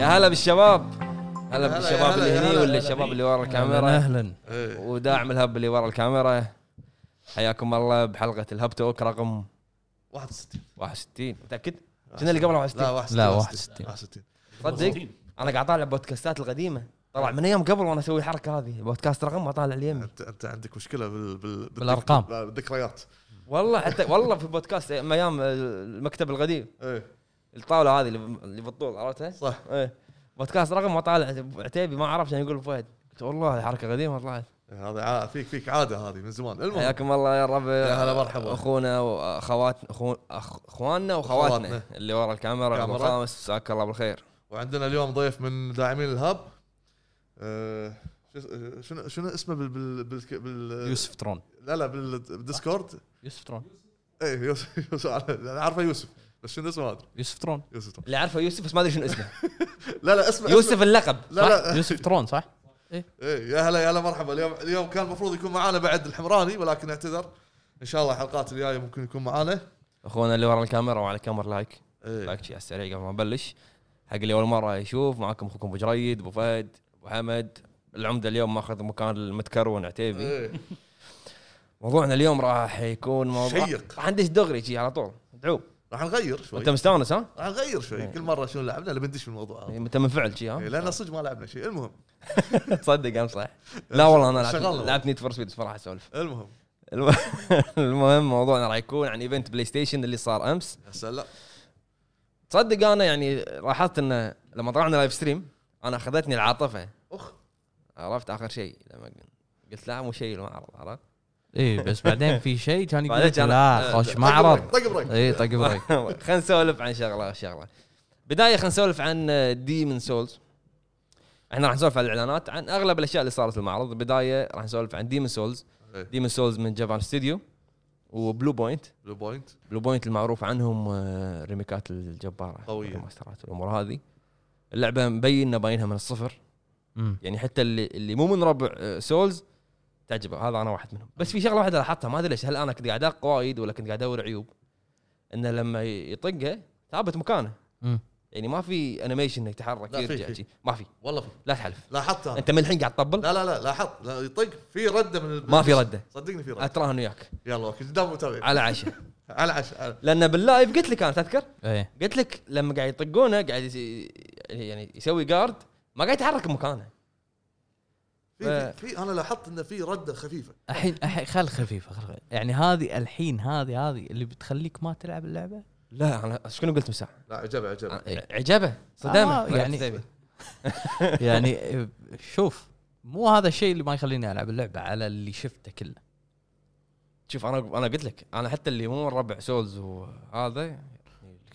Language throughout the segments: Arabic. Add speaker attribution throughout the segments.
Speaker 1: هلا بالشباب هلا
Speaker 2: هلا-
Speaker 1: بالشباب
Speaker 2: هلا-
Speaker 1: اللي
Speaker 2: هلا-
Speaker 1: هني
Speaker 2: هلا
Speaker 1: واللي الشباب
Speaker 2: بيك.
Speaker 1: اللي ورا
Speaker 3: اهلا
Speaker 1: الكاميرا
Speaker 3: اهلا
Speaker 2: إيه.
Speaker 1: وداعم الهب اللي ورا الكاميرا حياكم الله بحلقه الهب توك رقم
Speaker 2: 61
Speaker 1: 61 متاكد؟ كنا اللي قبل 61
Speaker 2: لا 61
Speaker 3: لا،
Speaker 2: 61 61
Speaker 1: صدق انا قاعد اطالع بودكاستات القديمه طلع من ايام قبل وانا اسوي الحركه هذه بودكاست رقم ما طالع اليمين
Speaker 2: انت انت عندك مشكله بال... بال...
Speaker 3: بالأرقام.
Speaker 2: لا، بالذكريات
Speaker 1: والله حتى والله في بودكاست أيام- ايام المكتب القديم
Speaker 2: ايه
Speaker 1: الطاوله هذه اللي اللي بالطول عرفتها؟
Speaker 2: صح
Speaker 1: ايه بودكاست رقم ما طالع عتيبي ما عرف شنو يقول فهد قلت والله حركه قديمه طلعت
Speaker 2: إيه، هذا ع- فيك فيك عاده هذه من زمان المهم
Speaker 1: حياكم الله يا الربع
Speaker 2: يا هلا مرحبا.
Speaker 1: اخونا واخوات أخو... أخ- اخواننا واخواتنا
Speaker 2: أخواتنا.
Speaker 1: اللي ورا الكاميرا ابو
Speaker 2: كاميرا.
Speaker 1: خامس مساك الله بالخير
Speaker 2: وعندنا اليوم ضيف من داعمين الهب آه، شو- شنو شنو اسمه بال بال بال, بال...
Speaker 3: يوسف ترون
Speaker 2: لا لا بال- بالديسكورد
Speaker 3: يوسف ترون
Speaker 2: ايه يوسف يوسف انا عارفه يوسف بس شنو اسمه هذا
Speaker 3: يوسف ترون
Speaker 2: يوسف
Speaker 1: اللي عارفه يوسف بس ما ادري شنو اسمه
Speaker 2: لا لا اسمه
Speaker 1: يوسف اللقب
Speaker 2: لا لا
Speaker 3: صح؟ يوسف ترون صح؟
Speaker 2: ايه يا هلا يا هلا مرحبا اليوم اليوم كان المفروض يكون معانا بعد الحمراني ولكن اعتذر ان شاء الله الحلقات الجايه ممكن يكون معانا
Speaker 1: اخونا اللي ورا الكاميرا وعلى الكاميرا لايك
Speaker 2: إيه.
Speaker 1: لايك شي على السريع قبل ما نبلش حق اللي اول مره يشوف معاكم اخوكم ابو جريد ابو فهد ابو حمد العمده اليوم ماخذ مكان المتكرون عتيبي
Speaker 2: إيه.
Speaker 1: موضوعنا اليوم راح يكون موضوع
Speaker 2: شيق.
Speaker 1: راح ندش دغري شي على طول دعوه
Speaker 2: راح نغير شوي
Speaker 1: انت مستانس ها؟
Speaker 2: راح نغير شوي كل مره شنو لعبنا اللي بندش في الموضوع هذا
Speaker 1: انت منفعل شي ها؟
Speaker 2: إيه، لان صدق ما لعبنا شيء المهم
Speaker 1: تصدق امس صح لا والله انا
Speaker 2: شغلنا.
Speaker 1: لعبت لعبت نيد فور سبيد بس ما راح اسولف
Speaker 2: المهم
Speaker 1: الم- المهم موضوعنا راح يكون عن ايفنت بلاي ستيشن اللي صار امس
Speaker 2: يا سلام
Speaker 1: تصدق انا يعني لاحظت انه لما طلعنا لايف ستريم انا اخذتني العاطفه
Speaker 2: اخ
Speaker 1: عرفت اخر شيء لما قلت لا مو شيء المعرض عرفت
Speaker 3: اي إيه، بس بعدين في شيء كان آه، طيب، يقول
Speaker 1: بعدين
Speaker 3: لك
Speaker 1: كان-
Speaker 3: لا خوش معرض إيه، طيب،
Speaker 2: طق بريك
Speaker 3: اي طق بريك
Speaker 1: خلينا نسولف عن شغله شغله بدايه خلينا نسولف عن ديمن سولز احنا راح نسولف عن الاعلانات عن اغلب الاشياء اللي صارت في المعرض بدايه راح نسولف عن ديمن سولز
Speaker 2: إيه.
Speaker 1: ديمن سولز من جافان ستوديو وبلو بوينت
Speaker 2: بلو بوينت
Speaker 1: بلو بوينت المعروف عنهم آه، ريميكات الجباره
Speaker 2: قوية.
Speaker 1: والريماسترات والامور هذه اللعبه مبين إنها باينها من الصفر
Speaker 3: أمم.
Speaker 1: يعني حتى اللي اللي مو من ربع آه، سولز تعجبه هذا انا واحد منهم بس في شغله واحده لاحظتها ما ادري ليش هل انا كنت قاعد ادق وايد ولا كنت قاعد ادور عيوب انه لما يطقه ثابت مكانه
Speaker 3: أمم.
Speaker 1: يعني ما في انيميشن انه يتحرك
Speaker 2: لا، في-
Speaker 1: يرجع
Speaker 2: في.
Speaker 1: شي. ما في
Speaker 2: والله في
Speaker 1: لا تحلف
Speaker 2: لاحظت أنا.
Speaker 1: انت من الحين قاعد تطبل
Speaker 2: لا لا لا لاحظت لا يطق في رده من ال-
Speaker 1: ما في رده
Speaker 2: صدقني في رده
Speaker 1: اتراهن وياك
Speaker 2: يلا اوكي دام متابع
Speaker 1: على عشاء
Speaker 2: على عشاء
Speaker 1: لان باللايف قلت لك انا تذكر
Speaker 3: ايه
Speaker 1: قلت لك لما قاعد يطقونه قاعد يس- يعني يسوي جارد ما قاعد يتحرك مكانه
Speaker 2: في, في, في انا لاحظت انه في رده خفيفه
Speaker 3: الحين الحين خل خفيفه خل خفيفة. يعني هذه الحين هذه هذه اللي بتخليك ما تلعب اللعبه
Speaker 1: لا انا شنو قلت مساع
Speaker 2: لا عجبه عجبه
Speaker 1: عجبه صدامه
Speaker 3: آه، يعني-
Speaker 1: عتيبي.
Speaker 3: يعني إيه، شوف مو هذا الشيء اللي ما يخليني العب اللعبه على اللي شفته كله
Speaker 1: شوف انا انا قلت لك انا حتى اللي مو من ربع سولز وهذا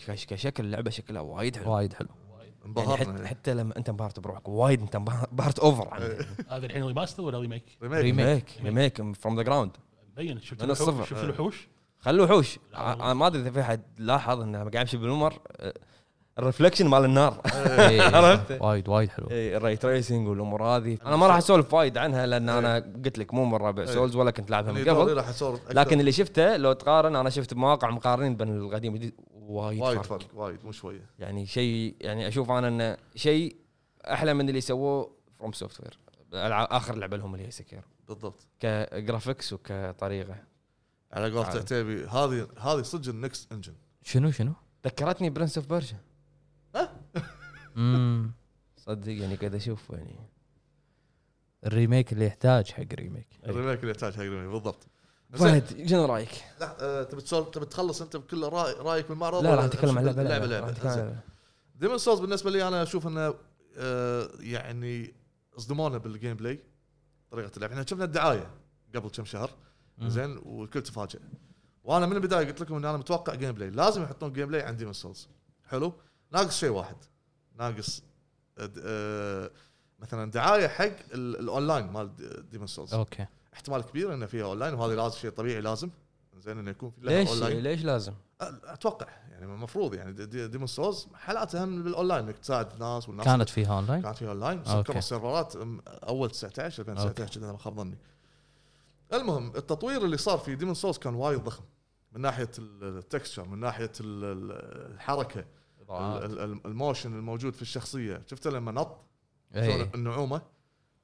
Speaker 1: كش- كشكل اللعبه شكلها وايد حلو
Speaker 3: وايد حلو
Speaker 1: يعني حتى,
Speaker 2: انبهرنا
Speaker 1: حتى لما انت انبهرت بروحك وايد انت انبه- انبهرت اوفر عن
Speaker 2: إيه.
Speaker 4: هذا الحين ريماستر ولا ريميك؟
Speaker 2: ريميك
Speaker 1: ريميك ريميك فروم ذا جراوند
Speaker 4: مبين شفت
Speaker 1: من
Speaker 4: الوحوش-
Speaker 1: الصفر.
Speaker 4: شفت الوحوش
Speaker 1: خلوا وحوش
Speaker 4: لا والله.
Speaker 1: انا ما ادري اذا في احد لاحظ انه لما قاعد يمشي بالممر آه، الرفلكشن مال النار
Speaker 3: إيه،
Speaker 1: عرفت.
Speaker 3: وايد وايد حلو
Speaker 1: إيه، الري تريسنج والامور هذه انا ما راح اسولف وايد عنها لان انا قلت لك مو من ربع
Speaker 2: إيه.
Speaker 1: سولز ولا كنت لعبها من
Speaker 2: يعني دوري
Speaker 1: قبل
Speaker 2: راح يصور أكثر.
Speaker 1: لكن اللي شفته لو تقارن انا شفت مواقع مقارنين بين القديم والجديد وايد
Speaker 2: وايد
Speaker 1: فرق
Speaker 2: فرق وايد مو شويه
Speaker 1: يعني شيء يعني اشوف انا انه شيء احلى من اللي سووه فروم سوفت وير اخر لعبه لهم اللي هي سكير
Speaker 2: بالضبط
Speaker 1: كجرافكس وكطريقه
Speaker 2: على
Speaker 1: عاد.
Speaker 2: قولة عتيبي هذه هذه صدق النكست انجن
Speaker 3: شنو شنو؟
Speaker 1: ذكرتني برنس اوف برشا
Speaker 3: امم
Speaker 1: صدق يعني قاعد اشوف يعني
Speaker 3: الريميك اللي يحتاج حق ريميك
Speaker 1: إيه.
Speaker 2: الريميك اللي يحتاج حق الريميك بالضبط زين،
Speaker 1: فهد شنو رايك؟
Speaker 2: لا آه، تبي تسولف تبي تخلص انت بكل راي رايك بالمعرض
Speaker 1: لا
Speaker 2: ولا
Speaker 1: راح نتكلم عن لعبه
Speaker 2: لعبه
Speaker 1: راح نتكلم
Speaker 2: لعبه
Speaker 1: عن
Speaker 2: زين. ديمون سولز بالنسبه لي انا اشوف انه آه، يعني صدمونا بالجيم بلاي طريقه اللعب احنا شفنا الدعايه قبل كم شهر زين والكل تفاجئ وانا من البدايه قلت لكم ان انا متوقع جيم بلاي لازم يحطون جيم بلاي عن ديمون سولز حلو ناقص شيء واحد ناقص آه، د- آه، مثلا دعايه حق ال- الاونلاين مال د- ديمون سولز
Speaker 3: اوكي
Speaker 2: احتمال كبير انه فيها اونلاين وهذا لازم شيء طبيعي لازم زين انه يكون في لها
Speaker 1: ليش
Speaker 2: أونلاين.
Speaker 1: ليش لازم؟
Speaker 2: اتوقع يعني المفروض يعني دي- دي- ديمون سولز حالاتها هم بالاونلاين انك تساعد الناس والناس
Speaker 3: كانت فيها اونلاين
Speaker 2: كانت فيها اونلاين
Speaker 3: إيه. أوكي.
Speaker 2: سكروا السيرفرات أم، اول 19 2019 اذا ما خاب ظني المهم التطوير اللي صار في ديمون سولز كان وايد ضخم من ناحيه التكستشر من ناحيه ال- ال- الحركه
Speaker 1: إضاءات.
Speaker 2: ال- ال- الموشن الموجود في الشخصيه شفته لما نط شلون
Speaker 3: إيه.
Speaker 2: النعومه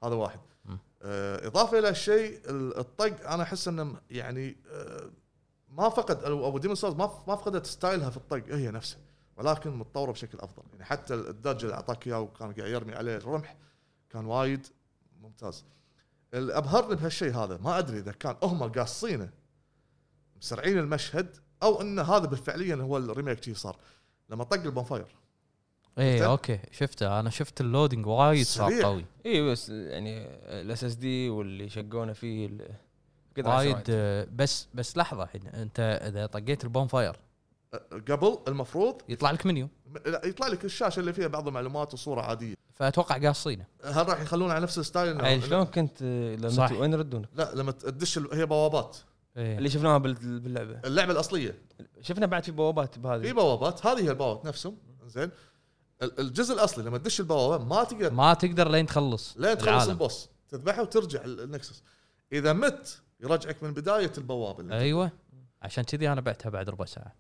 Speaker 2: هذا واحد
Speaker 3: مم.
Speaker 2: آه، اضافه الى الشيء ال- الطق انا احس انه م- يعني آه، ما فقد او أو ديمون سولز ما ف- ما فقدت ستايلها في الطق هي نفسها ولكن متطوره بشكل افضل يعني حتى ال- الدرجه اللي اعطاك اياه وكان قاعد يرمي عليه الرمح كان وايد ممتاز اللي ابهرني بهالشيء هذا ما ادري اذا كان هم قاصينه مسرعين المشهد او ان هذا بالفعليا هو الريميك شي صار لما طق البونفاير
Speaker 3: ايه
Speaker 2: شفته؟
Speaker 3: اوكي شفته انا شفت اللودنج وايد صار
Speaker 2: سريع.
Speaker 3: قوي
Speaker 1: اي بس يعني الاس اس دي واللي شقونا فيه ال- كذا على
Speaker 3: وايد
Speaker 1: السرعة.
Speaker 3: آه، بس بس لحظه الحين انت اذا طقيت البون فاير
Speaker 2: أه، قبل المفروض
Speaker 3: يطلع لك منيو
Speaker 2: لا، يطلع لك الشاشه اللي فيها بعض المعلومات وصوره عاديه
Speaker 3: فاتوقع قاصينه
Speaker 2: هل راح يخلونه على نفس الستايل إنه-
Speaker 1: يعني شلون كنت آه،
Speaker 3: صح.
Speaker 1: لما ت- وين يردونك؟
Speaker 2: لا لما تدش ال- هي بوابات
Speaker 3: ايه
Speaker 1: اللي شفناها بال- باللعبه
Speaker 2: اللعبه الاصليه
Speaker 1: شفنا بعد في بوابات
Speaker 2: في
Speaker 3: طيب.
Speaker 1: بهذه
Speaker 2: بوابات هذه هي البوابات نفسهم زين ال- الجزء الاصلي لما تدش البوابه ما تقدر
Speaker 3: ما تقدر لين تخلص
Speaker 2: لين تخلص
Speaker 3: العالم.
Speaker 2: البوس تذبحه وترجع ال- النكسس اذا مت يرجعك من بدايه البوابه اللي
Speaker 3: ايوه عشان كذي انا بعتها بعد ربع ساعه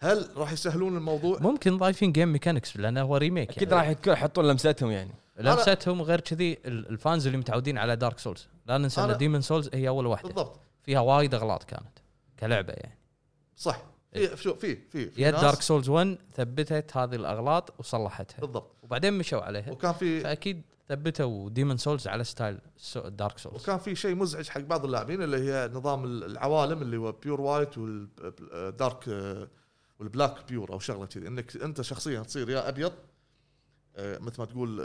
Speaker 2: هل راح يسهلون الموضوع؟
Speaker 3: ممكن ضايفين جيم ميكانكس لانه هو ريميك
Speaker 1: اكيد راح يك- يحطون لمستهم يعني
Speaker 3: لمستهم غير كذي ال- الفانز اللي متعودين على دارك سولز لا ننسى
Speaker 2: أنا-
Speaker 3: ان ديمون سولز هي اول واحده
Speaker 2: بالضبط
Speaker 3: فيها وايد اغلاط كانت كلعبه يعني
Speaker 2: صح في شو في في في
Speaker 3: يد
Speaker 2: ناس-
Speaker 3: إيه. دارك سولز 1 ثبتت هذه الاغلاط وصلحتها
Speaker 2: بالضبط
Speaker 3: وبعدين مشوا عليها
Speaker 2: وكان في
Speaker 3: فاكيد ثبتوا ديمون سولز على ستايل دارك سولز
Speaker 2: وكان في شيء مزعج حق بعض اللاعبين اللي هي نظام العوالم اللي هو بيور وايت والدارك والبلاك بيور او شغله كذي انك انت شخصيا تصير يا ابيض آه، مثل ما تقول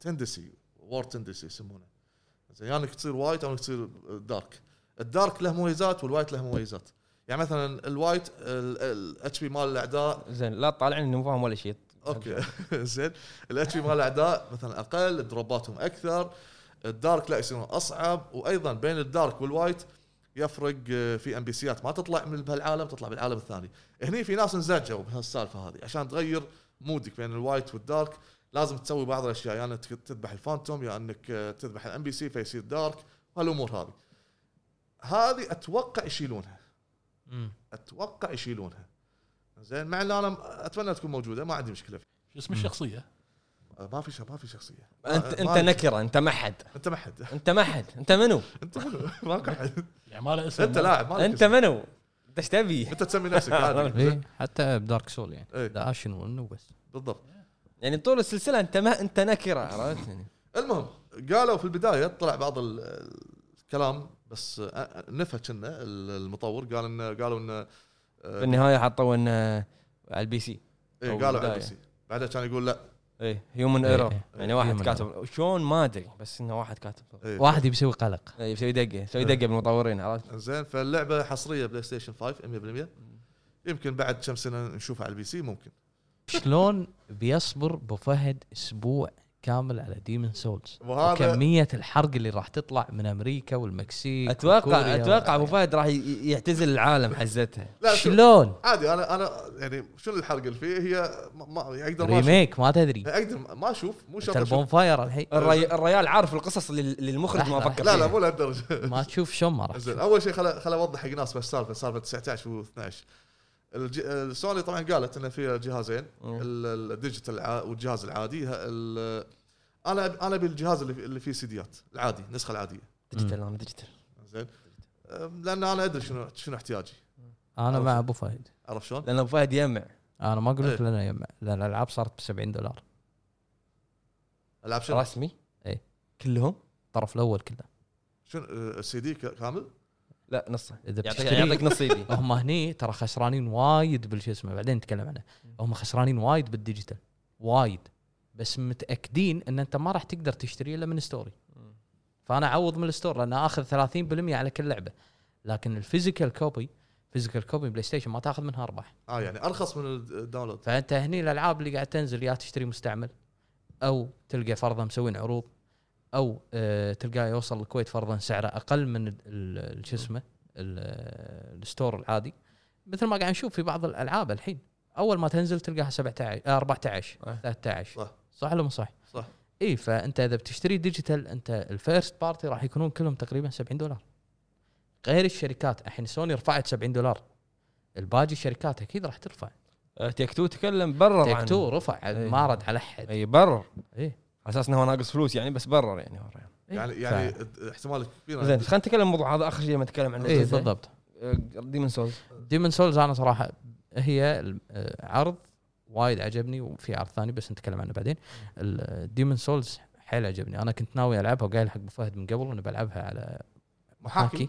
Speaker 2: تندسي وور تندسي يسمونه زين يا انك تصير وايت او انك تصير دارك الدارك له مميزات والوايت له مميزات يعني مثلا الوايت الاتش بي مال الاعداء
Speaker 1: زين لا تطالعني اني مو فاهم ولا شيء
Speaker 2: اوكي زين الاتش بي مال الاعداء مثلا اقل دروباتهم اكثر الدارك لا يصيرون اصعب وايضا بين الدارك والوايت يفرق آه، في ام بي سيات ما تطلع من بهالعالم تطلع بالعالم الثاني هني في ناس انزعجوا بهالسالفه هذه عشان تغير مودك بين الوايت والدارك لازم تسوي بعض الاشياء يا يعني انك تذبح الفانتوم يا يعني انك آه، تذبح الام بي سي فيصير دارك وهالامور هذه هذه اتوقع يشيلونها
Speaker 3: مم.
Speaker 2: اتوقع يشيلونها زين مع ان انا اتمنى تكون موجوده ما عندي مشكله
Speaker 4: شو اسم الشخصيه؟
Speaker 2: ما في ش- ما في شخصيه
Speaker 1: انت
Speaker 2: ما-
Speaker 1: انت نكره انت ما حد
Speaker 2: انت ما حد
Speaker 1: انت ما حد انت منو؟
Speaker 2: انت ماكو حد
Speaker 4: يعني ما له اسم
Speaker 2: انت لاعب ما
Speaker 1: انت منو؟ انت ايش تبي؟
Speaker 2: انت تسمي نفسك
Speaker 3: إيه
Speaker 2: عادي
Speaker 3: حتى بدارك سول يعني
Speaker 2: إيه.
Speaker 3: ذا اشن ون وبس
Speaker 2: بالضبط
Speaker 1: يعني طول السلسله انت ما انت نكره عرفت يعني
Speaker 2: المهم قالوا في البدايه طلع بعض ال- الكلام بس أ- نفى كنا ال- المطور قال انه قالوا انه
Speaker 1: في النهايه حطوا انه على البي سي
Speaker 2: إيه،
Speaker 1: أول
Speaker 2: قالوا على البي
Speaker 1: بداية.
Speaker 2: سي بعدها كان يقول لا
Speaker 1: ايه هيومن
Speaker 3: إيه.
Speaker 1: ايرور يعني واحد
Speaker 3: Human
Speaker 1: كاتب شلون ما ادري بس انه واحد كاتب
Speaker 2: إيه.
Speaker 3: واحد يبي يسوي قلق
Speaker 1: اي إيه، يسوي دقه يسوي دقه بالمطورين عرفت
Speaker 2: زين فاللعبه حصريه بلاي ستيشن 5 100% يمكن بعد كم سنه نشوفها على البي سي ممكن
Speaker 3: شلون بيصبر ابو فهد اسبوع كامل على ديمون سولز
Speaker 2: وهذا
Speaker 3: كمية الحرق اللي راح تطلع من امريكا
Speaker 2: إيه،
Speaker 3: والمكسيك
Speaker 1: اتوقع
Speaker 3: وكوريا
Speaker 1: اتوقع ابو فهد راح ي- يعتزل العالم حزتها
Speaker 2: لا شو-
Speaker 3: شلون
Speaker 2: عادي انا انا يعني شنو الحرق اللي فيه هي ما- ما اقدر ما أشوف.
Speaker 3: ريميك ما تدري
Speaker 2: اقدر ما اشوف مو شرط أشوف.
Speaker 3: البون فاير الحين
Speaker 1: الري... الريال عارف القصص اللي اللي المخرج ما
Speaker 3: لحظة،
Speaker 1: فكر
Speaker 2: لا لا
Speaker 1: فيها.
Speaker 2: مو لهالدرجه
Speaker 3: ما تشوف شلون ما راح
Speaker 2: زين
Speaker 3: تشوف.
Speaker 2: اول شيء خل خل اوضح حق ناس بس السالفه سالفه 19 و12 الج... سوني طبعا قالت ان في جهازين
Speaker 1: مم.
Speaker 2: ال- الديجيتال الع- والجهاز العادي ه- ال- انا أب- انا ابي الجهاز اللي في- اللي فيه سيديات العادي النسخه العاديه
Speaker 1: ديجيتال انا ديجيتال
Speaker 2: زين أم، لان انا ادري شنو شنو احتياجي
Speaker 3: انا
Speaker 2: أول
Speaker 3: مع
Speaker 2: شيء.
Speaker 3: ابو فهد
Speaker 2: عرفت شلون؟
Speaker 1: لان ابو فهد يجمع
Speaker 3: انا ما اقول لك
Speaker 2: إيه.
Speaker 3: لان يم- لان الالعاب صارت ب 70 دولار
Speaker 2: العب شنو؟
Speaker 1: رسمي
Speaker 3: إيه.
Speaker 1: كلهم
Speaker 3: الطرف الاول كله
Speaker 2: شنو أه، السي دي ك- كامل؟
Speaker 1: لا نصه
Speaker 3: اذا
Speaker 1: يعطيك
Speaker 3: بتشتري-
Speaker 1: يعطيك نص يدي
Speaker 3: هم هني ترى خسرانين وايد بالشو اسمه بعدين نتكلم عنه هم خسرانين وايد بالديجيتال وايد بس متاكدين ان انت ما راح تقدر تشتري الا من ستوري فانا اعوض من الستور لان اخذ 30% على كل لعبه لكن الفيزيكال كوبي فيزيكال كوبي بلاي ستيشن ما تاخذ منها ارباح
Speaker 2: اه يعني ارخص من الداونلود
Speaker 3: فانت هني الالعاب اللي قاعد تنزل يا تشتري مستعمل او تلقى فرضا مسوين عروض او آه تلقاه يوصل الكويت فرضا سعره اقل من ال- ال- شو اسمه ال- الستور العادي مثل ما قاعد نشوف في بعض الالعاب الحين اول ما تنزل تلقاها 17 آه، 14
Speaker 1: أي.
Speaker 3: 13
Speaker 2: صح.
Speaker 3: صح ولا مو صح؟
Speaker 2: صح.
Speaker 3: اي فانت اذا بتشتري ديجيتال انت الفيرست بارتي راح يكونون كلهم تقريبا 70 دولار غير الشركات الحين سوني رفعت 70 دولار الباقي الشركات اكيد راح ترفع
Speaker 1: تيك تو أه، تكلم برر
Speaker 3: تيك
Speaker 1: عن-
Speaker 3: تو رفع
Speaker 1: إيه.
Speaker 3: ما رد على احد
Speaker 1: اي برر
Speaker 3: إيه.
Speaker 1: على اساس انه هو ناقص فلوس يعني بس برر يعني هو الريال.
Speaker 2: يعني يعني احتمال كبير
Speaker 1: زين خلينا نتكلم عن الموضوع هذا اخر شيء ما نتكلم عنه
Speaker 2: إيه،
Speaker 1: أه،
Speaker 3: اي إيه، بالضبط
Speaker 1: ديمون سولز
Speaker 3: ديمون سولز انا صراحه هي ال- آه، عرض وايد عجبني وفي عرض ثاني بس نتكلم عنه بعدين ديمون سولز حيل عجبني انا كنت ناوي العبها وقايل حق ابو فهد من قبل اني بلعبها على
Speaker 2: محاكي
Speaker 3: حاكي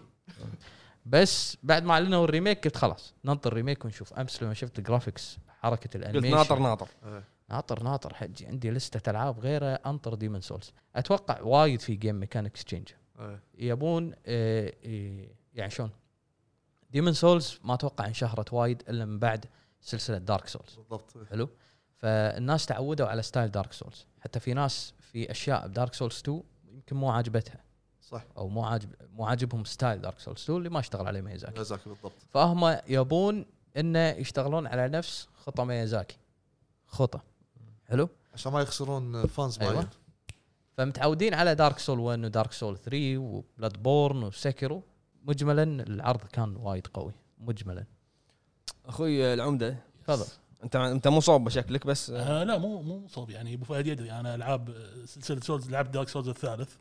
Speaker 3: بس بعد ما اعلنوا الريميك قلت خلاص ننطر الريميك ونشوف امس لما شفت الجرافكس حركه
Speaker 1: قلت
Speaker 3: الانيميشن
Speaker 1: ناطر ناطر
Speaker 2: إيه.
Speaker 3: ناطر ناطر حجي عندي لستة العاب غيره انطر ديمون سولز اتوقع وايد في جيم ميكانكس تشينج
Speaker 2: إيه.
Speaker 3: يبون آه، آه، يعني شلون ديمون سولز ما اتوقع انشهرت وايد الا من بعد سلسله دارك سولز
Speaker 2: بالضبط إيه.
Speaker 3: حلو فالناس تعودوا على ستايل دارك سولز حتى في ناس في اشياء بدارك سولز 2 يمكن مو عاجبتها
Speaker 2: صح
Speaker 3: او مو عاجب مو عاجبهم ستايل دارك سولز 2 اللي ما اشتغل عليه ميزاكي
Speaker 2: ميازاكي بالضبط
Speaker 3: فهم يبون انه يشتغلون على نفس خطه ميازاكي خطه حلو
Speaker 2: عشان ما يخسرون فانز
Speaker 3: أيوة.
Speaker 2: معين
Speaker 3: فمتعودين على دارك سول 1 ودارك سول 3 وبلاد بورن وسكرو مجملا العرض كان وايد قوي مجملا
Speaker 1: اخوي العمده
Speaker 3: تفضل
Speaker 1: انت انت مو صوب شكلك بس
Speaker 4: آه لا مو مو صوب يعني ابو فهد يدري انا العاب آه، سلسله سولز لعبت دارك سولز الثالث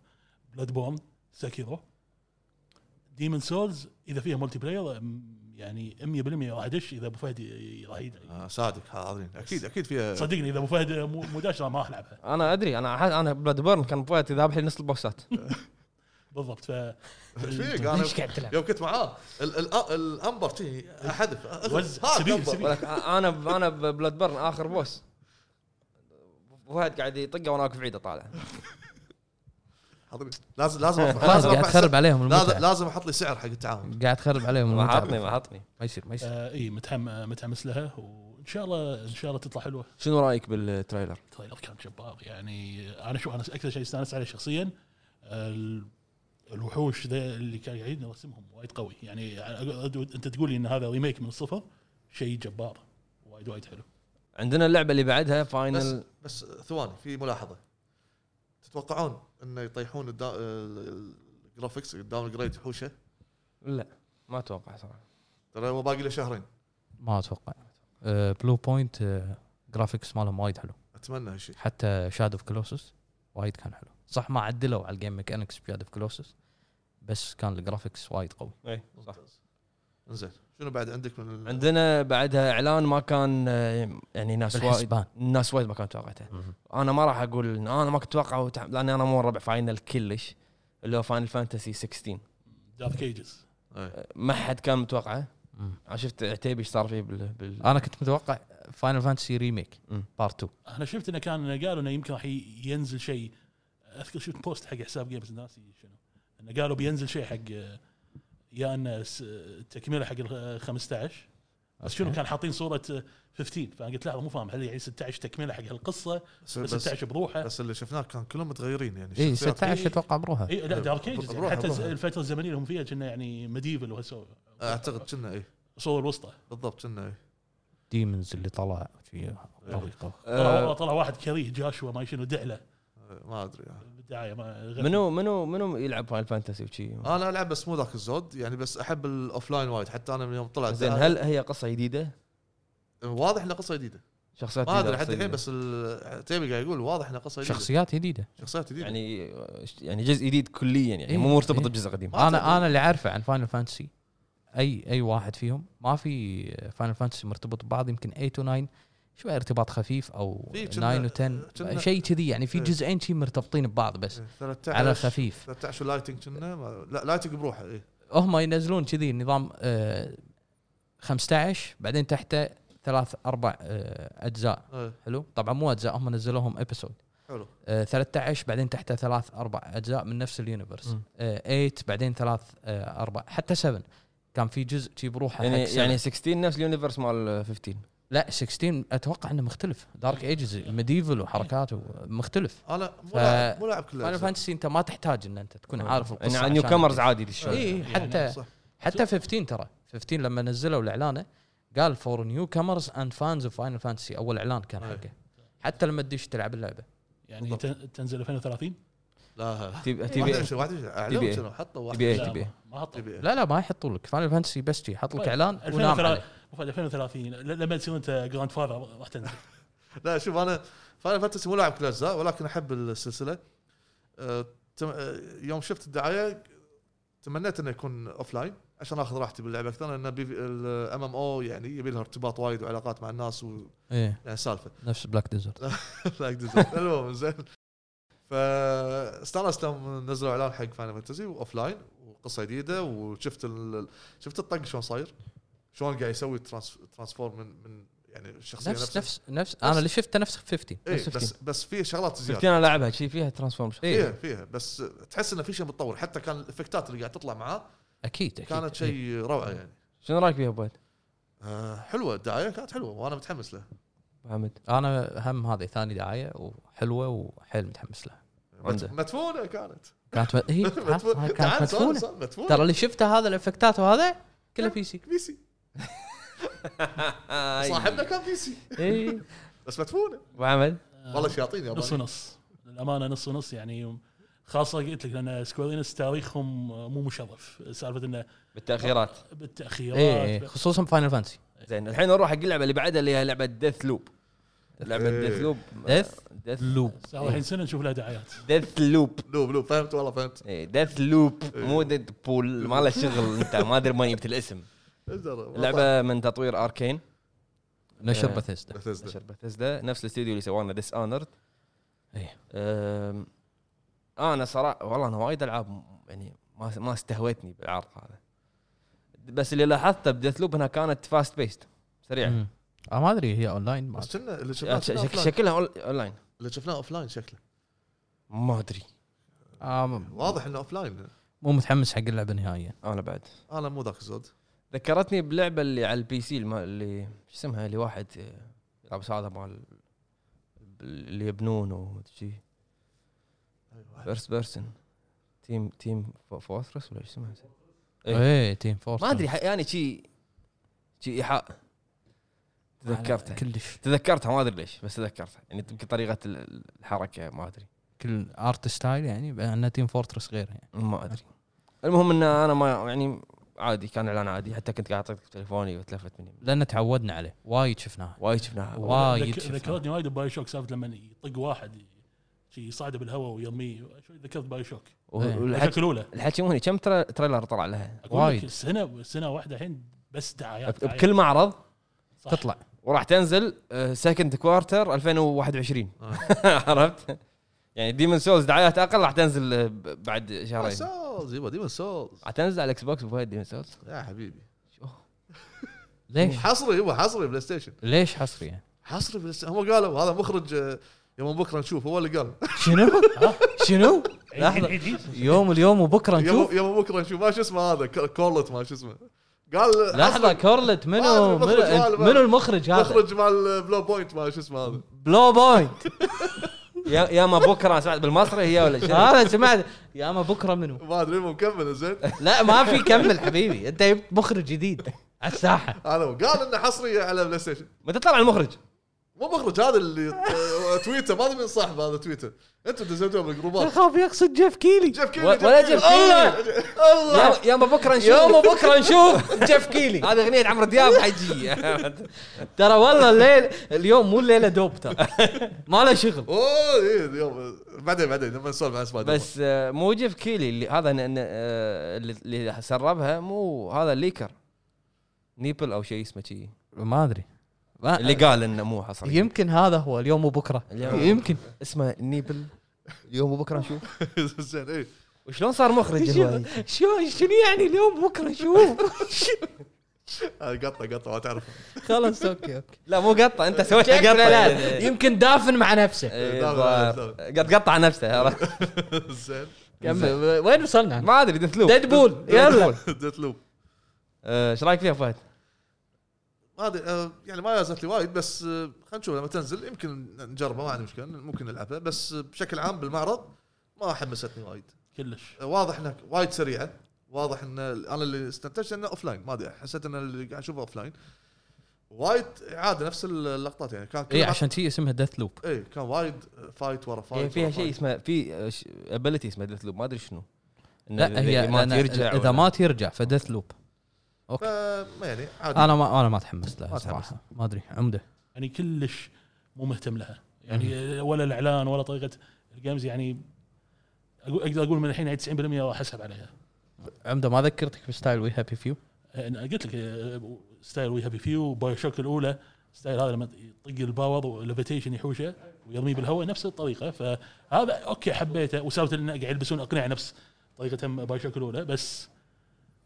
Speaker 4: بلاد بورن ساكيرو ديمون سولز اذا فيها مولتي بلاير م- يعني 100% راح ادش اذا ابو فهد ي- ي- راح يدري
Speaker 2: آه، صادق حاضرين اكيد اكيد فيها
Speaker 4: صدقني اذا ابو فهد مو مو داش راح ما راح العبها
Speaker 1: انا ادري انا أح- انا بلاد بيرن كان فايت ذابح لي نص البوسات
Speaker 4: بالضبط ف آه،
Speaker 2: ايش فيك انا
Speaker 3: ليش قاعد تلعب؟
Speaker 2: يوم كنت معاه ال- آه، ال- الانبر شي احذف
Speaker 4: وزع.
Speaker 2: هات
Speaker 4: سبيل-
Speaker 2: أنبر.
Speaker 4: سبيل.
Speaker 1: ولك انا انا بلاد بيرن اخر بوس فهد قاعد يطقه وانا واقف بعيد اطالع
Speaker 2: حاضرين. لازم لازم أرفع-
Speaker 3: خلاص
Speaker 2: لازم
Speaker 3: قاعد
Speaker 2: أرفع
Speaker 3: تخرب عليهم
Speaker 2: لازم
Speaker 3: المتعه
Speaker 2: لازم احط لي سعر حق التعاون
Speaker 3: قاعد تخرب عليهم المتعه
Speaker 1: عطني ما عطني
Speaker 3: ما يصير ما يصير
Speaker 4: آه اي متحم آه، متحمس لها وان شاء الله ان شاء الله تطلع حلوه
Speaker 1: شنو رايك بالتريلر؟
Speaker 4: التريلر كان طيب، جبار يعني انا شو انا اكثر شيء استانست عليه شخصيا ال- الوحوش ذا اللي كان قاعدين يرسمهم وايد قوي يعني أقعد- انت تقول لي ان هذا ريميك من الصفر شيء جبار وايد وايد حلو
Speaker 1: عندنا اللعبه اللي بعدها
Speaker 2: بس
Speaker 1: فاينل
Speaker 2: بس ثواني في ملاحظه تتوقعون انه يطيحون الدا- ال- الجرافيكس الداون جريد حوشه
Speaker 1: لا ما اتوقع صراحه
Speaker 2: ترى هو باقي له شهرين
Speaker 3: ما اتوقع آه، بلو بوينت آه، جرافيكس مالهم وايد حلو
Speaker 2: اتمنى هالشيء
Speaker 3: حتى شاد اوف كلوسس وايد كان حلو صح ما عدلوا على الجيم ميكانكس بشاد اوف كلوسس بس كان الجرافيكس وايد قوي
Speaker 1: اي صح
Speaker 2: ممتاز انزين شنو بعد عندك من ال-
Speaker 1: عندنا بعدها اعلان ما كان آه، يعني ناس وايد
Speaker 3: بالحسبان
Speaker 1: الناس وايد ما كانوا توقعته انا ما راح اقول إن انا ما كنت اتوقع وتع- لان انا مو ربع فاينل كلش اللي هو فاينل فانتسي 16
Speaker 4: دارك كيجز
Speaker 2: إيه.
Speaker 1: ما حد كان متوقعه
Speaker 3: مم.
Speaker 1: أنا آه، شفت عتيبي ايش صار فيه بال, بال...
Speaker 3: انا كنت متوقع فاينل فانتسي ريميك
Speaker 1: مم.
Speaker 3: بارت 2
Speaker 4: انا شفت انه كان إنه قالوا انه يمكن راح ي- ينزل شيء اذكر شفت بوست حق حساب جيمز ناسي شنو انه قالوا بينزل شيء حق آه، يا انه س- تكمله حق ال- آه، 15 بس شنو
Speaker 3: أوكي.
Speaker 4: كان حاطين صوره آه، 15 فانا قلت لحظه مو فاهم هل يعني 16 تكمله حق هالقصه
Speaker 2: بس,
Speaker 4: بس
Speaker 2: بس,
Speaker 4: 16 بروحه
Speaker 2: بس اللي شفناه كان كلهم متغيرين يعني
Speaker 3: اي
Speaker 2: الشخصيات-
Speaker 3: 16 اتوقع بروحه
Speaker 1: إيه.
Speaker 4: اي لا دارك ايجز
Speaker 2: بروحه-
Speaker 4: يعني حتى
Speaker 2: بروحه.
Speaker 4: الفتره الزمنيه اللي هم فيها كنا يعني ميديفل وهالسوالف
Speaker 2: اعتقد كنا إيه. اي
Speaker 4: الصوره الوسطى
Speaker 2: بالضبط كنا اي
Speaker 3: ديمونز اللي طلع شي
Speaker 1: إيه.
Speaker 3: قوي قوي
Speaker 4: طلع
Speaker 1: آه
Speaker 4: طلع واحد كريه جاشوا ما شنو دعله
Speaker 2: ما ادري يعني.
Speaker 4: بالدعايه ما غير-
Speaker 1: منو منو منو يلعب فاينل فانتسي وشي
Speaker 2: انا العب بس مو ذاك الزود يعني بس احب الاوفلاين وايد حتى انا من يوم طلعت
Speaker 1: زين هل هي قصه جديده؟
Speaker 2: واضح انه قصه جديده
Speaker 1: شخصيات
Speaker 2: ما ادري
Speaker 1: جديدة،
Speaker 2: لحد
Speaker 1: قصة
Speaker 2: الحين
Speaker 1: جديدة.
Speaker 2: بس ال- تيمي قاعد يقول واضح انه قصه جديده
Speaker 3: شخصيات جديده
Speaker 2: شخصيات جديده يعني
Speaker 1: يعني يعني جزء جديد كليا يعني
Speaker 3: إيه،
Speaker 1: مو مرتبط
Speaker 3: إيه.
Speaker 1: بجزء قديم
Speaker 2: ما
Speaker 3: انا
Speaker 2: تدري.
Speaker 3: انا اللي عارفه عن فاينل فانتسي اي اي واحد فيهم ما في فاينل فانتسي مرتبط ببعض يمكن 8 و 9 شوي ارتباط خفيف او
Speaker 2: في
Speaker 3: 9
Speaker 2: كنا-
Speaker 3: و 10
Speaker 2: كنا-
Speaker 3: شيء كذي يعني في
Speaker 2: إيه.
Speaker 3: جزئين شي مرتبطين ببعض بس
Speaker 2: 13
Speaker 3: على خفيف
Speaker 2: 13 لايتنج كنا ما- لا لايتنج بروحه إيه. اي
Speaker 3: هم ينزلون كذي نظام آه، 15 بعدين تحته ثلاث اربع آه، اجزاء
Speaker 2: إيه،
Speaker 3: حلو طبعا مو اجزاء هم نزلوهم ابيسود
Speaker 2: حلو
Speaker 3: آه، 13 بعدين تحته ثلاث اربع اجزاء من نفس اليونيفرس
Speaker 1: مم.
Speaker 3: آه، 8 بعدين ثلاث آه، اربع حتى 7 كان في جزء شي بروحه
Speaker 1: يعني
Speaker 3: حق 7.
Speaker 1: يعني 16 نفس اليونيفرس مال 15
Speaker 3: لا 16 اتوقع انه مختلف دارك ايجز ميديفل وحركات مختلف
Speaker 2: انا مو
Speaker 3: ف-
Speaker 2: لاعب- مو لاعب كل
Speaker 3: فاينل
Speaker 2: الأجزاء.
Speaker 3: فانتسي انت ما تحتاج ان انت تكون عارف القصه
Speaker 1: يعني
Speaker 3: عشان إيه.
Speaker 1: نيو كامرز
Speaker 3: تدري.
Speaker 1: عادي تشتغل.
Speaker 3: اي حتى
Speaker 2: صح
Speaker 3: حتى 15 ترى 15 لما نزلوا الاعلان قال فور نيو كامرز اند فانز اوف فاينل فانتسي اول اعلان كان
Speaker 2: أي.
Speaker 3: حقه حتى لما تدش تلعب اللعبه
Speaker 4: يعني تن- تنزل 2030
Speaker 2: لا
Speaker 1: تي
Speaker 2: تي
Speaker 1: تي بي
Speaker 2: بي واحد
Speaker 1: تي بي إيه.
Speaker 2: اعلنوا شنو حطوا
Speaker 1: تي بي
Speaker 2: واحد
Speaker 1: إيه.
Speaker 4: لا،
Speaker 1: تبي.
Speaker 4: ما- ما حط
Speaker 2: تي بي إيه.
Speaker 3: لا لا ما يحطوا لك فاينل فانتسي بس شي يحط لك
Speaker 4: طيب،
Speaker 3: اعلان ونام
Speaker 4: 2030
Speaker 3: عليه
Speaker 4: وفي 2030 ل- لما تصير انت جراند فاذر راح تنزل
Speaker 2: لا شوف انا فاينل فانتسي مو لاعب كل اجزاء ولكن احب السلسله أه، تم- أه، يوم شفت الدعايه تمنيت انه يكون اوف لاين عشان اخذ راحتي باللعب اكثر لان الام ام او يعني يبي لها ارتباط وايد وعلاقات مع الناس و
Speaker 3: ايه
Speaker 2: يعني سالفه
Speaker 3: نفس بلاك ديزرت
Speaker 2: لا أقدر. المهم زين فاستانست لما نزلوا اعلان حق فاينل فانتسي واوف لاين وقصه جديده وشفت ال... شفت الطق شلون صاير شلون قاعد يسوي ترانس... ترانسفورم من من يعني الشخصيه
Speaker 3: نفس
Speaker 2: نفسها
Speaker 3: نفس نفس انا اللي شفته نفس 50
Speaker 2: إيه
Speaker 1: نفس
Speaker 2: بس بس في شغلات زياده
Speaker 1: شفتي انا لاعبها شي فيها ترانسفورميشن
Speaker 3: إيه.
Speaker 2: فيها فيها بس تحس انه في شيء متطور حتى كان الافكتات اللي قاعد تطلع معاه
Speaker 3: اكيد اكيد
Speaker 2: كانت شيء روعه يعني
Speaker 1: شنو رايك فيها ابو
Speaker 2: آه حلوه الدعايه كانت حلوه وانا متحمس له
Speaker 1: محمد
Speaker 3: انا هم هذه ثاني دعايه وحلوه وحيل متحمس لها
Speaker 1: عنده.
Speaker 2: مت- مدفونه كانت
Speaker 3: كانت م... هي
Speaker 2: مدفونه
Speaker 3: كانت
Speaker 2: تعال، سؤال-
Speaker 3: مدفونه
Speaker 2: سؤال، مدفونه
Speaker 3: ترى اللي شفته هذا الافكتات وهذا كله بي سي
Speaker 2: بي سي صاحبنا كان بي سي
Speaker 1: اي
Speaker 2: بس مدفونه
Speaker 1: ابو إيه. حمد
Speaker 2: والله شياطين يا
Speaker 4: نص
Speaker 2: بني.
Speaker 4: ونص للامانه نص ونص يعني خاصه قلت لك لان سكويرينس تاريخهم مو مشرف سالفه انه
Speaker 1: بالتاخيرات
Speaker 4: بالتاخيرات
Speaker 3: ايه خصوصا فاينل فانتسي
Speaker 1: زين الحين نروح حق اللعبه اللي بعدها اللي هي لعبه ديث لوب لعبه
Speaker 2: إيه.
Speaker 1: ديث لوب
Speaker 3: Death
Speaker 1: ديث
Speaker 3: لوب
Speaker 4: صار الحين سنه نشوف لها دعايات
Speaker 1: ديث لوب
Speaker 2: لوب لوب فهمت والله فهمت
Speaker 1: ديث لوب إيه، مو ديد بول ما له شغل انت ما ادري ما جبت الاسم اللعبه من تطوير اركين
Speaker 3: نشر
Speaker 1: آه.
Speaker 3: بثيستا
Speaker 1: نشر بثزدا نفس الاستوديو اللي سوى لنا ديس اونرد
Speaker 3: ايه
Speaker 1: أم، انا صراحه والله انا وايد العاب م- يعني ما ما استهوتني بالعرض هذا بس اللي لاحظته بديث لوب انها كانت فاست بيست سريعه
Speaker 3: مم. انا ما ادري هي اونلاين ما
Speaker 2: بس كنا اللي شفناه
Speaker 1: شك-
Speaker 2: كنا
Speaker 1: شك-
Speaker 2: أوفلاين.
Speaker 1: شكلها أون- اونلاين
Speaker 2: اللي شفناه اوف لاين شكله
Speaker 1: ما ادري
Speaker 3: آه، م-
Speaker 2: واضح انه اوف لاين
Speaker 3: مو متحمس حق اللعبه نهائيا
Speaker 1: انا بعد
Speaker 2: انا مو ذاك الزود
Speaker 1: ذكرتني بلعبه اللي على البي سي الم- اللي شو اسمها اللي واحد آه، يلعب هذا مال اللي يبنون وشي
Speaker 3: أيوة.
Speaker 1: فيرست بيرسون تيم تيم فو- فورترس ولا شو اسمها إيه.
Speaker 3: ايه تيم فورس
Speaker 1: ما ادري ح- يعني شي شي ايحاء تذكرتها
Speaker 3: كلش
Speaker 1: تذكرتها ما ادري ليش بس تذكرتها يعني يمكن طريقه ال- الحركه ما ادري
Speaker 3: كل ارت ستايل يعني بان تيم فورترس غير يعني
Speaker 1: ما ادري المهم ان انا ما يعني عادي كان اعلان عادي حتى كنت قاعد اعطيك تليفوني وتلفت مني
Speaker 3: لان تعودنا عليه وايد شفناها
Speaker 1: وايد شفناها
Speaker 3: وايد
Speaker 4: ذك-
Speaker 3: شفناها
Speaker 4: ذكرتني وايد بباي شوك سالفه لما يطق واحد ي- شي يصعده بالهواء ويرميه شوي ذكرت باي شوك
Speaker 1: وال-
Speaker 3: إيه.
Speaker 1: والحكي
Speaker 4: الحلقه الاولى
Speaker 1: الحكي مهني كم ترا- تريلر طلع لها
Speaker 4: اقول لك
Speaker 3: وايد.
Speaker 4: سنه سنه واحده الحين بس دعايات
Speaker 1: بك- بكل معرض
Speaker 4: صح.
Speaker 3: تطلع
Speaker 1: وراح تنزل آه، سكند كوارتر 2021
Speaker 2: آه.
Speaker 1: عرفت يعني ديمون سولز دعايات اقل راح تنزل آه، ب- بعد
Speaker 3: طيب.
Speaker 1: شهرين
Speaker 2: سولز يبا ديمون سولز
Speaker 1: راح تنزل على الاكس بوكس وفهد ديمون سولز
Speaker 2: يا حبيبي
Speaker 3: ليش
Speaker 2: حصري يبا حصري بلاي ستيشن
Speaker 3: ليش حصري يعني
Speaker 2: حصري بلاي ستيشن هم قالوا هذا مخرج آه، يوم بكره نشوف هو اللي قال
Speaker 3: شنو شنو
Speaker 4: عيد-
Speaker 3: لحظة.
Speaker 4: عيد- عيد-
Speaker 3: يوم اليوم وبكره
Speaker 2: يوم
Speaker 3: نشوف
Speaker 2: يوم بكره نشوف ما شو اسمه هذا ك- كورلت ما شو اسمه قال
Speaker 3: لحظه
Speaker 2: حصري.
Speaker 3: كورلت منو
Speaker 2: آه،
Speaker 3: منو
Speaker 2: المخرج ماله بقى.
Speaker 3: منو المخرج هذا
Speaker 2: مخرج مع البلو بوينت ما شو اسمه هذا
Speaker 3: بلو بوينت
Speaker 1: يا يا ما بكره أنا سمعت بالمصري هي ولا شيء
Speaker 3: انا سمعت يا اما بكره منو
Speaker 2: ما ادري المهم كمل زين
Speaker 3: لا ما في كمل حبيبي انت جبت مخرج جديد على الساحه
Speaker 2: هذا هو. قال انه حصري على بلاي ستيشن
Speaker 1: متى طلع المخرج؟
Speaker 2: مو مخرج هذا اللي آه، تويتر ما ادري من صاحبه هذا تويتر انتم دزيتوه بالجروبات
Speaker 3: اخاف يقصد جيف كيلي
Speaker 2: جيف كيلي
Speaker 1: و- ولا جيف
Speaker 2: الله!
Speaker 1: الله يا ما بكره نشوف
Speaker 3: يوم وبكره نشوف جيف كيلي
Speaker 1: هذه اغنيه عمرو دياب حجي
Speaker 3: ترى والله الليل اليوم مو الليله دوب ترى ما له شغل
Speaker 2: اوه إيه، اليوم بعدين بعدين لما نسولف عن سبايدر
Speaker 1: بس آه، مو جيف كيلي اللي هذا ن- ن- آه، اللي- اللي سربها مو هذا ليكر نيبل او شيء اسمه شيء
Speaker 3: ما ادري
Speaker 1: اللي قال انه مو حصري
Speaker 3: يمكن هذا هو اليوم وبكره
Speaker 1: اليوم.
Speaker 3: يمكن
Speaker 1: اسمه نيبل اليوم وبكره نشوف
Speaker 2: مان. زين ايه
Speaker 1: وشلون صار مخرج هو هيك؟
Speaker 3: شو شنو يعني اليوم بكره شوف
Speaker 2: هذا قطه قطه ما تعرفه
Speaker 3: خلاص اوكي اوكي
Speaker 1: لا مو قطه انت سويت
Speaker 3: شكله
Speaker 1: قطه
Speaker 3: لا
Speaker 1: يعني.
Speaker 3: يمكن دافن مع نفسه
Speaker 1: إيه،
Speaker 2: لا، لا، لا.
Speaker 1: بالضبط. قد قطع نفسه عرفت؟
Speaker 2: زين
Speaker 3: كمل وين وصلنا؟
Speaker 1: ما ادري دثلوب
Speaker 3: ديدبول يلا
Speaker 2: ديت لوب
Speaker 1: ايش رايك إيه، فيها فهد؟
Speaker 2: ما ادري آه، يعني ما يازت لي وايد بس آه، خلينا نشوف لما تنزل يمكن نجربه ما عندي مشكله ممكن نلعبها بس آه، بشكل عام بالمعرض ما حمستني وايد
Speaker 4: كلش
Speaker 2: آه، واضح انها وايد سريعه واضح ان ال- انا اللي استنتجت انه اوف لاين ما ادري حسيت ان اللي قاعد اشوفه اوف لاين وايد عاده نفس اللقطات يعني
Speaker 1: إيه،
Speaker 2: كان كل
Speaker 3: اي
Speaker 2: لقطة-
Speaker 3: إيه، عشان شي اسمها ديث لوب
Speaker 2: اي كان وايد آه، فايت ورا فايت
Speaker 1: هي يعني فيها
Speaker 2: ورا
Speaker 1: شيء
Speaker 2: فايت.
Speaker 1: اسمه في ابيلتي اسمه ديث لوب ما ادري شنو إن
Speaker 3: لا
Speaker 1: اللي
Speaker 3: هي
Speaker 1: مات
Speaker 3: لأن
Speaker 1: يرجع
Speaker 3: اذا
Speaker 1: ولا-
Speaker 3: مات يرجع فديث لوب اوكي
Speaker 2: فما يعني عادي
Speaker 3: انا ما انا ما تحمست لها
Speaker 2: ما
Speaker 3: صراحه ما ادري عمده
Speaker 4: يعني كلش مو مهتم لها يعني ولا الاعلان ولا طريقه الجيمز يعني أقو- اقدر اقول من الحين هي 90% راح اسحب عليها
Speaker 3: عمده ما ذكرتك بستايل وي هابي فيو
Speaker 4: انا قلت لك آه، ستايل وي هابي فيو باي شوك الاولى ستايل هذا لما يطق الباور وليفيتيشن يحوشه ويرميه بالهواء نفس الطريقه فهذا اوكي حبيته وسالفه انه قاعد يلبسون اقنعه نفس طريقتهم باي شوك الاولى بس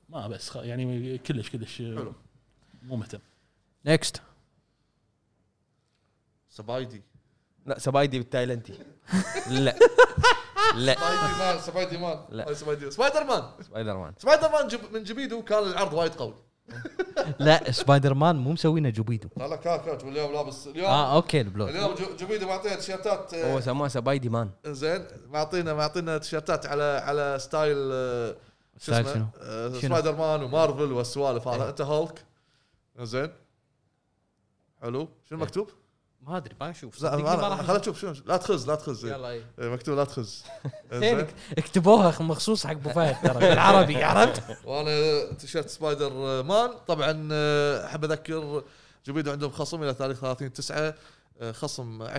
Speaker 4: ما بس خ- يعني كلش كلش آه،
Speaker 2: حلو.
Speaker 4: مو مهتم
Speaker 3: نيكست
Speaker 2: سبايدي
Speaker 1: لا سبايدي بالتايلندي لا لا
Speaker 2: سبايدي مان سبايدي مان
Speaker 1: لا.
Speaker 2: لا. سبايدي سبايدر مان
Speaker 1: سبايدر مان
Speaker 2: سبايدر مان جب من جبيدو كان العرض وايد قوي
Speaker 3: لا سبايدر مان مو مسوينا جوبيدو
Speaker 2: لا لا كان كان اليوم لابس اليوم
Speaker 3: اه اوكي البلور
Speaker 2: اليوم جو- جبيدو معطينا تيشيرتات آه،
Speaker 1: هو سماه سبايدي مان
Speaker 2: زين معطينا معطينا تيشيرتات على على ستايل آه، شو
Speaker 3: ستايل شنو؟
Speaker 2: اسمه آه،
Speaker 3: شنو؟ إيه.
Speaker 2: سبايدر مان ومارفل والسوالف هذا انت هولك زين حلو شنو مكتوب؟
Speaker 3: ما ادري ما اشوف
Speaker 2: لا،
Speaker 3: صدقني إيه. ما
Speaker 2: أنا-
Speaker 3: راح
Speaker 2: خلنا نشوف شنو لا تخز لا تخز إيه،
Speaker 3: يلا
Speaker 2: مكتوب لا تخز
Speaker 3: زين
Speaker 2: زين
Speaker 3: اكتبوها مخصوص حق ابو فهد ترى بالعربي عرفت
Speaker 2: وانا تيشيرت سبايدر مان طبعا آه، احب اذكر جوبيدو عندهم خصم الى تاريخ 30 9 خصم 10%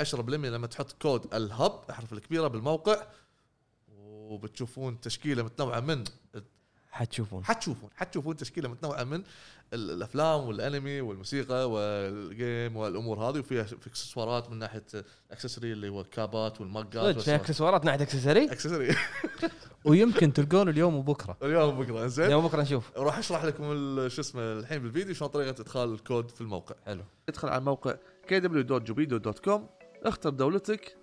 Speaker 2: 10% لما تحط كود الهب احرف الكبيره بالموقع وبتشوفون تشكيله متنوعه من
Speaker 1: حتشوفون
Speaker 2: حتشوفون حتشوفون تشكيله متنوعه من ال- الافلام والانمي والموسيقى والجيم والامور هذه وفيها ش- في اكسسوارات من ناحيه الاكسسوري اللي هو الكابات والمقات
Speaker 1: صدق في
Speaker 2: والسوالف.
Speaker 1: اكسسوارات ناحيه اكسسوري
Speaker 2: اكسسوري
Speaker 3: ويمكن تلقون اليوم وبكره
Speaker 2: اليوم بقرا زين
Speaker 1: يوم بكره نشوف
Speaker 2: راح اشرح لكم ال- شو اسمه الحين بالفيديو شلون طريقه ادخال الكود في الموقع
Speaker 1: حلو
Speaker 2: ادخل على الموقع kw.jubido.com اختر دولتك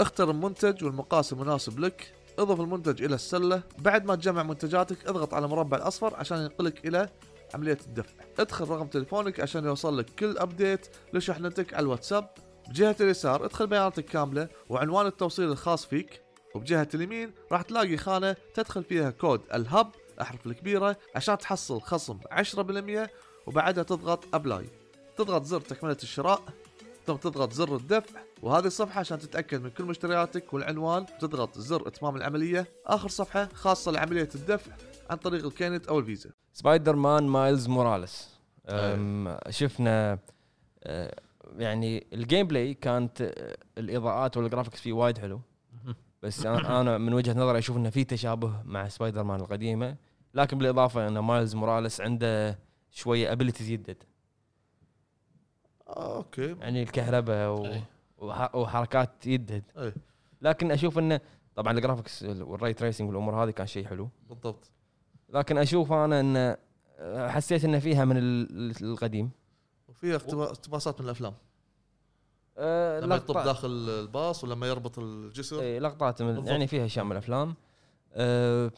Speaker 2: اختر المنتج والمقاس المناسب لك اضف المنتج الى السله بعد ما تجمع منتجاتك اضغط على المربع الاصفر عشان ينقلك الى عمليه الدفع ادخل رقم تليفونك عشان يوصل لك كل ابديت لشحنتك على الواتساب بجهه اليسار ادخل بياناتك كامله وعنوان التوصيل الخاص فيك وبجهه اليمين راح تلاقي خانه تدخل فيها كود الهب احرف الكبيره عشان تحصل خصم 10% وبعدها تضغط ابلاي تضغط زر تكملة الشراء ثم تضغط زر الدفع وهذه الصفحة عشان تتأكد من كل مشترياتك والعنوان تضغط زر إتمام العملية آخر صفحة خاصة لعملية الدفع عن طريق الكينت أو الفيزا
Speaker 1: سبايدر مان مايلز موراليس أم، شفنا أه، يعني الجيم بلاي كانت أه، الاضاءات والجرافكس فيه وايد حلو بس انا أنا من وجهه نظري اشوف انه في تشابه مع سبايدر مان القديمه لكن بالاضافه ان مايلز موراليس عنده شويه ابيلتيز يدد
Speaker 2: آه، أوكي
Speaker 1: يعني الكهرباء و...
Speaker 4: أي.
Speaker 1: وح... وحركات يدد
Speaker 2: أي.
Speaker 1: لكن اشوف انه طبعا الجرافكس والري تريسنج والامور هذه كان شيء حلو
Speaker 2: بالضبط
Speaker 1: لكن اشوف انا انه أه، حسيت انه فيها من ال- القديم
Speaker 2: وفيها اقتبا- اقتباسات من الأفلام
Speaker 1: أه،
Speaker 2: لما
Speaker 1: لقطة-
Speaker 2: يطب داخل الباص ولما يربط الجسر
Speaker 1: إيه، لقطات من
Speaker 2: بالضبط.
Speaker 1: يعني فيها اشياء من الافلام أه،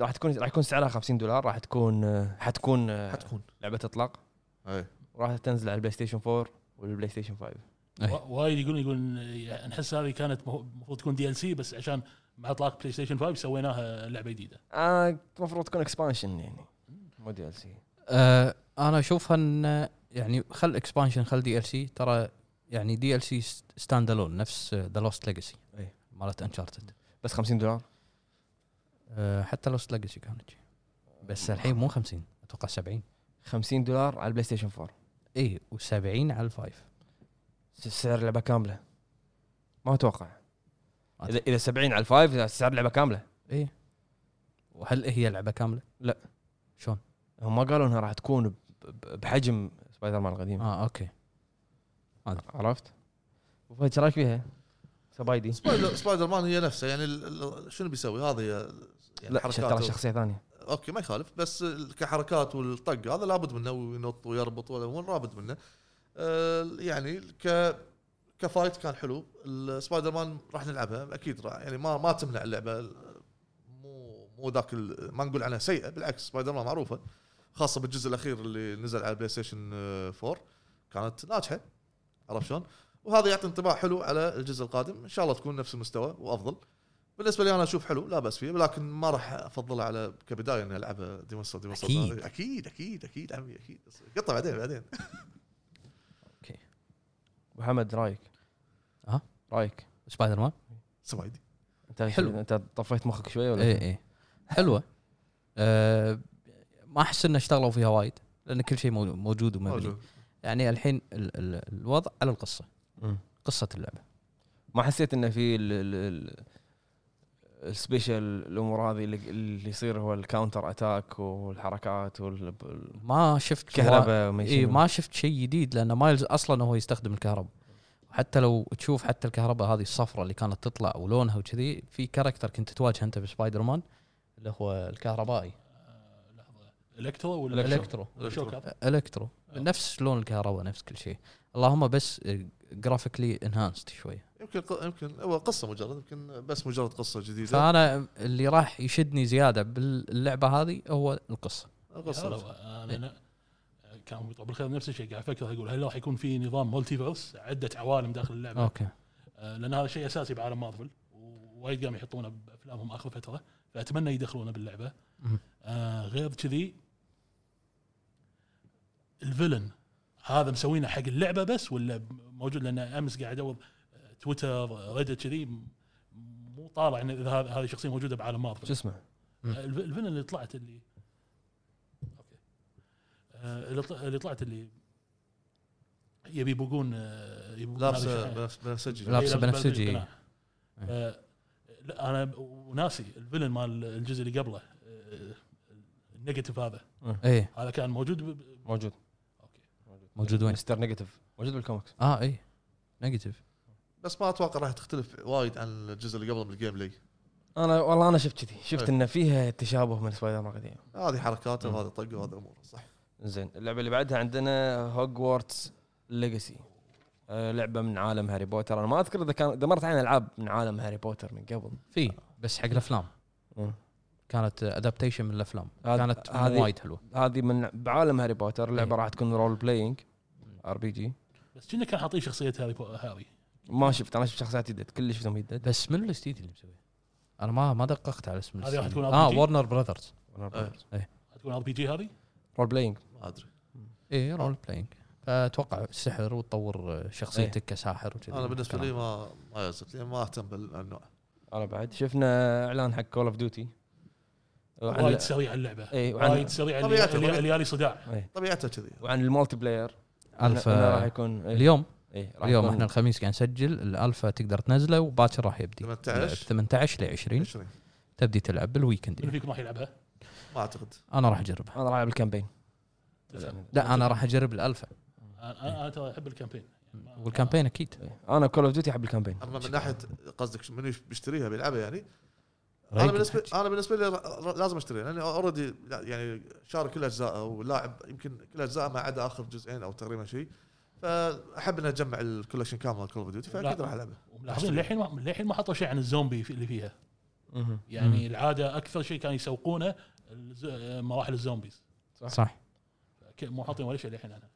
Speaker 1: راح تكون راح يكون سعرها 50 دولار راح تكون أه، حتكون أه،
Speaker 2: حتكون إيه.
Speaker 1: لعبه اطلاق
Speaker 2: أي.
Speaker 1: وراح تنزل على البلاي ستيشن 4 والبلاي ستيشن 5
Speaker 3: أي.
Speaker 4: وا- وايد يقولون يقولون يعني نحس هذه كانت مه- المفروض تكون دي ال سي بس عشان مع اطلاق بلاي ستيشن 5 سويناها لعبه جديده
Speaker 1: آه، المفروض تكون اكسبانشن يعني مو دي ال سي
Speaker 3: آه انا اشوفها ان يعني خل اكسبانشن خل دي ال سي ترى يعني دي ال سي ستاند الون نفس ذا لوست ليجاسي
Speaker 1: أي.
Speaker 3: مالت انشارتد
Speaker 1: بس 50 دولار
Speaker 3: آه حتى لوست ليجاسي كانت شي. بس الحين مو 50 اتوقع 70
Speaker 1: 50 دولار على البلاي ستيشن 4
Speaker 3: اي و70 إيه، على الفايف
Speaker 1: س- سعر اللعبه كامله ما اتوقع
Speaker 3: ما
Speaker 1: اذا اذا 70 على الفايف سعر اللعبه كامله
Speaker 3: اي وهل هي لعبه كامله؟
Speaker 1: لا.
Speaker 3: شلون؟
Speaker 1: هم ما قالوا انها راح تكون ب- ب- بحجم سبايدر مان القديم
Speaker 3: اه اوكي
Speaker 1: عرفت؟ أبو فهد ايش رايك فيها؟ سبايدي
Speaker 2: سبايدر, سبايدر مان هي نفسها يعني ال- ال- شنو بيسوي هذه يعني
Speaker 1: لا ترى
Speaker 2: حركاته
Speaker 1: شخصيه ثانيه
Speaker 2: اوكي ما يخالف بس كحركات والطق هذا لابد منه وينط ويربط ولا هو لابد منه آه، يعني ك كفايت كان حلو السبايدر مان راح نلعبها اكيد راح يعني ما ما تمنع اللعبه مو مو ذاك ال- ما نقول عنها سيئه بالعكس سبايدر مان معروفه خاصه بالجزء الاخير اللي نزل على بلاي ستيشن آه، 4 كانت ناجحه عرفت شلون؟ وهذا يعطي انطباع حلو على الجزء القادم ان شاء الله تكون نفس المستوى وافضل بالنسبه لي انا اشوف حلو لا باس فيه لكن ما راح افضله على كبدايه اني العبها ديمونستر ديمونستر
Speaker 3: أكيد.
Speaker 2: اكيد اكيد اكيد عمي اكيد قطه بعدين بعدين
Speaker 1: محمد رايك
Speaker 3: ها؟
Speaker 1: رايك
Speaker 3: سبايدر مان؟
Speaker 2: سبايدي
Speaker 1: انت
Speaker 3: حلو.
Speaker 1: إيه. انت طفيت مخك شويه ولا
Speaker 3: اي اي حلوه إيه، آه ما احس انه اشتغلوا فيها وايد لان كل شيء مو- موجود ومبني
Speaker 2: موجود.
Speaker 3: يعني الحين ال- ال- الوضع على القصه
Speaker 1: مم.
Speaker 3: قصه اللعبه
Speaker 1: ما حسيت انه في ال- ال- ال- السبيشل الامور هذه اللي اللي يصير هو الكاونتر اتاك والحركات والكهرباء
Speaker 3: ما شفت
Speaker 1: وما
Speaker 3: اي
Speaker 1: يسمونه.
Speaker 3: إيه، ما شفت شيء جديد لان مايلز اصلا هو يستخدم الكهرباء حتى لو تشوف حتى الكهرباء هذه الصفراء اللي كانت تطلع ولونها وكذي في كاركتر كنت تواجهه انت بسبايدر مان اللي هو الكهربائي
Speaker 4: الكترو ولا
Speaker 3: الكترو
Speaker 4: شوكر
Speaker 3: الكترو نفس لون الكهرباء نفس كل شيء اللهم بس جرافيكلي انهانسد شوي
Speaker 2: يمكن ق- يمكن هو قصه مجرد يمكن بس مجرد قصه جديده
Speaker 3: فانا اللي راح يشدني زياده باللعبه هذه هو القصه
Speaker 4: هذا
Speaker 2: قصه
Speaker 4: هو. انا أنا- كان مطلع بالخير نفس الشيء قاعد افكر اقول هل راح يكون في نظام مولتي فيرس عده عوالم داخل اللعبه
Speaker 3: اوكي
Speaker 4: آه، لان هذا شيء اساسي بعالم مارفل ووايد قاموا يحطونه بافلامهم اخر فتره فاتمنى يدخلونه باللعبه
Speaker 3: مم.
Speaker 4: آه غير كذي الفيلن هذا مسوينه حق اللعبه بس ولا موجود لان امس قاعد ادور آه، تويتر ريدت كذي م- مو طالع ان اذا هذا- هذه الشخصيه موجوده بعالم
Speaker 1: شو
Speaker 4: مارفل
Speaker 1: اسمه؟
Speaker 3: مم.
Speaker 4: آه، الف- الفيلن اللي طلعت اللي اوكي آه اللي طل- اللي طلعت اللي يبي يبوقون آه، يبوقون
Speaker 2: لابس
Speaker 4: هذا الشيء. إيه،
Speaker 2: بنفس- بنفسجي
Speaker 3: لا. لابسه بنفسجي. إيه.
Speaker 4: بنفسجي. آه، لا انا وناسي الفيلن مال الجزء اللي قبله آه، النيجاتيف هذا
Speaker 3: ايه
Speaker 4: هذا كان موجود ب- ب-
Speaker 1: موجود
Speaker 4: اوكي
Speaker 3: موجود وين؟
Speaker 1: مستر نيجاتيف موجود بالكوميكس
Speaker 3: اه ايه نيجاتيف
Speaker 2: بس ما اتوقع راح تختلف وايد عن الجزء اللي قبله بالجيم بلاي
Speaker 1: انا والله انا شفت كذي شفت
Speaker 2: أي.
Speaker 1: انه فيها تشابه من سبايدر مان القديم
Speaker 2: هذه حركاته
Speaker 1: مم.
Speaker 2: وهذا طقه وهذا اموره صح
Speaker 1: زين اللعبه اللي بعدها عندنا هوجورتس ليجاسي لعبه من عالم هاري بوتر انا ما اذكر اذا كان دمرت عن العاب من عالم هاري بوتر من قبل
Speaker 3: في بس حق الافلام
Speaker 1: مم.
Speaker 3: كانت ادابتيشن من الافلام
Speaker 1: هذا-
Speaker 3: كانت
Speaker 1: آه. هذه-
Speaker 3: وايد حلوه
Speaker 1: هذه من بعالم هاري بوتر اللعبه
Speaker 3: إيه.
Speaker 1: راح تكون رول بلاينج ار بي جي
Speaker 4: بس كنا كان حاطين شخصيه هاري بو- هاري
Speaker 1: ما شفت انا شفت شخصيات جدد كل اللي شفتهم جدد
Speaker 3: بس من الاستديو اللي مسويه؟ انا ما ما دققت على اسم
Speaker 4: هذه
Speaker 3: الاستديو.
Speaker 4: راح تكون
Speaker 3: اه
Speaker 4: RPG؟
Speaker 3: ورنر براذرز
Speaker 2: أي.
Speaker 1: إيه.
Speaker 4: تكون ار بي جي هذه
Speaker 1: رول بلاينج
Speaker 2: إيه، ما ادري
Speaker 3: ايه رول بلاينج فاتوقع سحر وتطور شخصيتك
Speaker 1: إيه.
Speaker 3: كساحر وكذي
Speaker 2: انا بالنسبه لي ما ما يزت لي ما اهتم بالنوع
Speaker 1: انا بعد شفنا اعلان حق كول اوف ديوتي
Speaker 4: وايد سريع اللعبه
Speaker 3: إيه،
Speaker 1: اي إيه، وعن
Speaker 4: وايد سريع
Speaker 2: طبيعته،
Speaker 4: اللي- اللي-
Speaker 2: طبيعته.
Speaker 4: الليالي صداع
Speaker 1: إيه.
Speaker 2: طبيعته كذي
Speaker 1: وعن المالتي بلاير
Speaker 3: ألفا-
Speaker 1: أنا- أنا راح يكون إيه.
Speaker 3: اليوم
Speaker 1: إيه، راح
Speaker 3: اليوم
Speaker 1: يكون-
Speaker 3: احنا الخميس قاعد نسجل الالفا تقدر تنزله وباكر راح يبدي
Speaker 2: 18.
Speaker 3: 18 ل 20
Speaker 2: 20
Speaker 3: تبدي تلعب بالويكند
Speaker 4: من
Speaker 3: يعني.
Speaker 4: فيكم راح يلعبها؟
Speaker 2: ما اعتقد
Speaker 3: انا راح اجربها
Speaker 1: انا راح العب الكامبين
Speaker 4: تسأل.
Speaker 3: لا انا راح اجرب الالفا
Speaker 4: انا أنا- أنا ترى احب الكامبين ما-
Speaker 3: والكامبين اكيد
Speaker 1: إيه. انا كول اوف ديوتي احب الكامبين
Speaker 2: اما من ناحيه قصدك شو- منو بيشتريها بيلعبها يعني انا بالنسبه انا بالنسبه لي را- را- لازم اشتريها لاني اوريدي يعني شارك كل اجزائه ولاعب يمكن كل اجزائه ما عدا اخر جزئين او تقريبا شيء فاحب اني اجمع الكولكشن كامل مال كول اوف ديوتي فاكيد
Speaker 4: لا.
Speaker 2: راح العبها
Speaker 4: وملاحظين للحين ما- للحين ما حطوا شيء عن الزومبي في- اللي فيها
Speaker 1: مهم.
Speaker 4: يعني العاده اكثر شيء كانوا يسوقونه الز- مراحل الزومبيز
Speaker 3: صح
Speaker 4: ك- مو حاطين ولا شيء للحين انا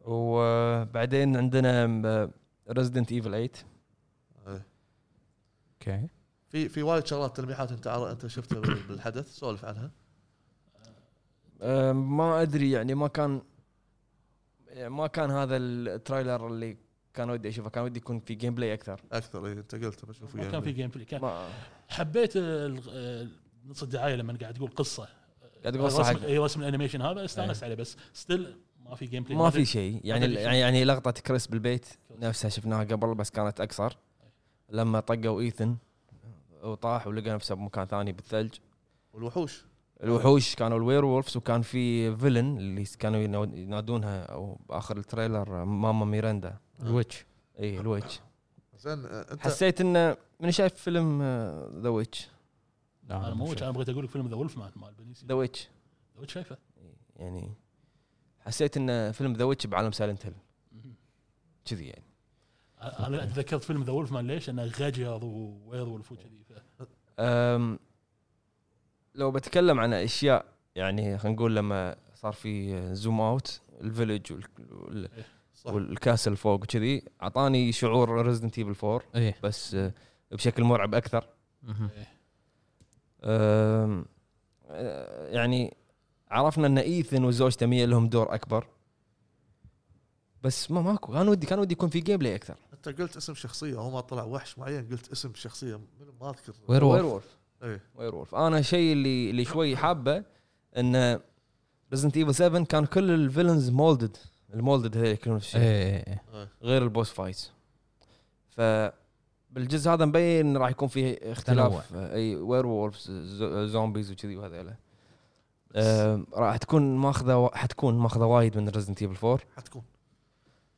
Speaker 1: وبعدين عندنا ريزدنت ايفل 8
Speaker 2: إيه.
Speaker 3: اوكي
Speaker 2: في في وايد شغلات تلميحات انت عر- انت شفتها بال- بالحدث سولف عنها
Speaker 1: أه، ما ادري يعني ما كان يعني ما كان هذا الترailer اللي كان ودي اشوفه كان ودي يكون في جيم بلاي اكثر
Speaker 2: اكثر إيه، انت قلت بشوف يعني.
Speaker 4: ما كان في جيم بلاي كان
Speaker 1: ما
Speaker 4: حبيت ال- ال- نص الدعايه لما قاعد تقول قصه
Speaker 1: قاعد تقول صح
Speaker 4: رسم- اي رسم الانيميشن هذا استانست عليه بس ستيل ما في جيم بلاي
Speaker 1: ما في شيء يعني
Speaker 4: ما في شيء.
Speaker 1: يعني يعني لقطه كريس بالبيت نفسها شفناها قبل بس كانت اقصر لما طقوا ايثن وطاح ولقى نفسه بمكان ثاني بالثلج
Speaker 2: والوحوش
Speaker 1: الوحوش كانوا الوير وولفز وكان في فيلن اللي كانوا ينو- ينادونها او باخر التريلر ماما ميرندا
Speaker 3: الويتش
Speaker 1: اي الويتش
Speaker 2: زين آه، انت
Speaker 1: حسيت انه من شايف فيلم آه، ذا ويتش
Speaker 3: لا،
Speaker 4: انا مو
Speaker 3: مش-
Speaker 4: انا بغيت اقول لك فيلم ذا ولف مان مال بنيسيو
Speaker 1: ذا ويتش
Speaker 4: لو شايفه
Speaker 1: يعني حسيت انه فيلم ذا ويتش بعالم سايلنت هيل كذي يعني
Speaker 4: أ- انا تذكرت فيلم ذا ولف مان ليش؟ انه غجر ووير ولف وكذي ف-
Speaker 1: أم لو بتكلم عن اشياء يعني خلينا نقول لما صار في زوم اوت الفيلج وال- وال-
Speaker 2: صح
Speaker 1: والكاسل فوق وكذي اعطاني شعور ريزدنت ايفل 4
Speaker 3: ايه
Speaker 1: بس آه، بشكل مرعب اكثر
Speaker 3: مهم.
Speaker 1: أم، آه، يعني عرفنا ان ايثن وزوجته ميا لهم دور اكبر بس ما ماكو كان ودي كان ودي يكون في جيم بلاي اكثر
Speaker 2: انت قلت اسم شخصيه هو ما طلع وحش معين قلت اسم شخصيه من- ما اذكر
Speaker 3: وير وولف
Speaker 1: وولف
Speaker 2: ايه
Speaker 1: وير وولف انا الشيء اللي اللي شوي حابه ان ريزنت ايفل 7 كان كل الفيلنز مولدد المولدد هذول يكونون في الشيء
Speaker 3: اي اي
Speaker 2: إيه،
Speaker 1: غير البوس فايتس ف بالجزء هذا مبين إن راح يكون فيه اختلاف آه، اي وير وولفز زومبيز وكذي وهذيلا آه، راح تكون ماخذه حتكون ماخذه وايد من ريزنت ايفل 4
Speaker 2: حتكون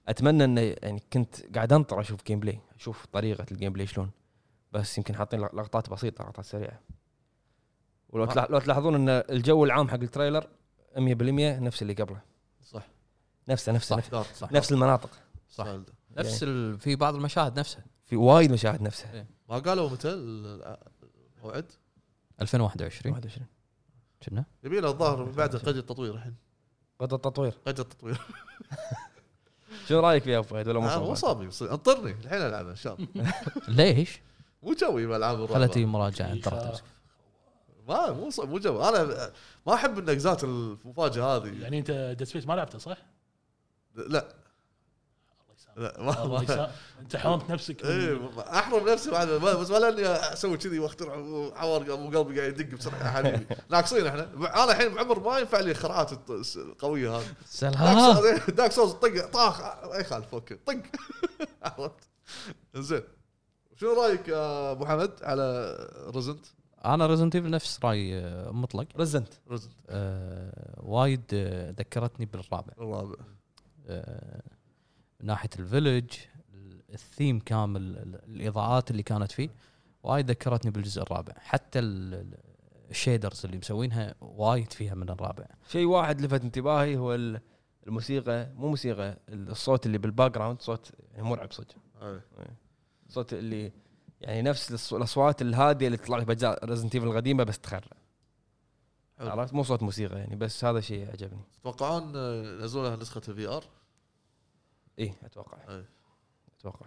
Speaker 1: اتمنى انه يعني كنت قاعد انطر اشوف جيم بلاي اشوف طريقه الجيم بلاي شلون بس يمكن حاطين لق- لقطات بسيطه لقطات سريعه ولو تلاح- لو تلاحظون ان الجو العام حق التريلر 100% نفس اللي قبله
Speaker 2: صح
Speaker 1: نفسه نفسه نفس,
Speaker 2: دار
Speaker 3: صح.
Speaker 1: نفس المناطق
Speaker 2: صح
Speaker 3: نفس ال... في بعض المشاهد نفسها
Speaker 1: في وايد مشاهد نفسها
Speaker 2: ما قالوا متى ال- الموعد
Speaker 3: 2021
Speaker 1: 21
Speaker 3: كنا
Speaker 2: يبي له الظاهر من بعد قيد التطوير الحين
Speaker 1: غدا التطوير
Speaker 2: قيد التطوير
Speaker 1: شو رايك فيها أبو فهد ولا
Speaker 2: انا
Speaker 1: مو صعب؟
Speaker 2: مصابي بصير. اضطرني الحين العبها ان شاء الله
Speaker 3: ليش؟
Speaker 2: مو جوي بالعاب الرعب
Speaker 3: خلتي مراجعه
Speaker 4: إيه،
Speaker 3: ترى
Speaker 4: ف-
Speaker 3: تمسك.
Speaker 2: ما مو ص- مو جو انا ما احب الاجزاء المفاجاه هذه
Speaker 4: يعني انت ديد سبيس ما لعبته صح؟
Speaker 2: لا
Speaker 4: الله يسامحك.
Speaker 2: لا ما-
Speaker 4: الله
Speaker 2: ما
Speaker 4: يسامحك. انت حرمت نفسك من-
Speaker 1: إيه،
Speaker 2: ايه ما- احرم نفسي بعد ما- بس ما لاني اسوي كذي واخترع وعوار ابو قلبي قاعد يدق بسرعه يا حبيبي ناقصين احنا انا الحين بعمر ما ينفع لي الخرعات الت- القويه هذه دارك
Speaker 3: سلام
Speaker 2: سولز- دارك سولز طق طاخ ما يخالف اوكي طق عرفت زين شنو رايك يا ابو حمد على رزنت
Speaker 3: انا ريزنت ايفل نفس راي آه، مطلق
Speaker 1: رزنت
Speaker 2: رزنت
Speaker 3: آه، وايد آه، ذكرتني بالرابع
Speaker 2: الرابع
Speaker 3: آه، من ناحيه الفيلج ال- الثيم كامل ال- الاضاءات اللي كانت فيه وايد ذكرتني بالجزء الرابع حتى ال- ال- الشيدرز اللي مسوينها وايد فيها من الرابع
Speaker 1: شيء واحد لفت انتباهي هو ال- الموسيقى مو موسيقى الصوت اللي بالباك جراوند صوت مرعب صدق
Speaker 2: أي.
Speaker 1: صوت اللي يعني نفس الص- الاصوات الهاديه اللي تطلع لك باجزاء ريزنت ايفل القديمه بس تخرع
Speaker 2: حلو.
Speaker 1: عرفت مو صوت موسيقى يعني بس هذا شيء عجبني
Speaker 2: تتوقعون آه، ينزلونها نسخه الفي ار
Speaker 1: اي اتوقع
Speaker 2: أي.
Speaker 1: اتوقع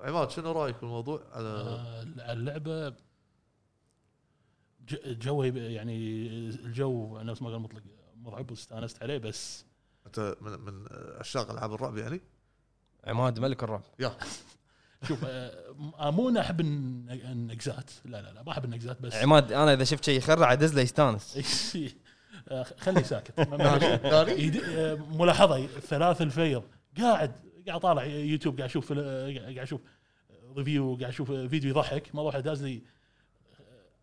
Speaker 2: عماد شنو رايك بالموضوع على
Speaker 4: آه، اللعبه ج- جو يب- يعني الجو نفس ما قال مطلق مرعب واستانست عليه بس
Speaker 2: انت من من عشاق العاب الرعب يعني؟
Speaker 1: عماد ملك الرعب
Speaker 2: يا
Speaker 4: شوف آه، م- مو انا احب الن- النقزات لا لا لا ما احب النقزات بس
Speaker 1: عماد انا اذا شفت شيء يخرع ادز له يستانس
Speaker 4: آه، خليه ساكت ما- ما-
Speaker 2: ثاني
Speaker 4: يد- آه، ملاحظه ثلاث الفيض قاعد قاعد طالع يوتيوب قاعد اشوف فل- آه، قاعد اشوف ريفيو قاعد اشوف فيديو يضحك ما واحد داز لي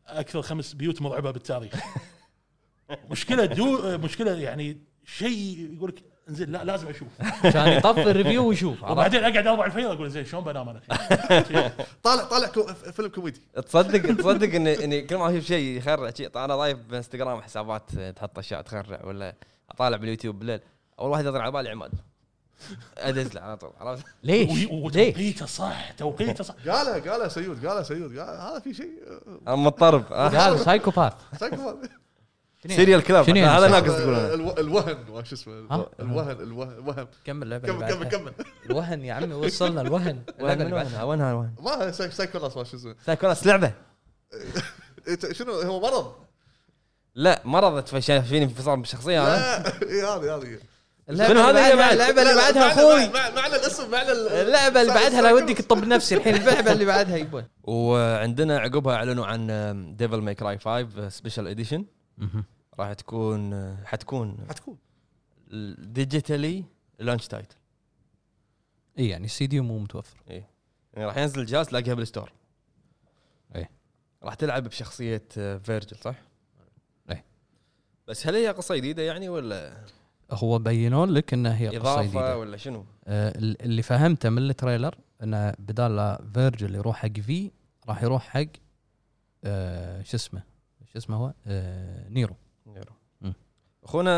Speaker 4: اكثر خمس بيوت مرعبه بالتاريخ مشكله دو آه، مشكله يعني شيء يقول لك انزين لا لازم اشوف
Speaker 3: كان يطفي الريفيو ويشوف عرفت؟
Speaker 4: وبعدين اقعد اربع الفيض اقول زين شلون بنام انا
Speaker 2: طالع طالع كو- فيلم كوميدي
Speaker 1: تصدق تصدق ان اني كل ما اشوف شيء يخرع شيء انا ضايف بانستغرام حسابات تحط اشياء تخرع ولا اطالع باليوتيوب بالليل اول واحد يطلع على بالي عماد ادز له على طول عرفت
Speaker 3: ليش؟
Speaker 4: و-
Speaker 3: ليش؟
Speaker 4: وتوقيته صح توقيته صح
Speaker 2: قالها قالها سيود قالها سيود قال هذا في شيء آه،
Speaker 1: انا مضطرب
Speaker 3: هذا سايكوباث
Speaker 2: سايكو.
Speaker 1: سيريال كلاب
Speaker 3: شنو يعني
Speaker 1: هذا
Speaker 3: صح؟
Speaker 1: ناقص تقول
Speaker 2: الو- الوهن وش اسمه
Speaker 3: ها؟
Speaker 2: الوهن الوهن الوهن
Speaker 3: كمل لعبه
Speaker 2: كمل كمل كمل
Speaker 3: الوهن يا عمي وصلنا الوهن
Speaker 1: وينها وينها وين
Speaker 2: ما ساي- سايكوناس ما شو اسمه
Speaker 1: سايكوناس لعبه
Speaker 2: إيه، شنو هو مرض
Speaker 1: لا مرض فيني انفصام
Speaker 3: آه.
Speaker 1: بالشخصيه انا
Speaker 2: لا إيه، هذه هذه
Speaker 1: شنو هذا اللي بعد-
Speaker 3: اللعبه اللي
Speaker 2: لا، لا،
Speaker 3: بعدها
Speaker 2: معنى-
Speaker 3: اخوي
Speaker 2: معنى- معنى الاسم معنى ال-
Speaker 3: اللعبه اللي
Speaker 2: ساي-
Speaker 3: بعدها لا
Speaker 2: سايكوناس.
Speaker 3: ودك تطب نفسي الحين اللعبه اللي بعدها يبا
Speaker 1: وعندنا عقبها اعلنوا عن ديفل ماي كراي 5 سبيشال اديشن آه، راح تكون آه، حتكون
Speaker 2: حتكون
Speaker 1: ديجيتالي لانش تايتل
Speaker 3: اي يعني السي دي مو متوفر
Speaker 1: يعني راح ينزل الجهاز تلاقيها بالستور
Speaker 3: إيه.
Speaker 1: راح تلعب بشخصيه آه، فيرجل صح؟
Speaker 3: إيه.
Speaker 1: بس هل هي قصه جديده يعني ولا
Speaker 3: هو بينون لك انها هي قصه
Speaker 1: اضافه
Speaker 3: جديده
Speaker 1: ولا شنو؟
Speaker 3: آه، ال- اللي فهمته من التريلر انه بدال لا فيرجل يروح حق في راح يروح حق آه، شو اسمه شو اسمه هو آه، نيرو مم.
Speaker 1: اخونا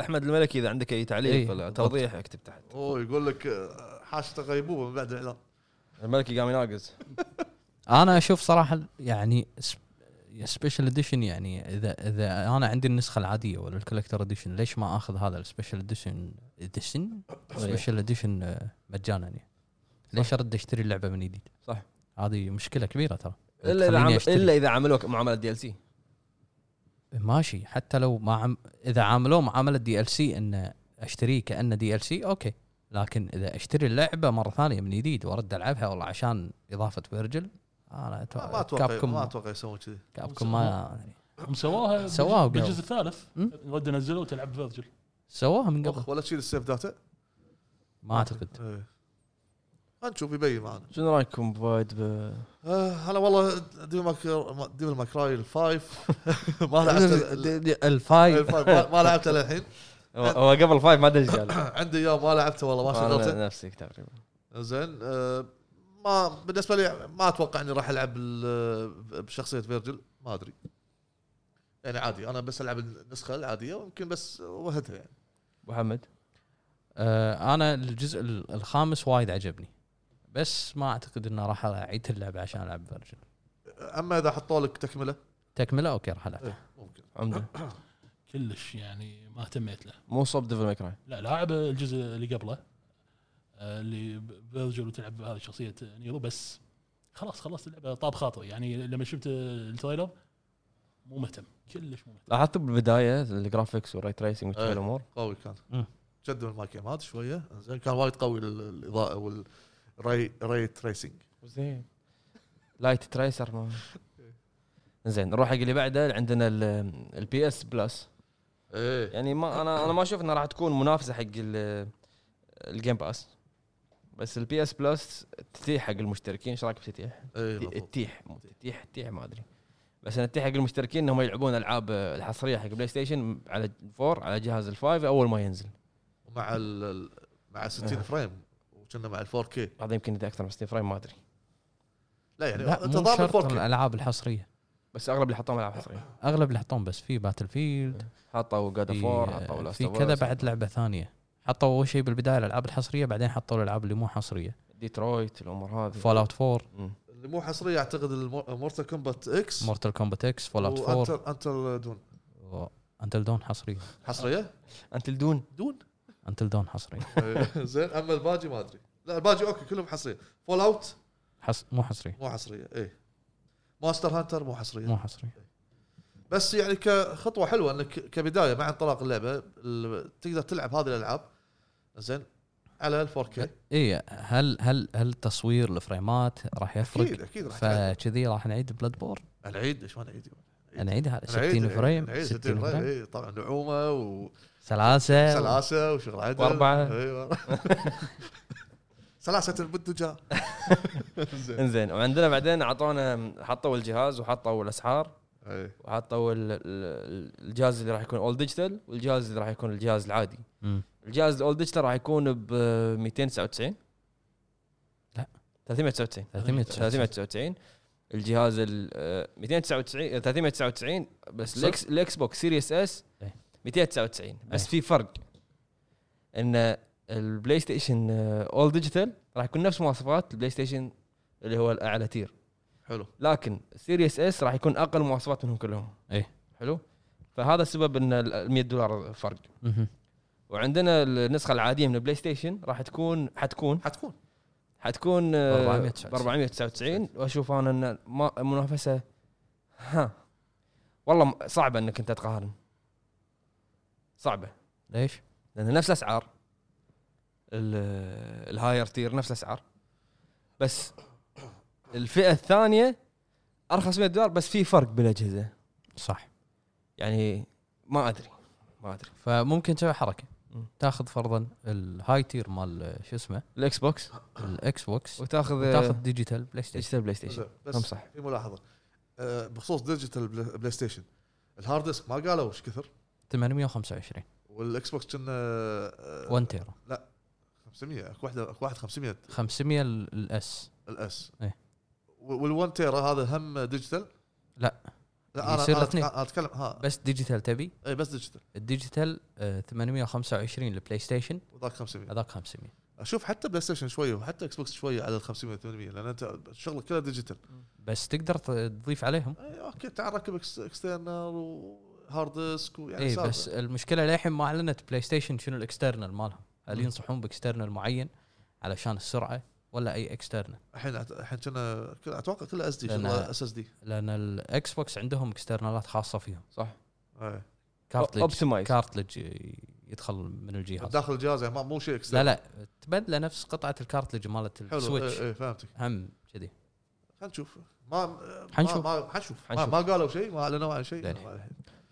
Speaker 1: احمد الملكي اذا عندك اي
Speaker 3: إيه،
Speaker 1: تعليق ولا
Speaker 3: بالضبط.
Speaker 1: توضيح اكتب تحت
Speaker 2: اوه يقول لك آه، حاشته غيبوبه من بعد الاعلان
Speaker 1: الملكي قام يناقز
Speaker 3: انا اشوف صراحه يعني سبيشل اديشن يعني اذا اذا انا عندي النسخه العاديه ولا الكولكتر اديشن ليش ما اخذ هذا السبيشل اديشن اديشن سبيشل اديشن مجانا يعني ليش ارد اشتري اللعبه من جديد؟
Speaker 1: صح.
Speaker 3: هذه مشكله كبيره ترى
Speaker 1: الا اذا
Speaker 3: تخليني
Speaker 1: عم...
Speaker 3: أشتري.
Speaker 1: الا اذا عملوك معامله دي ال سي
Speaker 3: ماشي حتى لو ما عم اذا عاملوه معامله دي ال سي انه اشتريه كانه دي ال سي اوكي لكن اذا اشتري اللعبه مره ثانيه من جديد وارد العبها والله عشان اضافه فيرجل انا
Speaker 2: ما ما اتوقع
Speaker 3: طيب، كابكم
Speaker 2: ما اتوقع يسوون كذي
Speaker 3: كابكم ما
Speaker 4: هم سواها
Speaker 3: سواها قبل.
Speaker 4: بالجزء الثالث
Speaker 3: مم.
Speaker 4: رد نزلوا وتلعب فيرجل
Speaker 3: سواها من قبل طيب.
Speaker 2: وخ ولا تشيل السيف داتا
Speaker 3: ما اعتقد
Speaker 2: إيه. هنشوف يبين معنا
Speaker 1: شنو رايكم بوايد ب
Speaker 2: آه، انا والله ديفل ماكر... ديفل ماكراي الفايف ما لعبت
Speaker 3: الفايف
Speaker 2: الفايف ما- ما لعبته للحين
Speaker 1: هو- هو قبل فايف ما ادري ايش قال
Speaker 2: عندي اياه ما لعبته والله ما شغلته
Speaker 1: أنا نفسك تقريبا
Speaker 2: زين آه، ما بالنسبه لي ما اتوقع اني راح العب ال- بشخصيه فيرجل ما ادري يعني عادي انا بس العب النسخه العاديه ويمكن بس وهتها يعني
Speaker 1: ابو حمد
Speaker 3: آه انا الجزء ال- الخامس وايد عجبني بس ما اعتقد انه راح اعيد اللعبه عشان العب فيرجن
Speaker 2: اما اذا حطوا لك تكمله
Speaker 3: تكمله اوكي راح العب
Speaker 2: ممكن
Speaker 1: عمده
Speaker 4: كلش يعني ما اهتميت له
Speaker 1: مو صوب ديفل ماكراي
Speaker 4: لا لاعب الجزء اللي قبله آه، اللي فيرجل وتلعب هذه شخصيه نيرو بس خلاص خلصت اللعبه طاب خاطري يعني لما شفت التريلر مو مهتم كلش مو مهتم
Speaker 1: لاحظت بالبدايه الجرافيكس والري تريسنج وتلك
Speaker 2: إيه.
Speaker 1: الامور
Speaker 2: قوي كان
Speaker 3: مم.
Speaker 2: شدوا الماكينات شويه زين كان وايد قوي ال- الاضاءه والري ري تريسنج
Speaker 1: زين لايت تريسر ما زين نروح حق اللي بعده عندنا البي اس بلس
Speaker 2: ايه
Speaker 1: يعني ما انا انا ما اشوف انها راح تكون منافسه حق ال- الجيم باس بس البي اس بلس تتيح حق المشتركين ايش رايك بتتيح؟
Speaker 2: ايه
Speaker 3: إيه،
Speaker 2: مضبوط.
Speaker 1: تتيح مو تتيح تتيح ما ادري بس انا تتيح حق المشتركين انهم يلعبون العاب الحصريه حق بلاي ستيشن على 4 على جهاز الفايف اول ما ينزل
Speaker 2: ومع ال- ال- مع
Speaker 3: إيه.
Speaker 2: 60 فريم وكنا مع ال 4K
Speaker 1: هذا يمكن اذا اكثر من 60 فريم ما ادري
Speaker 2: لا يعني
Speaker 3: لا
Speaker 2: انت
Speaker 3: مو
Speaker 2: ضامن
Speaker 3: شرط
Speaker 2: 4K
Speaker 3: الالعاب الحصريه
Speaker 1: بس اغلب اللي حطوهم العاب حصريه
Speaker 3: اغلب اللي حطوهم بس في باتل فيلد
Speaker 1: حطوا جاد اوف وور حطوا
Speaker 3: في, آه،
Speaker 1: Last
Speaker 3: في
Speaker 1: of Us،
Speaker 3: كذا بعد لعبه ثانيه حطوا اول شيء بالبدايه الالعاب الحصريه بعدين حطوا الالعاب اللي مو حصريه
Speaker 1: ديترويت الامور هذه
Speaker 3: فول اوت 4
Speaker 1: مم.
Speaker 2: اللي مو حصريه اعتقد المورتال كومبات اكس
Speaker 3: مورتال كومبات اكس فول اوت 4
Speaker 2: انتل دون
Speaker 3: انتل دون حصريه
Speaker 2: حصريه
Speaker 1: انت الدون
Speaker 2: دون
Speaker 3: انتل دون حصريه
Speaker 2: إيه. زين اما الباجي ما ادري لا الباجي اوكي كلهم حصريه فول اوت
Speaker 3: حص... مو حصريه
Speaker 2: مو حصريه ايه ماستر هانتر مو حصريه
Speaker 3: مو حصريه
Speaker 2: بس يعني كخطوه حلوه انك كبدايه مع انطلاق اللعبه ال- تقدر تلعب هذه الالعاب زين على ال 4K
Speaker 3: اي إيه، هل هل هل تصوير الفريمات راح يفرق
Speaker 2: اكيد اكيد راح تعدل.
Speaker 3: فكذي راح نعيد بلاد بور
Speaker 2: العيد شلون العيد
Speaker 3: نعيد هذا
Speaker 2: العيد-
Speaker 3: 60 فريم
Speaker 2: العيد
Speaker 3: 60 فريم
Speaker 2: إيه، طبعا نعومه وسلاسه
Speaker 3: سلاسه
Speaker 2: وشغل عدل
Speaker 1: وأربعة.
Speaker 2: ايوه سلاسه البندجه زين
Speaker 1: انزين وعندنا بعدين اعطونا حطوا الجهاز وحطوا الاسعار
Speaker 2: إيه.
Speaker 1: وحطوا ال- ال- الجهاز اللي راح يكون اول ديجيتال والجهاز اللي راح يكون الجهاز العادي
Speaker 3: مم.
Speaker 1: الجهاز الاول ديجيتال راح يكون ب 299
Speaker 3: لا.
Speaker 1: 399
Speaker 3: 399
Speaker 1: 399 الجهاز ال آه، 299 آه، 399 بس الاكس الاكس بوكس سيريس اس
Speaker 3: إيه.
Speaker 1: 299 بس
Speaker 3: إيه.
Speaker 1: في فرق ان البلاي ستيشن آه، اول ديجيتال راح يكون نفس مواصفات البلاي ستيشن اللي هو الاعلى تير
Speaker 2: حلو
Speaker 1: لكن سيريس اس راح يكون اقل مواصفات منهم كلهم
Speaker 3: إيه.
Speaker 1: حلو فهذا السبب ان ال 100 دولار فرق
Speaker 3: مهم.
Speaker 1: وعندنا النسخه العاديه من البلاي ستيشن راح تكون حتكون
Speaker 2: حتكون
Speaker 1: حتكون
Speaker 3: ب
Speaker 1: آه،
Speaker 3: 499.
Speaker 1: ب 499 واشوف انا ان ما- المنافسه ها والله م- صعبه انك انت تقارن صعبه
Speaker 3: ليش؟
Speaker 1: لان نفس الاسعار ال- الهاير تير نفس الاسعار بس الفئه الثانيه ارخص 100 دولار بس في فرق بالاجهزه
Speaker 3: صح
Speaker 1: يعني ما ادري ما ادري
Speaker 3: فممكن تسوي حركه
Speaker 1: مم.
Speaker 3: تاخذ فرضا الهاي تير مال شو اسمه
Speaker 1: الاكس بوكس
Speaker 3: الاكس
Speaker 1: أه،
Speaker 3: بوكس
Speaker 1: وتاخذ
Speaker 3: تاخذ ديجيتال بلاي ستيشن
Speaker 1: ديجيتال بلاي ستيشن
Speaker 2: زين. بس
Speaker 1: هم صح.
Speaker 2: في ملاحظه آه، بخصوص ديجيتال بلا- بلاي ستيشن الهارد ديسك ما قالوا ايش كثر
Speaker 3: 825
Speaker 2: والاكس بوكس كنا آه،
Speaker 3: 1 تيرا
Speaker 2: 500 اكو واحده اكو واحد 500
Speaker 3: 500 الاس
Speaker 2: الاس
Speaker 3: إيه.
Speaker 2: وال1 تيرا هذا هم ديجيتال
Speaker 3: لا.
Speaker 2: لا انا
Speaker 3: يصير
Speaker 2: أنا أتك-
Speaker 3: اثنين.
Speaker 2: أنا اتكلم ها
Speaker 3: بس ديجيتال تبي
Speaker 2: اي بس ديجيتال
Speaker 3: الديجيتال آه، 825 البلاي ستيشن
Speaker 2: وذاك 500
Speaker 3: هذاك 500
Speaker 2: اشوف حتى بلاي ستيشن شويه وحتى اكس بوكس شويه على ال 500 800 لان انت شغلك كله ديجيتال
Speaker 3: بس تقدر ت- تضيف عليهم
Speaker 2: إيه، اوكي تعال ركب إكس- اكسترنال وهارد ديسك ويعني
Speaker 3: اي
Speaker 2: سالفة.
Speaker 3: إيه، بس المشكله للحين ما اعلنت بلاي ستيشن شنو الاكسترنال مالهم هل ينصحون باكسترنال معين علشان السرعه ولا اي اكسترنال
Speaker 2: الحين أت- الحين كنا كل- اتوقع كله اس دي
Speaker 3: لأن-
Speaker 2: اس اس دي
Speaker 3: لان الاكس بوكس عندهم اكسترنالات خاصه فيهم
Speaker 1: صح
Speaker 2: آه.
Speaker 3: كارتلج
Speaker 1: اوبتمايز
Speaker 3: كارتلج يدخل من الجهاز
Speaker 2: داخل الجهاز يعني ما- مو شيء
Speaker 3: لا
Speaker 2: external.
Speaker 3: لا تبدله نفس قطعه الكارتلج مالت
Speaker 2: حلو
Speaker 1: إيه،
Speaker 3: السويتش
Speaker 2: اي اي فهمتك
Speaker 3: هم كذي
Speaker 2: خلينا نشوف ما ما-
Speaker 3: حنشوف.
Speaker 2: ما حنشوف ما,
Speaker 1: حنشوف.
Speaker 2: ما قالوا شيء ما اعلنوا عن شيء
Speaker 3: للحين.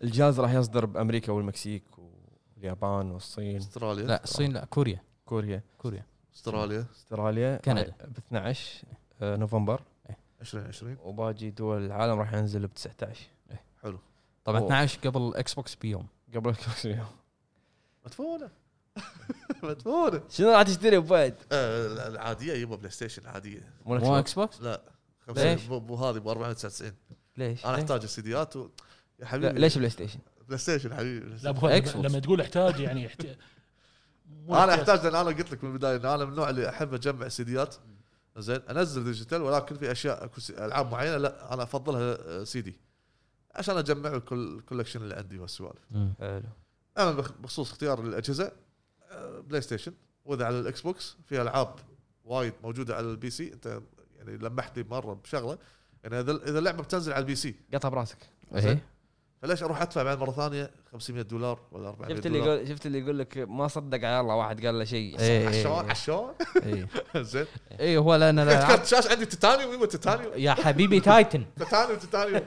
Speaker 1: الجهاز راح يصدر بامريكا والمكسيك واليابان والصين
Speaker 2: استراليا
Speaker 3: لا الصين لا كوريا
Speaker 1: كوريا
Speaker 3: كوريا
Speaker 2: استراليا
Speaker 1: استراليا
Speaker 3: كندا.
Speaker 1: ب 12 آه، نوفمبر
Speaker 2: 2020
Speaker 1: وباقي دول العالم راح ينزل ب 19
Speaker 2: حلو
Speaker 3: طبعا
Speaker 1: أوه.
Speaker 3: 12 قبل الاكس بوكس بيوم
Speaker 1: قبل الكوكس بيوم.
Speaker 2: مدفونه مدفونه
Speaker 1: شنو راح تشتري ابو فهد؟
Speaker 2: آه، العاديه يبغى بلاي ستيشن عاديه
Speaker 1: مو
Speaker 3: مو
Speaker 1: لك
Speaker 3: اكس بوكس
Speaker 2: لا
Speaker 1: ليش؟
Speaker 2: خمسة مو هذه ب 499
Speaker 1: ليش؟
Speaker 2: انا
Speaker 1: ليش؟
Speaker 2: احتاج السيديات و... يا
Speaker 1: لا،
Speaker 2: حبيبي
Speaker 1: ليش بلاي ستيشن؟
Speaker 2: بلاي ستيشن حبيبي
Speaker 4: لا ابو
Speaker 3: Xbox.
Speaker 4: فهد، لما تقول احتاج يعني احت- مو
Speaker 2: انا احتاج لان انا قلت لك من البدايه ان انا من النوع اللي احب اجمع سيديات زين انزل ديجيتال ولكن في اشياء اكو سي- العاب معينه لا انا افضلها آه، سي دي عشان اجمع الكل الكولكشن اللي عندي والسوالف
Speaker 1: حلو
Speaker 2: اما بخ- بخصوص اختيار الاجهزه آه، بلاي ستيشن واذا على الاكس بوكس في العاب وايد موجوده على البي سي انت يعني لمحت لي مره بشغله يعني اذا اذا اللعبه بتنزل على البي سي
Speaker 1: قطع براسك
Speaker 3: ايه
Speaker 2: فليش اروح ادفع بعد مره ثانيه 500 دولار ولا 400
Speaker 1: شفت اللي
Speaker 2: دولار
Speaker 1: يقول شفت اللي يقول لك ما صدق على الله واحد قال له شيء
Speaker 3: إيه.
Speaker 2: عشان عشان
Speaker 3: ايه
Speaker 2: زين
Speaker 3: ايه هو لان
Speaker 2: كرت
Speaker 3: الألعاب-
Speaker 2: كرت شاشه عندي تيتانيوم يبغى تيتانيوم
Speaker 3: يا حبيبي تايتن
Speaker 2: تيتانيوم تيتانيوم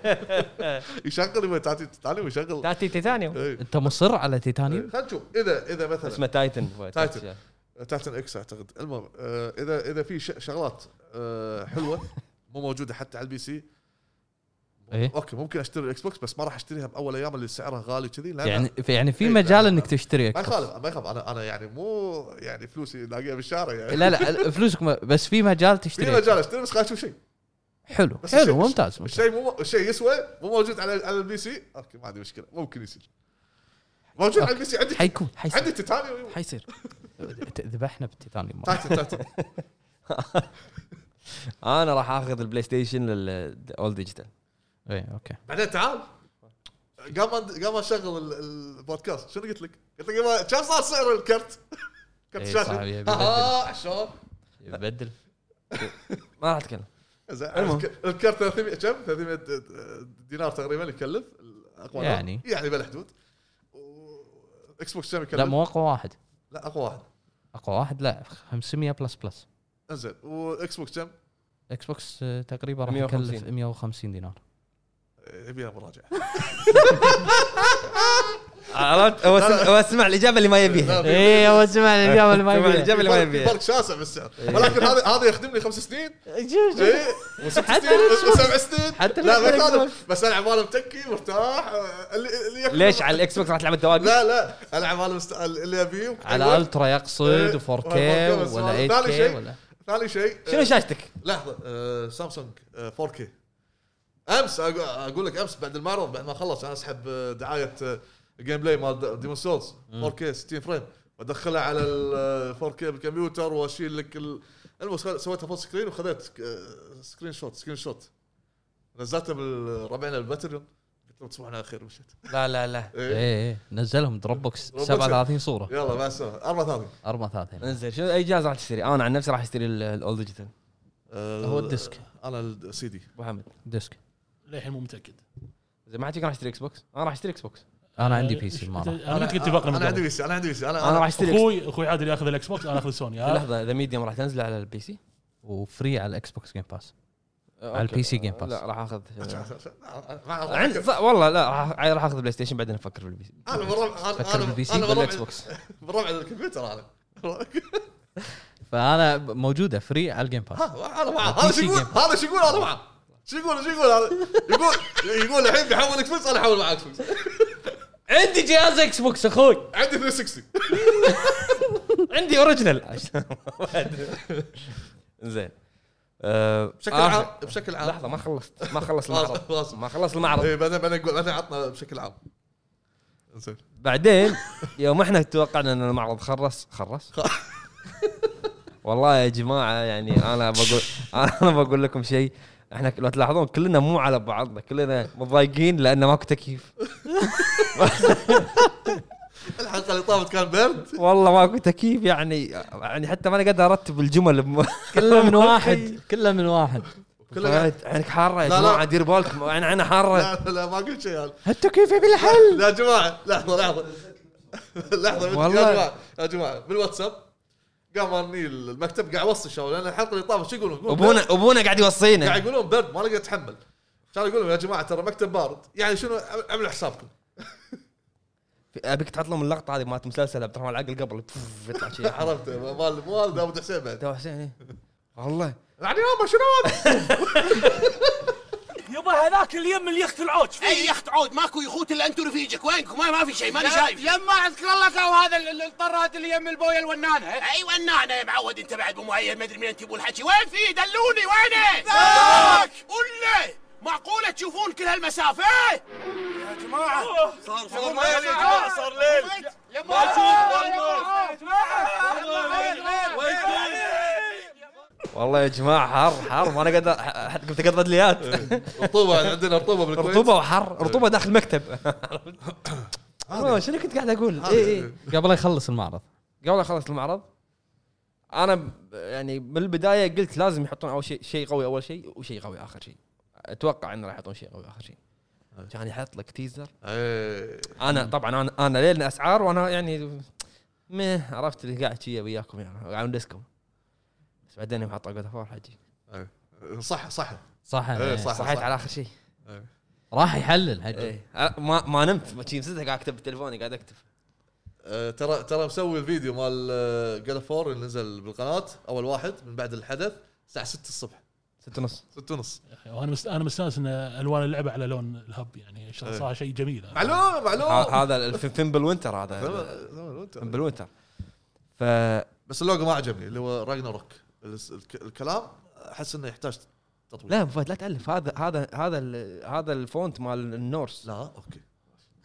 Speaker 2: يشغل يبغى تاتي تيتانيوم يشغل
Speaker 1: تاتي تيتانيوم
Speaker 2: إيه.
Speaker 3: انت مصر على
Speaker 2: إيه.
Speaker 3: تيتانيوم
Speaker 2: خلينا نشوف اذا اذا مثلا
Speaker 1: اسمه تايتن أبو فهد.
Speaker 2: تايتن. تاتن اكس اعتقد المهم آه، اذا اذا في ش- شغلات آه، حلوه مو موجوده حتى على البي سي
Speaker 3: إيه.
Speaker 2: اوكي ممكن اشتري الاكس بوكس بس ما راح اشتريها باول ايام اللي سعرها غالي كذي لأن
Speaker 3: يعني في يعني في
Speaker 2: إيه،
Speaker 3: مجال
Speaker 2: لا،
Speaker 3: انك تشتري
Speaker 2: ما
Speaker 3: Xbox.
Speaker 2: يخالف ما يخالف انا انا يعني مو يعني فلوسي لاقيها بالشارع يعني
Speaker 3: لا لا فلوسك ما- بس في مجال
Speaker 2: في
Speaker 3: تشتري
Speaker 2: مجال اشتري بس خليني اشوف شيء
Speaker 3: حلو
Speaker 2: بس
Speaker 3: حلو
Speaker 2: الشيء-
Speaker 3: ممتاز ممتاز.
Speaker 2: الشيء مو الشيء يسوى مو موجود على على البي سي اوكي ما عندي مشكله ممكن يصير موجود على البي سي عندي
Speaker 3: حيكون حيصير
Speaker 2: عندي تيتانيوم
Speaker 3: حيصير ذبحنا بالتيتانيوم مرة.
Speaker 2: تاتي تاتي
Speaker 1: انا راح اخذ البلاي ستيشن للاول ديجيتال
Speaker 3: ايه اوكي
Speaker 2: بعدين تعال قام قام اشغل ال- البودكاست شنو قلت لك؟ قلت لك يبا- كم صار سعر الكرت؟ كرت
Speaker 3: إيه،
Speaker 2: الشاشه
Speaker 3: صعب، يبي
Speaker 2: ها ها، شلون؟
Speaker 3: بدل
Speaker 1: ما راح اتكلم
Speaker 2: زين،
Speaker 1: المهم.
Speaker 2: الك- الكرت 300 كم؟ 300 دينار تقريبا يكلف اقوى
Speaker 3: يعني.
Speaker 2: يعني بالحدود و- اكس بوكس كم يكلف؟
Speaker 3: لا مو اقوى واحد
Speaker 2: لا اقوى واحد
Speaker 3: اقوى واحد لا 500 بلس بلس
Speaker 2: انزين واكس بوكس كم؟
Speaker 3: اكس بوكس آه، تقريبا راح
Speaker 1: 150.
Speaker 3: يكلف 150 دينار
Speaker 2: إيه، يبيها مراجعه
Speaker 1: عرفت هو سمع, هو سمع الاجابه اللي ما
Speaker 2: طيب.
Speaker 1: يبيها
Speaker 3: ايه هو سمع الاجابه اللي ما
Speaker 1: سمع
Speaker 3: يبيها إيه.
Speaker 1: الاجابه اللي ما
Speaker 2: في
Speaker 1: يبيها
Speaker 2: فرق شاسع بالسعر ولكن هذا هذا يخدمني خمس سنين
Speaker 3: شوف شوف
Speaker 2: ايه وست
Speaker 3: حتى
Speaker 2: سنين
Speaker 3: الإكس بوكس.
Speaker 2: وسبع سنين
Speaker 3: حتى
Speaker 2: لا ما
Speaker 3: الإكس بوكس.
Speaker 2: يخالف بس العب انا متكي مرتاح آه، اللي اللي يكفي.
Speaker 1: ليش على الاكس بوكس راح تلعب الدواقي؟
Speaker 2: لا لا العب انا مست- اللي ابيه
Speaker 3: على
Speaker 2: أقول.
Speaker 3: الترا يقصد
Speaker 2: أيوة. إيه،
Speaker 3: و4K
Speaker 2: وهالموضوع بس
Speaker 3: ولا
Speaker 2: هذا.
Speaker 3: 8K
Speaker 2: ثاني شيء.
Speaker 3: ولا
Speaker 2: ثاني شيء
Speaker 1: شنو
Speaker 2: شنو
Speaker 1: شاشتك؟
Speaker 2: لحظه آه، سامسونج آه، 4K امس أق- اقول لك امس بعد المعرض بعد ما خلص انا اسحب آه، دعايه آه، جيم بلاي مال ديمون سولز 4K 60 فريم وادخلها على ال 4K بالكمبيوتر واشيل لك ال- المهم خل- سويتها فول سكرين وخذيت آه، سكرين شوت سكرين شوت نزلته بربعنا الباتريون قلت لهم تصبحون خير مشيت
Speaker 1: لا لا لا
Speaker 3: ايه
Speaker 2: إيه.
Speaker 3: ايه نزلهم دروب بوكس
Speaker 2: دروب بوكس.
Speaker 3: 37 صوره
Speaker 2: يلا مع السلامه 34
Speaker 3: 34
Speaker 1: انزين شنو اي جهاز راح تشتري؟ انا عن نفسي راح اشتري الاول ديجيتال
Speaker 2: هو
Speaker 3: آه، هو الديسك
Speaker 2: انا السي دي
Speaker 1: ابو حمد
Speaker 3: ديسك
Speaker 4: للحين مو متاكد
Speaker 1: زين ما حد فيكم راح يشتري اكس بوكس؟ انا راح اشتري اكس بوكس
Speaker 3: انا عندي بي سي
Speaker 4: آه، إيش-
Speaker 3: المره
Speaker 4: انا قلت اتفاقنا
Speaker 2: انا عندي بي سي انا عندي بي سي
Speaker 1: انا راح
Speaker 2: انا
Speaker 1: اشتري إكس-
Speaker 4: اخوي اخوي عادل ياخذ الاكس بوكس انا اخذ سوني ها؟
Speaker 1: لحظه ذا ميديوم راح تنزل على البي سي؟
Speaker 3: وفري على الاكس بوكس جيم باس
Speaker 2: آه،
Speaker 1: أوكي.
Speaker 3: على البي سي جيم باس.
Speaker 1: آه، لا راح اخذ
Speaker 2: عندي
Speaker 1: عند ص- والله لا راح- راح اخذ بلاي ستيشن بعدين افكر بالبي سي
Speaker 2: انا بالربع انا
Speaker 3: فكر
Speaker 2: انا
Speaker 3: بالبي سي
Speaker 2: انا
Speaker 3: بالاكس
Speaker 2: بالربع
Speaker 3: بوكس
Speaker 2: بالربع الكمبيوتر انا
Speaker 3: فانا ب- موجوده فري على الجيم باس
Speaker 2: ها، انا معاه هذا
Speaker 3: بي
Speaker 2: شو
Speaker 3: سي
Speaker 2: يقول
Speaker 3: جيم.
Speaker 2: هذا شو يقول انا معاه شو يقول شو يقول هذا يقول يقول الحين بيحول اكس بوكس انا احول معاه اكس بوكس
Speaker 3: عندي جهاز اكس بوكس اخوي
Speaker 2: عندي 360
Speaker 3: عندي اوريجنال
Speaker 1: زين آه،
Speaker 2: بشكل
Speaker 1: آخر-
Speaker 2: عام بشكل عام
Speaker 1: لحظه ما خلصت ما خلص
Speaker 2: خلاص
Speaker 1: المعرض
Speaker 2: خلاص
Speaker 1: ما خلص المعرض
Speaker 2: إيه، بعدين بعدين نقول بعدين عطنا بشكل عام زين
Speaker 1: بعدين يوم احنا توقعنا ان المعرض خرس خرس والله يا جماعه يعني انا بقول انا بقول لكم شيء احنا لو تلاحظون كلنا مو على بعضنا كلنا متضايقين لان ماكو تكييف
Speaker 2: الحلقه اللي طافت كان برد
Speaker 1: والله ماكو تكييف يعني يعني حتى ما انا قادر ارتب الجمل بم...
Speaker 3: كله من واحد كله من واحد
Speaker 2: كله
Speaker 1: فهد، عينك حاره يا
Speaker 2: لا، لا.
Speaker 1: جماعه دير بالكم انا عيني
Speaker 3: طيب.
Speaker 1: حاره
Speaker 2: لا لا ما قلت شيء انا
Speaker 3: التكييف يبي حل
Speaker 2: لا يا جماعه لحظه لحظه لحظه يا
Speaker 1: والله.
Speaker 2: جماعه يا جماعه بالواتساب قام اني المكتب قاعد اوصي شباب لان الحلقه اللي طافت شو يقولون؟ يقولون
Speaker 1: ابونا ابونا قاعد
Speaker 2: قاعد
Speaker 1: يوصينا
Speaker 2: يقولون برد ما اقدر اتحمل كانوا يقولون يا جماعه ترى مكتب بارد يعني شنو اعملوا حسابكم
Speaker 1: ابيك تحط لهم اللقطه هذه مالت مسلسل عبد الرحمن العقل قبل بف، يطلع شيء
Speaker 2: عرفت مال مال داود حسين بعد
Speaker 1: تو حسين إيه. والله
Speaker 2: يعني يابا شنو هذا؟
Speaker 5: يبا هذاك اليم اللي يخت العوج
Speaker 6: اي يخت عود ماكو يخوت الا انت ورفيجك وينكم ما, ما في شيء ماني شايف
Speaker 5: يما اذكر لك او هذا ال- ال- الطراد اللي يم البويه الونانه
Speaker 6: اي ونعنا يا معود انت بعد مو مؤيد ما ادري منين تجيبوا الحكي وين في دلوني وينه ذاك قول معقوله تشوفون كل هالمسافه
Speaker 5: يا جماعه
Speaker 6: صار
Speaker 5: صار ليل يا جماعة، صار ليل. يما يا جماعه
Speaker 1: والله يا جماعه حر حر ما انا قادر حتى كنت اقدر
Speaker 2: إيه.
Speaker 1: بدليات
Speaker 2: رطوبه عندنا رطوبه بالكويت
Speaker 1: رطوبه
Speaker 2: إيه.
Speaker 1: وحر رطوبه داخل المكتب أوه، شنو كنت قاعد اقول؟ اي اي
Speaker 3: قبل لا يخلص المعرض
Speaker 1: قبل اخلص المعرض انا ب- يعني من البدايه قلت لازم يحطون اول شيء شيء قوي اول شيء وشيء قوي اخر شيء اتوقع انه راح يحطون شيء قوي اخر شيء كان يحط لك تيزر
Speaker 2: إيه.
Speaker 1: انا طبعا انا انا ليلنا اسعار وانا يعني مه عرفت اللي قاعد شي وياكم يعني على ديسكم بس بعدين يوم حطوا جود فور حجي
Speaker 2: صح صح
Speaker 3: صح
Speaker 2: إيه،
Speaker 3: إيه.
Speaker 2: صح.
Speaker 1: صحيت على اخر شيء
Speaker 3: راح يحلل هجي
Speaker 1: ايه أنا ما ما نمت ما شي مسكت قاعد اكتب بتليفوني قاعد اكتب
Speaker 2: آه، ترى ترى مسوي الفيديو مال جاد فور اللي نزل بالقناه اول واحد من بعد الحدث الساعه 6 الصبح
Speaker 1: ست ونص
Speaker 2: 6 ونص
Speaker 4: انا مست... انا مستانس ان الوان اللعبه على لون الهب يعني ش- صار شيء جميل
Speaker 2: معلوم
Speaker 1: ه-
Speaker 2: معلوم
Speaker 1: هذا الف- فيمبل وينتر
Speaker 2: يعني
Speaker 1: هذا فيمبل وينتر ف
Speaker 2: بس اللوجو ما عجبني اللي هو راجنا روك الكلام احس انه يحتاج تطوير
Speaker 1: لا أبو فهد لا تالف هذا هذا هذا ال- هذا الفونت مال النورس
Speaker 2: لا اوكي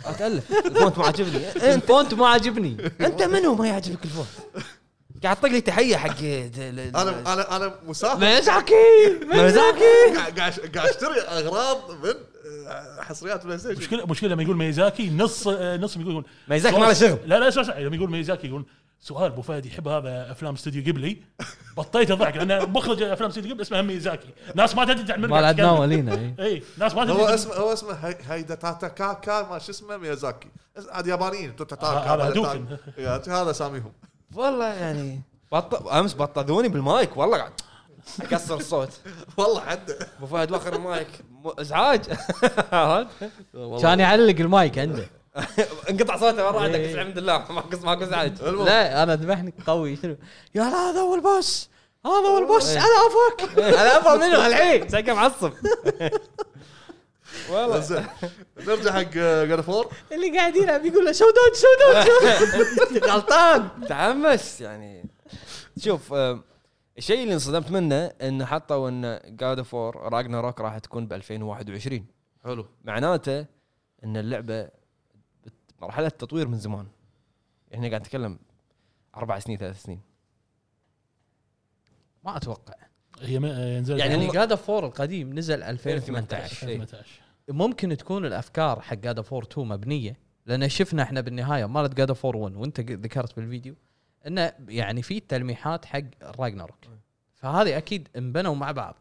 Speaker 1: لا تالف الفونت ما عاجبني انت
Speaker 3: الفونت ما عجبني
Speaker 1: انت منو ما يعجبك الفونت قاعد تطق لي تحيه حق
Speaker 2: انا انا انا مسافر
Speaker 1: ميزاكي ميزاكي
Speaker 2: قاعد قاعد قاعد اشتري اغراض من آه، حصريات بلاي ستيشن
Speaker 4: مشكله مشكله لما يقول ميزاكي نص آه، نص يقول يقول
Speaker 1: ميزاكي ما له شغل
Speaker 4: لا لا اسمع اسمع، لما يقول ميزاكي يقول سؤال ابو فهد يحب هذا افلام استوديو قبلي بطيت اضحك لان مخرج افلام استوديو قبلي اسمه ميزاكي ناس ما تدري عن من
Speaker 3: مال
Speaker 4: قاعد
Speaker 3: عدنان
Speaker 4: تتكلم.
Speaker 3: ولينا إيه.
Speaker 4: اي ناس ما
Speaker 2: هو
Speaker 4: تدري
Speaker 2: اسمه هو اسمه هاي- هايدا تاتا كاكا ما شو اسمه ميازاكي اس- عاد يابانيين توتا
Speaker 4: آه،
Speaker 2: تاكا
Speaker 4: هذا
Speaker 2: هذا
Speaker 4: هدوكن.
Speaker 2: تاكا. يا أخي، هذا اساميهم
Speaker 1: والله يعني بط... امس بطذوني بالمايك والله قاعد اكسر الصوت
Speaker 2: والله حد
Speaker 1: ابو فهد واخر المايك م- ازعاج عرفت؟
Speaker 3: كان يعلق المايك عنده
Speaker 1: انقطع صوته مره واحده قلت الحمد لله ماكو ماكو ازعاج
Speaker 3: لا انا ذبحني قوي شنو يا لا هذا هو البوس هذا هو البوس على افك
Speaker 1: انا افهم منه الحين شكله معصب والله
Speaker 2: زين. نرجع حق آه، جاد فور
Speaker 3: اللي قاعد يلعب يقول له سو دوج سو دوج غلطان
Speaker 1: تعمس يعني شوف آم، الشيء اللي انصدمت منه انه حطوا ان جاد فور راجنا روك راح تكون ب 2021
Speaker 2: حلو
Speaker 1: معناته ان اللعبه مرحله تطوير من زمان احنا قاعد نتكلم اربع سنين ثلاث سنين
Speaker 3: ما اتوقع
Speaker 4: هي ما- آه، نزلت
Speaker 3: يعني
Speaker 1: يعني
Speaker 3: جاد فور القديم نزل 2018
Speaker 1: 2018.
Speaker 4: 2018
Speaker 3: ممكن تكون الافكار حق جاد فور 2 مبنيه لان شفنا احنا بالنهايه مالت جاد فور 1 وانت ق- ذكرت بالفيديو انه يعني في تلميحات حق راجناروك فهذه اكيد انبنوا مع بعض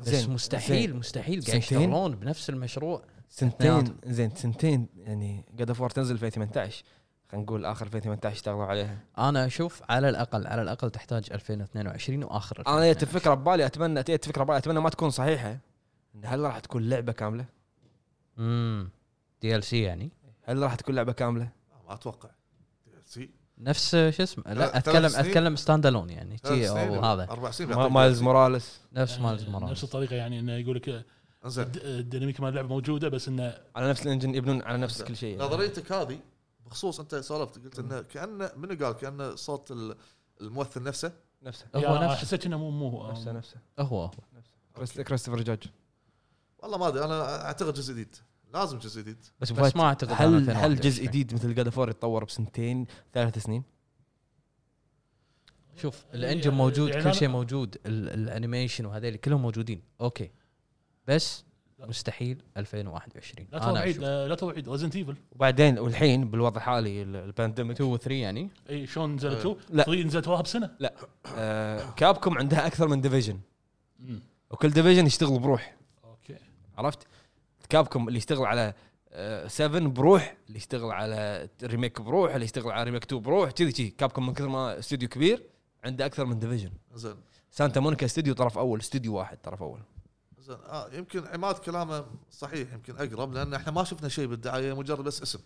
Speaker 3: بس
Speaker 1: زين،
Speaker 3: مستحيل
Speaker 1: زين.
Speaker 3: مستحيل قاعد
Speaker 1: سنتين؟
Speaker 3: يشتغلون بنفس المشروع
Speaker 1: سنتين زين سنتين يعني جاد اوف تنزل في 2018 خلينا نقول اخر 2018 اشتغلوا عليها
Speaker 3: انا اشوف على الاقل على الاقل تحتاج 2022 واخر
Speaker 1: انا جت
Speaker 3: 2022.
Speaker 1: الفكره ببالي اتمنى جت الفكره ببالي اتمنى ما تكون صحيحه إن هل راح تكون لعبه كامله؟
Speaker 3: امم دي ال سي يعني
Speaker 1: هل راح تكون لعبه كامله؟
Speaker 2: ما اتوقع سي
Speaker 3: نفس شو اسمه
Speaker 2: لا،
Speaker 3: لا
Speaker 2: ثلاث
Speaker 3: اتكلم
Speaker 2: سنين.
Speaker 3: اتكلم ستاند الون يعني شي
Speaker 2: ثلاث سنين آه.
Speaker 3: او هذا
Speaker 2: اربع سنين
Speaker 1: ما-
Speaker 2: بيعطيك
Speaker 1: مايلز موراليس
Speaker 3: نفس مالز
Speaker 4: يعني
Speaker 3: موراليس
Speaker 4: نفس الطريقه يعني انه يقول لك
Speaker 2: انزين
Speaker 4: الد- الديناميك مال اللعبه موجوده بس انه
Speaker 1: على نفس الانجن يبنون على نفس كل شيء يعني.
Speaker 2: نظريتك هذه بخصوص انت سولفت قلت انه كانه منو قال كانه صوت ال- الممثل نفسه
Speaker 1: نفسه
Speaker 3: هو
Speaker 4: يعني
Speaker 3: نفس
Speaker 4: حسيت انه مو مو هو.
Speaker 1: نفسه نفسه
Speaker 3: هو هو
Speaker 1: كريست- كريستوفر جورج
Speaker 2: والله ما ادري انا اعتقد جزء جديد لازم جزء جديد
Speaker 3: بس,
Speaker 1: فهد،
Speaker 3: بس ما اعتقد أنا
Speaker 1: هل
Speaker 3: 2021.
Speaker 1: هل جزء جديد مثل جاد فور يتطور بسنتين ثلاث سنين؟
Speaker 3: شوف الانجن موجود
Speaker 4: يعني
Speaker 3: كل
Speaker 4: أنا-
Speaker 3: شيء موجود ال- الانيميشن وهذيل كلهم موجودين اوكي بس مستحيل 2021
Speaker 4: لا تضوع
Speaker 3: انا
Speaker 4: عيد
Speaker 3: اشوف
Speaker 4: آه، لا تضوع عيد ريزنت ايفل
Speaker 1: وبعدين والحين بالوضع الحالي ال- البانديميك
Speaker 3: 2 و 3 يعني
Speaker 4: اي إيه، شلون
Speaker 2: آه،
Speaker 4: نزلت تو؟
Speaker 1: لا.
Speaker 4: 3 نزلت وراها بسنه
Speaker 1: لا آه كابكم عندها اكثر من ديفيجن وكل ديفيجن يشتغل بروح
Speaker 4: اوكي
Speaker 1: عرفت؟ كابكم اللي يشتغل على 7 بروح اللي يشتغل على ريميك بروح اللي يشتغل على ريميك 2 بروح كذي كذي كابكم من كثر ما استوديو كبير عنده اكثر من ديفيجن
Speaker 2: زين
Speaker 1: سانتا مونيكا استديو طرف اول استديو واحد طرف اول
Speaker 2: زين آه يمكن عماد كلامه صحيح يمكن اقرب لان احنا ما شفنا شيء بالدعايه مجرد بس اسم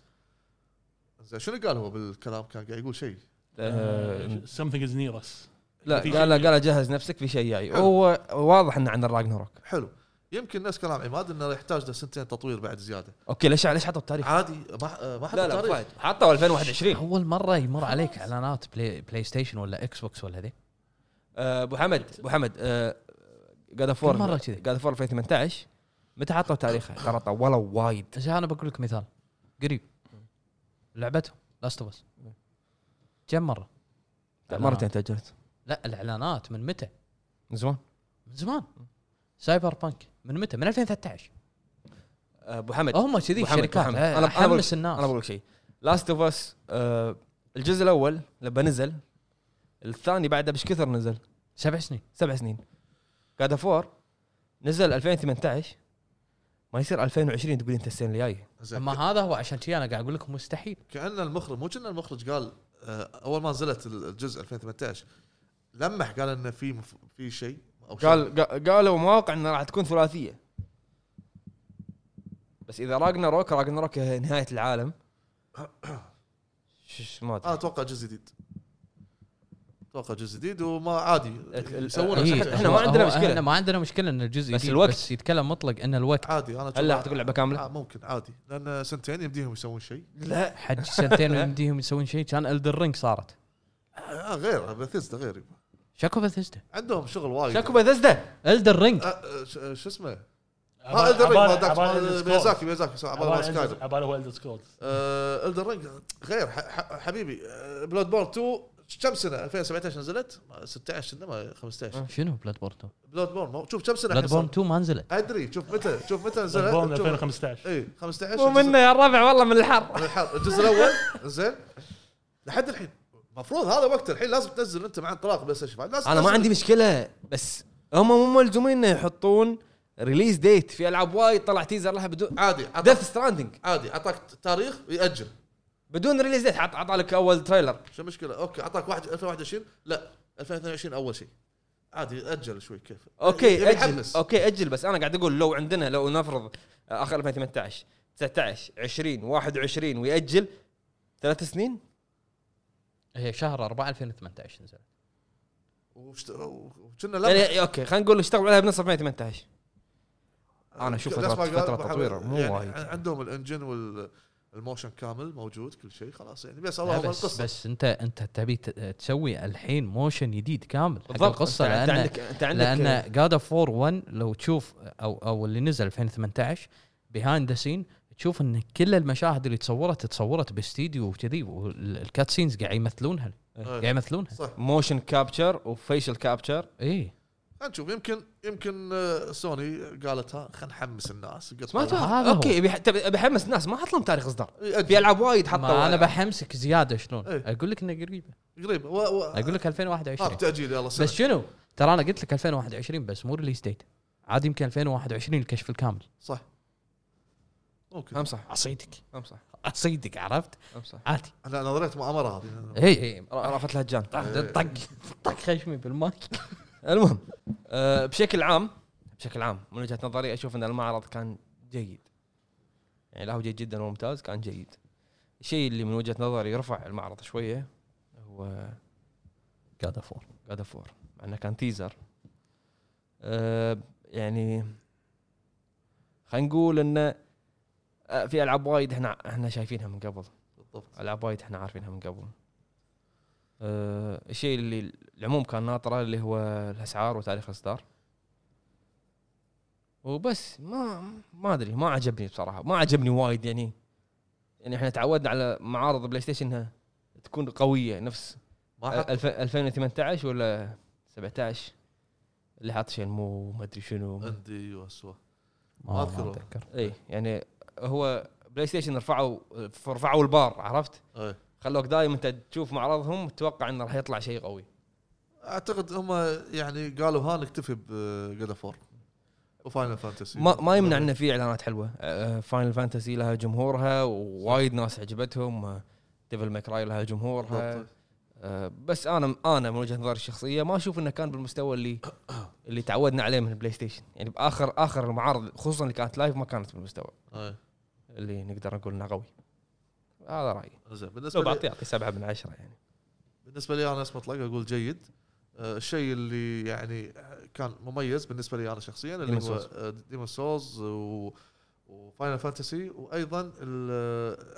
Speaker 2: زين شنو قال هو بالكلام كان قاعد يقول شيء
Speaker 1: آه،
Speaker 4: سمثينج از نير اس
Speaker 1: لا
Speaker 4: في
Speaker 1: قال
Speaker 4: شيء-
Speaker 1: قال جهز نفسك في شيء جاي
Speaker 2: حلو.
Speaker 1: هو واضح انه عن الراجنروك
Speaker 2: حلو يمكن نفس كلام عماد انه يحتاج له سنتين تطوير بعد زياده
Speaker 1: اوكي ليش ليش حطوا بتاريخ؟
Speaker 2: عادي ما آه، ما حط
Speaker 1: إيه. لا طيب. لا
Speaker 2: تاريخ.
Speaker 1: فايد. حطوا 2021
Speaker 3: اول مره يمر عليك اعلانات بلاي, بلاي ستيشن ولا اكس بوكس ولا ذي
Speaker 1: آه، ابو حمد ابو حمد آه، قاعد فور
Speaker 3: كل مرة كذي.
Speaker 1: قاعد فور 2018 متى حطوا تاريخها؟ ترى طولوا وايد
Speaker 3: بس انا بقول لك مثال قريب لعبتهم لاست اوف اس كم مره؟
Speaker 1: مرتين تاجلت
Speaker 3: لا الاعلانات من متى؟
Speaker 1: من زمان
Speaker 3: من زمان سايبر بانك من متى؟ من 2013
Speaker 1: آه، ابو حمد
Speaker 3: هم كذي
Speaker 1: محمد-
Speaker 3: الشركات
Speaker 1: محمد.
Speaker 3: انا
Speaker 1: أنا- أنا بقول-
Speaker 3: احمس الناس
Speaker 1: انا بقول لك شيء لاست اوف اس آه، الجزء الاول لما نزل الثاني بعده بش كثر نزل
Speaker 3: سبع سنين
Speaker 1: سبع سنين قاعد فور نزل 2018 ما يصير 2020 تقول انت السنه اللي جايه
Speaker 2: زين
Speaker 3: اما هذا هو عشان كذي انا قاعد اقول لكم مستحيل
Speaker 2: كان المخرج مو كنا المخرج قال آه، اول ما نزلت الجزء 2018 لمح قال انه في مف... في شيء او شيء.
Speaker 1: قال قا- قالوا مواقع انها راح تكون ثلاثيه بس اذا راجنا روك راجنا روك نهايه العالم شش ما
Speaker 2: انا
Speaker 1: ادري
Speaker 2: اتوقع آه، جزء جديد اتوقع جزء جديد وما عادي
Speaker 1: ال-
Speaker 2: يسوونه
Speaker 1: إيه،
Speaker 2: شكل.
Speaker 1: إحنا ما عندنا
Speaker 3: هو-
Speaker 1: مشكلة.
Speaker 3: احنا ما عندنا مشكله ان الجزء
Speaker 1: بس
Speaker 3: جديد،
Speaker 1: الوقت.
Speaker 3: بس يتكلم مطلق ان الوقت
Speaker 2: عادي انا أتوقع-
Speaker 1: هلا راح تقول لعبه كامله
Speaker 2: آه ممكن عادي لان سنتين يمديهم يسوون شيء
Speaker 1: لا
Speaker 3: حج سنتين ويمديهم يسوون شيء كان الدر رينج صارت
Speaker 2: آه غير بثيستا غير
Speaker 3: شكو بثيستا
Speaker 2: عندهم شغل وايد
Speaker 1: شكو بذزده
Speaker 3: الدر رينج
Speaker 2: آه، آه، ش- شو اسمه؟ آه، ها الدر رينج مال- مال- ميازاكي ميازاكي صح، مال- مال سكايدر.
Speaker 4: عباله هو الدر سكولز
Speaker 2: آه، الدر رينج غير ح- ح- حبيبي بلود بورن 2 كم سنه 2017 نزلت؟ ما- 16 انما
Speaker 1: آه.
Speaker 2: 15
Speaker 3: شنو بلاد بورن 2
Speaker 2: بلود بورن شوف كم سنه
Speaker 3: بلاد بورن
Speaker 2: حصل؟
Speaker 3: 2 ما نزلت
Speaker 2: ادري شوف متى شوف متى نزلت
Speaker 4: بورن
Speaker 2: شوف- إيه،
Speaker 4: 2015
Speaker 2: اي 15
Speaker 1: مو منه يا الربع والله من الحر
Speaker 2: من الحر الجزء الاول زين لحد الحين المفروض هذا وقت الحين لازم تنزل انت مع انطلاق بلاي ستيشن فايف. لازم
Speaker 1: انا ما
Speaker 2: تنزل.
Speaker 1: عندي مشكله بس هم مو ملزومين انه يحطون ريليز ديت في العاب وايد طلع تيزر لها بدون
Speaker 2: عادي عطاك-
Speaker 1: ديث ستراندنج
Speaker 2: عادي اعطاك تاريخ ياجل
Speaker 1: بدون ريليز ديت عط- عطى لك اول تريلر
Speaker 2: شو المشكله؟ اوكي اعطاك واحد 2021 لا 2022 اول شيء عادي اجل شوي كيف
Speaker 1: اوكي
Speaker 2: يبي
Speaker 1: اجل
Speaker 2: يحمس.
Speaker 1: اوكي اجل بس انا قاعد اقول لو عندنا لو نفرض اخر 2018 19 20 21 ويأجل ثلاث سنين
Speaker 3: هي شهر 4 2018 نزلت
Speaker 2: وشت- وكنا لا
Speaker 1: يعني اوكي خلينا نقول اشتغلوا عليها بنص 2018 أنا أشوف
Speaker 2: نفس
Speaker 1: فترة-
Speaker 2: آه، ما قال
Speaker 1: فترة
Speaker 2: أبو
Speaker 1: تطوير،
Speaker 2: حمد،
Speaker 1: مو
Speaker 2: يعني
Speaker 1: وايد.
Speaker 2: عندهم الانجن وال الموشن كامل موجود كل شيء خلاص يعني بس
Speaker 3: لا
Speaker 2: اللهم
Speaker 3: بس
Speaker 2: القصه بس
Speaker 3: بس انت انت تبي ت- تسوي الحين موشن جديد كامل حق
Speaker 1: بالضبط.
Speaker 3: القصه
Speaker 1: أنت- أنت
Speaker 3: لان
Speaker 1: عندك- أنت عندك-
Speaker 3: لان جاد اوف 4 1 لو تشوف او او اللي نزل 2018 بيهايند ذا سين تشوف ان كل المشاهد اللي تصورت تصورت باستديو وكذي والكات سينز قاعد يمثلونها قاعد يمثلونها
Speaker 2: إيه.
Speaker 3: إيه.
Speaker 2: صح
Speaker 1: موشن كابتشر وفيشل كابتشر
Speaker 3: اي
Speaker 2: خلينا نشوف يمكن يمكن آه، سوني قالت ها خلينا نحمس الناس
Speaker 1: ما
Speaker 2: قطعوا.
Speaker 1: تبغى
Speaker 3: هذا هو.
Speaker 1: اوكي يبي- تبي- بحمس ناس ما حط لهم تاريخ اصدار في
Speaker 2: يأجل
Speaker 1: العاب وايد
Speaker 3: ما
Speaker 1: حطوا
Speaker 3: انا بحمسك زياده شلون
Speaker 2: إيه. آه.
Speaker 3: اقول لك انه قريبه
Speaker 2: قريب و... و...
Speaker 3: اقول لك 2021
Speaker 2: ها تاجيل يلا سنه
Speaker 3: بس شنو ترى انا قلت لك 2021 بس مو ريليس ديت عادي يمكن 2021 الكشف الكامل
Speaker 2: صح ممكن
Speaker 1: هم صح
Speaker 3: اصيدك
Speaker 1: هم صح
Speaker 3: اصيدك عرفت
Speaker 1: هم صح
Speaker 3: عادي
Speaker 2: انا أنا قريت مؤامره هذه
Speaker 3: اي اي
Speaker 1: را- رافت الهجان
Speaker 3: طق طق خشمي بالمايك
Speaker 1: المهم آه، بشكل عام بشكل عام من وجهه نظري اشوف ان المعرض كان جيد يعني لا هو جيد جدا وممتاز كان جيد الشيء اللي من وجهه نظري رفع المعرض شويه هو
Speaker 3: جاد فور
Speaker 1: جاد اوف وور مع انه كان تيزر أه يعني خلينا نقول انه آه، في العاب وايد احنا احنا شايفينها من قبل
Speaker 2: بالضبط
Speaker 1: العاب وايد احنا عارفينها من قبل أه الشيء اللي العموم كان ناطره اللي هو الاسعار وتاريخ الاصدار وبس ما ما ادري ما عجبني بصراحه ما عجبني وايد يعني يعني احنا تعودنا على معارض بلاي ستيشن انها تكون قويه نفس
Speaker 2: ما حط
Speaker 1: الف- 2018 ولا 17 اللي حاط شيء مو ما ادري شنو
Speaker 2: عندي واسوه
Speaker 3: ما
Speaker 2: أذكره.
Speaker 3: اتذكر
Speaker 1: اي يعني هو بلاي ستيشن رفعوا رفعوا البار عرفت؟
Speaker 2: أي.
Speaker 1: خلوك دايم انت تشوف معرضهم تتوقع انه راح يطلع شيء قوي
Speaker 2: اعتقد هم يعني قالوا ها نكتفي بجاد فور وفاينل فانتسي
Speaker 1: ما, ما يمنع انه في آه، اعلانات حلوه فاينل فانتسي آه، لها جمهورها ووايد ناس عجبتهم ديفل ماكراي لها جمهورها آه، بس انا انا من وجهه نظري الشخصيه ما اشوف انه كان بالمستوى اللي اللي تعودنا عليه من البلاي ستيشن يعني باخر اخر المعارض خصوصا اللي كانت لايف ما كانت بالمستوى
Speaker 2: إيه.
Speaker 1: اللي نقدر نقول انه قوي هذا رايي
Speaker 2: زين بالنسبه
Speaker 1: لو
Speaker 2: لي
Speaker 1: بعطي اعطي سبعه من عشره يعني
Speaker 2: بالنسبه لي انا اسم مطلق اقول جيد آه، الشيء اللي يعني كان مميز بالنسبه لي انا شخصيا اللي
Speaker 1: Demon's Souls.
Speaker 2: هو آه، ديمون سولز وفاينل فانتسي وايضا ال-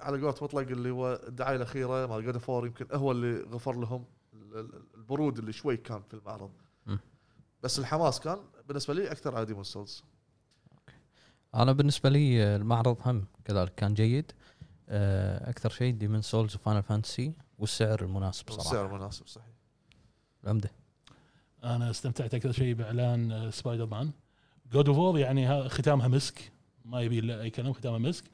Speaker 2: آه، على قولة مطلق اللي هو الدعايه الاخيره مال جود فور يمكن هو اللي غفر لهم ال- ال- البرود اللي شوي كان في المعرض
Speaker 3: مم.
Speaker 2: بس الحماس كان بالنسبه لي اكثر على ديمون سولز
Speaker 3: انا بالنسبه لي آه، المعرض هم كذلك كان جيد آه، اكثر شيء ديمن سولز وفاينل فانتسي والسعر المناسب صراحه
Speaker 2: السعر مناسب صحيح
Speaker 3: العمده
Speaker 4: انا استمتعت اكثر شيء باعلان آه، سبايدر مان جود اوف يعني ها- ختامها مسك ما يبي الا اي كلام ختامها مسك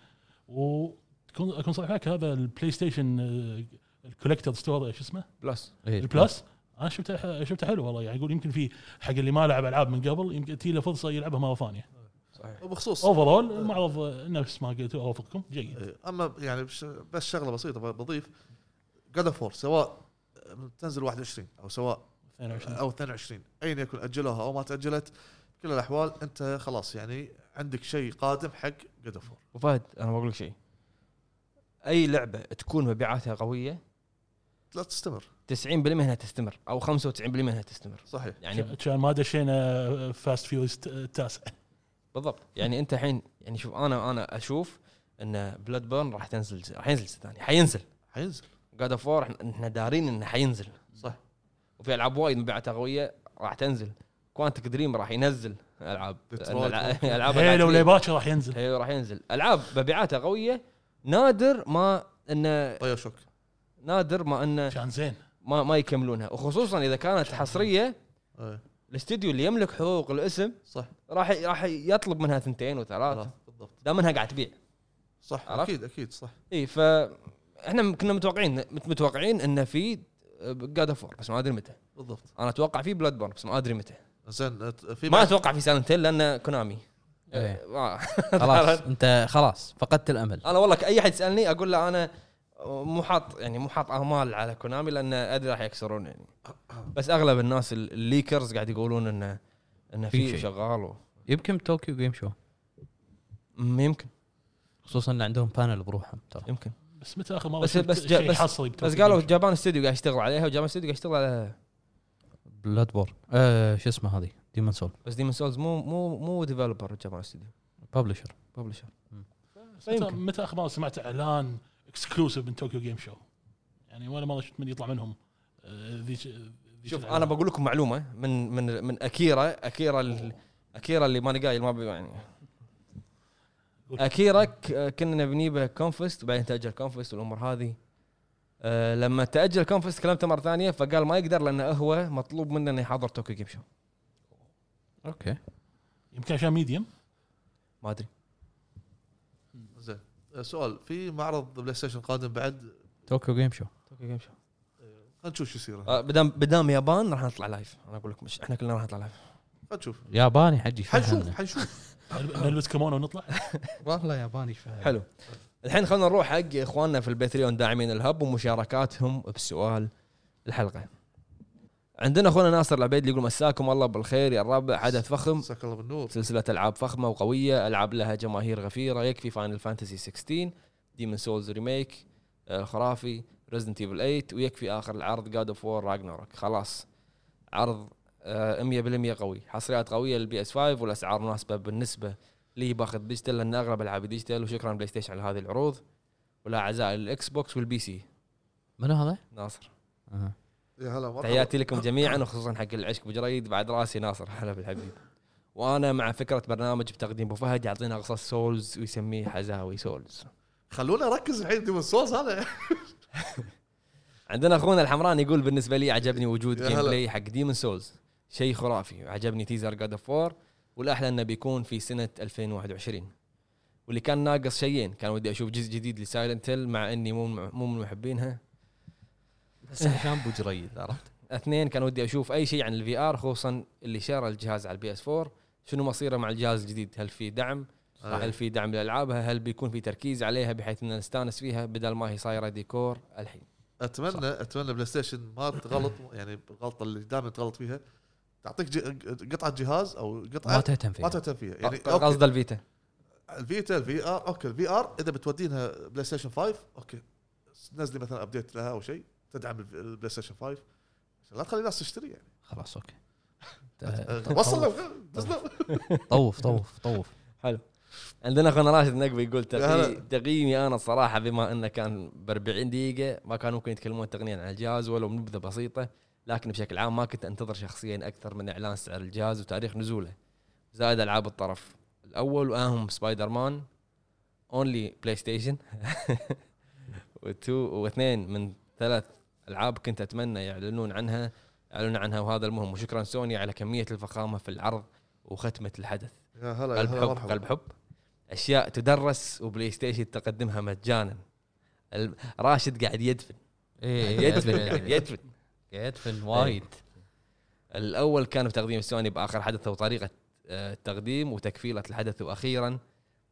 Speaker 4: وتكون اكون صريح معك هذا البلاي ستيشن آه، الكوليكتر ستور شو اسمه
Speaker 1: بلس
Speaker 3: إيه،
Speaker 4: البلس انا شفته ح- شفته حلو والله يعني اقول يمكن في حق اللي ما لعب العاب من قبل يمكن تجي له فرصه يلعبها مره ثانيه
Speaker 1: صحيح
Speaker 2: وبخصوص
Speaker 4: اوفرول المعرض آه، نفس ما قلت اوافقكم جيد
Speaker 2: إيه، اما يعني بش- بس شغله بسيطه ب- بضيف جاد فور سواء آه، تنزل 21 او سواء
Speaker 4: 22
Speaker 2: او 22 اين يكن اجلوها او ما تاجلت كل الاحوال انت خلاص يعني عندك شيء قادم حق جود اوف
Speaker 1: وفهد انا بقول لك شيء اي لعبه تكون مبيعاتها قويه
Speaker 2: لا تستمر
Speaker 1: 90% انها تستمر او 95% انها تستمر
Speaker 2: صحيح
Speaker 1: يعني
Speaker 4: كان ما دشينا فاست فيوز التاسع
Speaker 1: بالضبط يعني انت الحين يعني شوف انا انا اشوف ان بلاد بيرن راح تنزل راح ينزل جزء ثاني حينزل
Speaker 2: حينزل
Speaker 1: جاد اوف وور احنا دارين انه حينزل
Speaker 2: صح.
Speaker 1: وفي العاب وايد مبيعاتها قويه راح تنزل كوانتك دريم راح ينزل العاب
Speaker 2: Detroit.
Speaker 1: الع- العاب
Speaker 4: هيلو
Speaker 1: العتيقة.
Speaker 4: ليباتشي راح ينزل
Speaker 1: هيلو راح ينزل العاب مبيعاتها قويه نادر ما انه
Speaker 2: بايو طيب، شوك
Speaker 1: نادر ما انه
Speaker 4: كان زين
Speaker 1: ما, ما يكملونها وخصوصا اذا كانت حصريه
Speaker 2: إيه،
Speaker 1: الاستديو اللي يملك حقوق الاسم
Speaker 2: صح
Speaker 1: راح راح يطلب منها ثنتين وثلاث
Speaker 2: خلاص، بالضبط
Speaker 1: دام انها قاعد تبيع
Speaker 2: صح
Speaker 1: عرفت؟
Speaker 2: اكيد اكيد صح
Speaker 1: اي ف احنا كنا متوقعين مت- متوقعين انه في آه، جاد اوف بس ما ادري متى
Speaker 2: بالضبط
Speaker 1: انا اتوقع في بلاد بورن بس ما ادري متى
Speaker 2: زين أت- في
Speaker 1: ما
Speaker 2: بعد-
Speaker 1: اتوقع في سالنتين لان كونامي
Speaker 3: إيه.
Speaker 1: آه، ما-
Speaker 3: خلاص انت خلاص فقدت الامل
Speaker 1: انا والله اي احد يسالني اقول له انا مو حاط يعني مو حاط امال على كونامي لان ادري راح يكسرون يعني بس اغلب الناس ال- الليكرز قاعد يقولون انه انه
Speaker 3: في
Speaker 1: في
Speaker 3: شيء.
Speaker 1: شغال و...
Speaker 3: يمكن طوكيو جيم شو
Speaker 1: أمم، يمكن
Speaker 3: خصوصا ان عندهم بانل بروحهم ترى
Speaker 1: يمكن
Speaker 4: بس متى اخر مره
Speaker 1: بس-
Speaker 4: شفت
Speaker 1: بس جا-
Speaker 4: شيء
Speaker 1: بس-
Speaker 4: حصري
Speaker 1: بس
Speaker 4: بتوكيو
Speaker 1: قالوا
Speaker 4: جيم شو؟
Speaker 1: جابان استوديو قاعد يشتغل عليها وجابان استوديو قاعد يشتغل على
Speaker 3: بلاد بور آه شو اسمه هذه ديمن سول
Speaker 1: بس ديمون سولز مو مو مو ديفلوبر جابان استوديو
Speaker 3: ببلشر
Speaker 1: ببلشر
Speaker 4: بس
Speaker 1: طيب.
Speaker 4: متى- متى اخر مره سمعت اعلان اكسكلوسيف من طوكيو جيم شو يعني ولا مره شفت من يطلع منهم آه، ذي ش- ذي
Speaker 1: شوف
Speaker 4: الإعلان.
Speaker 1: انا بقول لكم معلومه من من من اكيرا اكيرا ال- اكيرا اللي ماني قايل ما بي- يعني
Speaker 4: قول.
Speaker 1: اكيرا ك- كنا بنجيبه كونفست وبعدين تاجل كونفست والامور هذه أه لما تاجل كونفست كلمته مره ثانيه فقال ما يقدر لانه هو مطلوب منه انه يحضر طوكيو جيم شو
Speaker 3: اوكي
Speaker 4: يمكن عشان ميديم
Speaker 1: ما ادري
Speaker 2: زين أه، سؤال في معرض بلاي ستيشن قادم بعد
Speaker 3: طوكيو جيم شو
Speaker 1: طوكيو جيم شو
Speaker 2: خلينا نشوف شو يصير خلينا
Speaker 1: أه بدام بدام يابان راح نطلع لايف انا اقول لكم إيش، احنا كلنا راح نطلع لايف
Speaker 2: نشوف
Speaker 3: ياباني حجي شو
Speaker 2: حنشوف
Speaker 3: عنه؟
Speaker 2: حنشوف
Speaker 4: نلبس كمونه ونطلع
Speaker 3: والله ياباني شو عنه؟
Speaker 1: حلو الحين خلينا نروح حق اخواننا في الباتريون داعمين الهب ومشاركاتهم بسؤال الحلقه عندنا اخونا ناصر العبيد يقول مساكم الله بالخير يا الربع حدث فخم
Speaker 2: مساك الله بالنور
Speaker 1: سلسله العاب فخمه وقويه العاب لها جماهير غفيره يكفي فاينل فانتسي 16 ديمون سولز ريميك آه، خرافي ريزدنت ايفل 8 ويكفي اخر العرض جاد اوف وور راجناروك خلاص عرض آه، 100% قوي حصريات قويه للبي اس 5 والاسعار مناسبه بالنسبه لي باخذ ديجيتال لان اغلب العابي ديجيتال وشكرا بلاي ستيشن على هذه العروض ولا اعزائي للاكس بوكس والبي سي
Speaker 3: منو هذا؟
Speaker 1: ناصر
Speaker 3: آه.
Speaker 2: يا هلا مرحبا
Speaker 1: تحياتي لكم جميعا وخصوصا حق العشق بجريد بعد راسي ناصر هلا بالحبيب وانا مع فكره برنامج بتقديم ابو فهد يعطينا قصص سولز ويسميه حزاوي سولز
Speaker 2: خلونا نركز الحين ديمون سولز هذا
Speaker 1: عندنا اخونا الحمران يقول بالنسبه لي عجبني وجود
Speaker 2: يا
Speaker 1: جيم
Speaker 2: هلا.
Speaker 1: بلاي حق ديمون سولز شيء خرافي عجبني تيزر جاد اوف 4 والاحلى انه بيكون في سنه 2021 واللي كان ناقص شيئين كان ودي اشوف جزء جديد لسايلنت هيل مع اني مو مو من محبينها
Speaker 3: بس عشان ابو جريد عرفت؟
Speaker 1: اثنين كان ودي اشوف اي شيء عن الفي ار خصوصا اللي شارى الجهاز على البي اس 4 شنو مصيره مع الجهاز الجديد هل في دعم
Speaker 2: آه.
Speaker 1: هل في دعم لالعابها هل بيكون في تركيز عليها بحيث ان نستانس فيها بدل ما هي صايره ديكور الحين
Speaker 2: اتمنى صح. اتمنى بلاي ستيشن ما تغلط يعني الغلطه اللي دائما تغلط فيها تعطيك جي... قطعه جهاز او
Speaker 3: ما
Speaker 2: قطعه
Speaker 3: تهتم
Speaker 2: ما
Speaker 3: فيه
Speaker 2: تهتم فيها يعني
Speaker 1: يعني
Speaker 2: أوكي.
Speaker 1: قصده الفيتا
Speaker 2: الفيتا الفي ار اوكي الفي ار اذا بتودينها بلاي ستيشن 5 اوكي نزلي مثلا ابديت لها او شيء تدعم الف- البلاي ستيشن 5 عشان لا تخلي الناس تشتري يعني أه،
Speaker 3: خلاص اوكي
Speaker 2: وصل لهم نزلوا.
Speaker 3: طوف طوف طوف
Speaker 1: عندنا اخونا راشد نقبي يقول
Speaker 2: هلا.
Speaker 1: تقييم- تقييمي انا الصراحه بما انه كان ب 40 دقيقه ما كان ممكن يتكلمون تقنيا عن الجهاز ولو بنبذه بسيطه لكن بشكل عام ما كنت انتظر شخصيا اكثر من اعلان سعر الجهاز وتاريخ نزوله زائد العاب الطرف الاول واهم سبايدر مان اونلي بلاي ستيشن وتو- واثنين من ثلاث العاب كنت اتمنى يعلنون عنها يعلنون عنها وهذا المهم وشكرا سوني على كميه الفخامه في العرض وختمه الحدث
Speaker 2: يا هلا يا
Speaker 1: قلب
Speaker 2: هلا
Speaker 1: حب
Speaker 2: طيب، مرحبا
Speaker 1: قلب حب اشياء تدرس وبلاي ستيشن تقدمها مجانا ال- راشد قاعد يدفن
Speaker 3: ايه
Speaker 1: يدفن قاعد
Speaker 3: يدفن
Speaker 1: يدفن
Speaker 3: يدفن وايد
Speaker 1: الاول كان بتقديم سوني باخر حدث وطريقه آه، التقديم وتكفيله الحدث واخيرا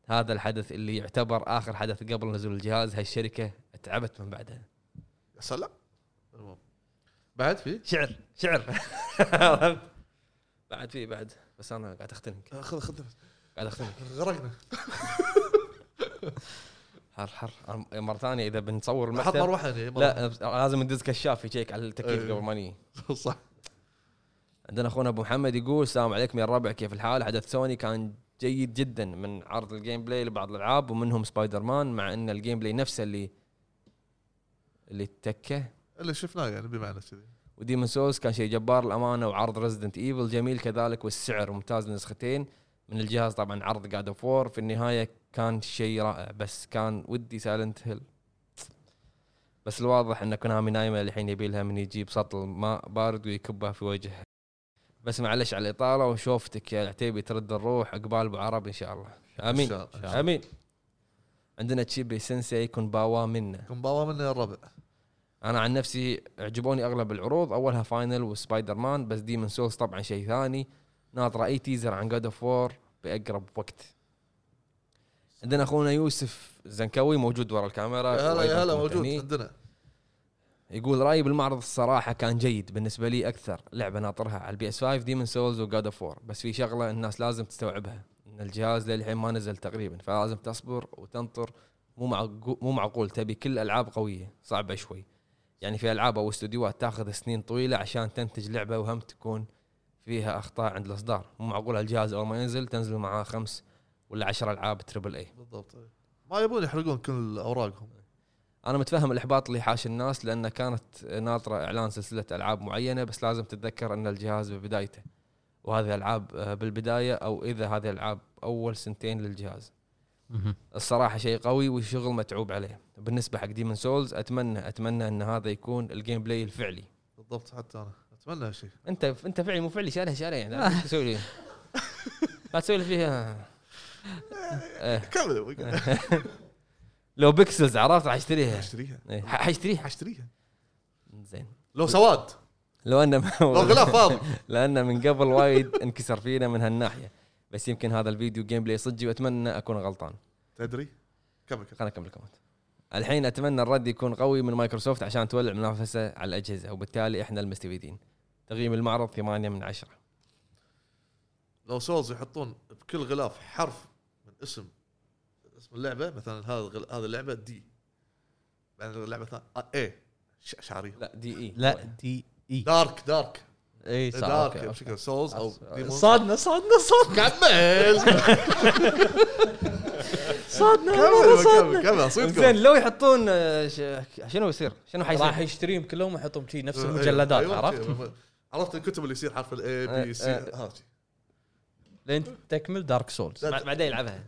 Speaker 1: هذا الحدث اللي يعتبر اخر حدث قبل نزول الجهاز هالشركه تعبت من بعدها
Speaker 2: يا سلام بعد في
Speaker 1: شعر شعر بعد في بعد بس انا قاعد اختنق
Speaker 2: آه، خذ خذ
Speaker 1: قاعد اختنق
Speaker 2: غرقنا
Speaker 1: حر حر أنا مره ثانيه اذا بنصور
Speaker 2: حط
Speaker 1: المكتب
Speaker 2: مروحه يعني
Speaker 1: لا لازم ندز كشاف يشيك على التكييف
Speaker 2: إيه.
Speaker 1: قبل ما نيجي
Speaker 2: صح
Speaker 1: عندنا اخونا ابو محمد يقول السلام عليكم يا الربع كيف الحال حدث سوني كان جيد جدا من عرض الجيم بلاي لبعض الالعاب ومنهم سبايدر مان مع ان الجيم بلاي نفسه اللي اللي تكه
Speaker 2: اللي شفناه يعني بمعنى كذي
Speaker 1: وديمون سولز كان شيء جبار الامانه وعرض ريزدنت ايفل جميل كذلك والسعر ممتاز للنسختين من الجهاز طبعا عرض جاد اوف وور في النهايه كان شيء رائع بس كان ودي سايلنت هيل بس الواضح ان كونامي نايمه الحين يبي لها من يجيب سطل ماء بارد ويكبها في وجهها بس معلش على الاطاله وشوفتك يا العتيبي ترد الروح عقبال ابو عرب ان شاء الله امين
Speaker 2: إن شاء الله.
Speaker 1: امين عندنا تشيبي سensei كونباوا منا
Speaker 2: كومباوا منا يا الربع
Speaker 1: انا عن نفسي عجبوني اغلب العروض اولها فاينل وسبايدر مان بس ديمن سولز طبعا شيء ثاني ناطر اي تيزر عن جود اوف وور باقرب وقت عندنا اخونا يوسف زنكوي موجود ورا الكاميرا
Speaker 2: يا هلا يا هلا
Speaker 1: وأيضاً
Speaker 2: موجود
Speaker 1: مهتني.
Speaker 2: عندنا
Speaker 1: يقول رايي بالمعرض الصراحه كان جيد بالنسبه لي اكثر لعبه ناطرها على البي اس 5 ديمن سولز وجاد اوف وور بس في شغله الناس لازم تستوعبها ان الجهاز للحين ما نزل تقريبا فلازم تصبر وتنطر مو معقول مو معقول تبي كل العاب قويه صعبه شوي يعني في العاب او استديوهات تاخذ سنين طويله عشان تنتج لعبه وهم تكون فيها اخطاء عند الاصدار مو معقول هالجهاز اول ما ينزل تنزل معاه خمس ولا عشر العاب تربل اي
Speaker 2: بالضبط طيب. ما يبون يحرقون كل اوراقهم
Speaker 1: انا متفهم الاحباط اللي حاش الناس لان كانت ناطره اعلان سلسله العاب معينه بس لازم تتذكر ان الجهاز ببدايته وهذه العاب آه، بالبدايه او اذا هذه العاب اول سنتين للجهاز
Speaker 3: مهم.
Speaker 1: الصراحه شيء قوي والشغل متعوب عليه بالنسبه حق ديمون سولز اتمنى اتمنى ان هذا يكون الجيم بلاي الفعلي
Speaker 2: بالضبط حتى انا اتمنى هالشيء
Speaker 1: انت انت فعلي مو فعلي شالها شالها يعني لا تسوي لي لا تسوي لي فيها إيه.
Speaker 2: كمل
Speaker 1: لو بيكسلز عرفت حاشتريها
Speaker 2: اشتريها
Speaker 1: إيه، ح- حاشتريها
Speaker 2: اشتريها
Speaker 1: زين
Speaker 2: لو سواد
Speaker 1: لو انه
Speaker 2: لو غلاف فاضي
Speaker 1: لانه من قبل وايد انكسر فينا من هالناحيه بس يمكن هذا الفيديو جيم بلاي صجي واتمنى اكون غلطان
Speaker 2: تدري كمل كمل
Speaker 1: خلنا نكمل كومنت الحين اتمنى الرد يكون قوي من مايكروسوفت عشان تولع منافسه على الاجهزه وبالتالي احنا المستفيدين تقييم المعرض 8 من 10
Speaker 2: لو سولز يحطون بكل غلاف حرف من اسم اسم اللعبه مثلا هذا الغل- هذه اللعبه دي بعدين اللعبه الثانيه اي شعريه
Speaker 1: لا دي اي
Speaker 3: لا دي اي
Speaker 2: دارك دارك
Speaker 3: اي
Speaker 2: دارك بشكل سولز او
Speaker 1: صح.
Speaker 2: ديمون
Speaker 3: صادنا صادنا صادنا
Speaker 2: كمل
Speaker 3: صادنا
Speaker 2: كمل كمل كمل
Speaker 1: زين
Speaker 2: صدقكم
Speaker 1: لو يحطون آه، ش- شنو يصير؟ شنو
Speaker 3: راح
Speaker 1: حيصير؟
Speaker 3: يشتريهم كلهم ويحطهم شي نفس المجلدات
Speaker 2: أيوة،
Speaker 3: عرفت؟
Speaker 2: أيوة. عرفت الكتب اللي يصير حرف الاي بي سي
Speaker 1: أه.
Speaker 3: لين تكمل دارك سولز
Speaker 1: بعد- بعدين يلعبها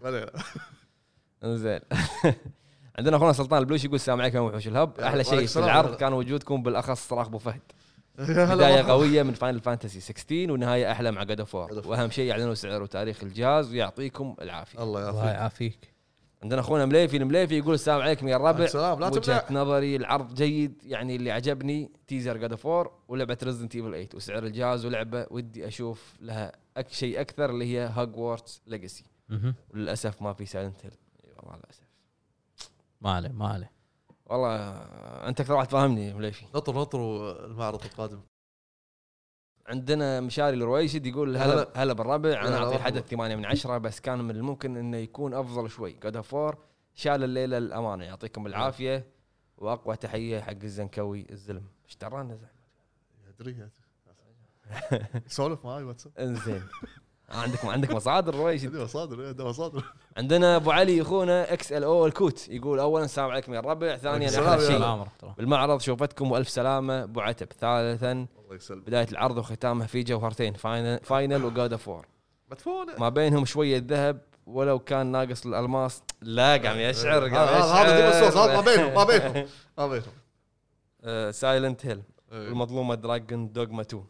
Speaker 1: زين عندنا اخونا سلطان البلوش يقول السلام عليكم يا وحوش الهب
Speaker 2: يا
Speaker 1: احلى شيء
Speaker 2: وعليكم
Speaker 1: في
Speaker 2: السلام.
Speaker 1: العرض كان وجودكم بالاخص صراخ ابو فهد بدايه
Speaker 2: بدايه
Speaker 1: قويه من فاينل فانتسي 16 ونهايه احلى مع جاد اوف
Speaker 2: God of War.
Speaker 1: واهم شيء يعلنوا سعر وتاريخ الجهاز ويعطيكم العافيه
Speaker 2: الله
Speaker 3: الله
Speaker 2: يعافيك
Speaker 3: يعافيك
Speaker 1: عندنا اخونا مليفي المليفي يقول السلام عليكم يا الربع
Speaker 2: السلام، لا
Speaker 1: وجهه
Speaker 2: تبلع.
Speaker 1: نظري العرض جيد يعني اللي عجبني تيزر جاد اوف ولعبه ريزدنت ايفل 8 وسعر الجهاز ولعبه ودي اشوف لها أك شيء اكثر اللي هي هاجورتس ليجاسي
Speaker 3: مهم.
Speaker 1: وللاسف ما في سايلنت هيل والله للاسف
Speaker 3: ما عليه ما عليه
Speaker 1: والله انت اكثر واحد فاهمني مليفي
Speaker 2: نطر نطر المعرض القادم
Speaker 1: عندنا مشاري الرويشد يقول هلا
Speaker 2: هلا.
Speaker 1: هلا بالربع
Speaker 2: هلا
Speaker 1: انا اعطيه
Speaker 2: بالربع.
Speaker 1: حدث 8 من 10 بس كان من الممكن انه يكون افضل شوي جود اوف 4 شال الليله الامانه
Speaker 2: نعم.
Speaker 1: يعطيكم العافيه واقوى تحيه حق الزنكوي الزلم ايش ترانا زعل؟
Speaker 2: ادري سولف معاي واتساب
Speaker 1: انزين عندك عندك مصادر رويشد
Speaker 2: عندي مصادر إيه، ده مصادر
Speaker 1: عندنا ابو علي اخونا اكس ال او الكوت يقول اولا السلام عليكم يا الربع ثانيا احلى
Speaker 2: السلام يا
Speaker 1: شيء
Speaker 3: السلام ورحمه الله
Speaker 1: بالمعرض شوفتكم والف سلامه ابو عتب ثالثا
Speaker 2: الله يسلمك
Speaker 1: بدايه العرض وختامها في جوهرتين فاينل فاينل وجاد اوف وور
Speaker 2: مدفونه
Speaker 1: ما بينهم شويه ذهب ولو كان ناقص الالماس لا قام يشعر
Speaker 2: هذا آه، هذا ديمون سولز، هذا ما بينهم ما بينهم ما بينهم
Speaker 1: آه، سايلنت هيل
Speaker 2: إيه.
Speaker 1: المظلومه دراجون دوغما 2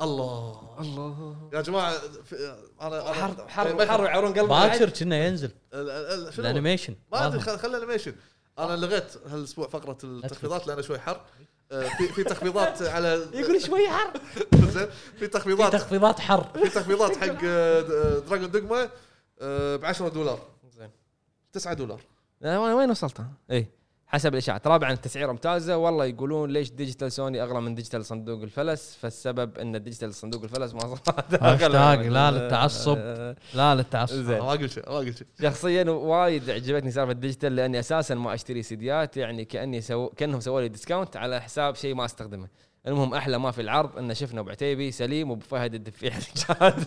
Speaker 2: الله الله يا جماعه في- انا
Speaker 1: حر
Speaker 2: انا
Speaker 1: حر حر يعورون قلبي
Speaker 3: باكر كنا ينزل
Speaker 2: ال- ال- شنو؟
Speaker 3: الانيميشن
Speaker 2: ما ادري
Speaker 3: واضح.
Speaker 2: خل- خلي انيميشن انا لغيت هالاسبوع فقره التخفيضات لان شوي حر آه، في في تخفيضات على
Speaker 1: يقول شوي حر
Speaker 2: زين في
Speaker 3: في
Speaker 2: تخفيضات
Speaker 3: تخفيضات حر
Speaker 2: في تخفيضات حق آه، دراجون دوغما ب 10 آه، دولار
Speaker 1: زين.
Speaker 2: 9 دولار
Speaker 1: لا، آه، وين وين وصلت انا؟ اي إيه، حسب الاشاعات رابعا التسعيره ممتازه والله يقولون ليش ديجيتال سوني اغلى من ديجيتال صندوق الفلس فالسبب ان ديجيتال صندوق الفلس ما آه، صارت
Speaker 3: هاشتاج لا للتعصب لا للتعصب
Speaker 1: زين
Speaker 2: ما اقول شيء ما اقول شيء
Speaker 1: شخصيا وايد عجبتني سالفه الديجيتال لاني اساسا ما اشتري سيديات يعني كاني سو... كانهم سووا لي ديسكاونت على حساب شيء ما استخدمه المهم احلى ما في العرض انه شفنا ابو عتيبي سليم وابو فهد الدفيع الجاد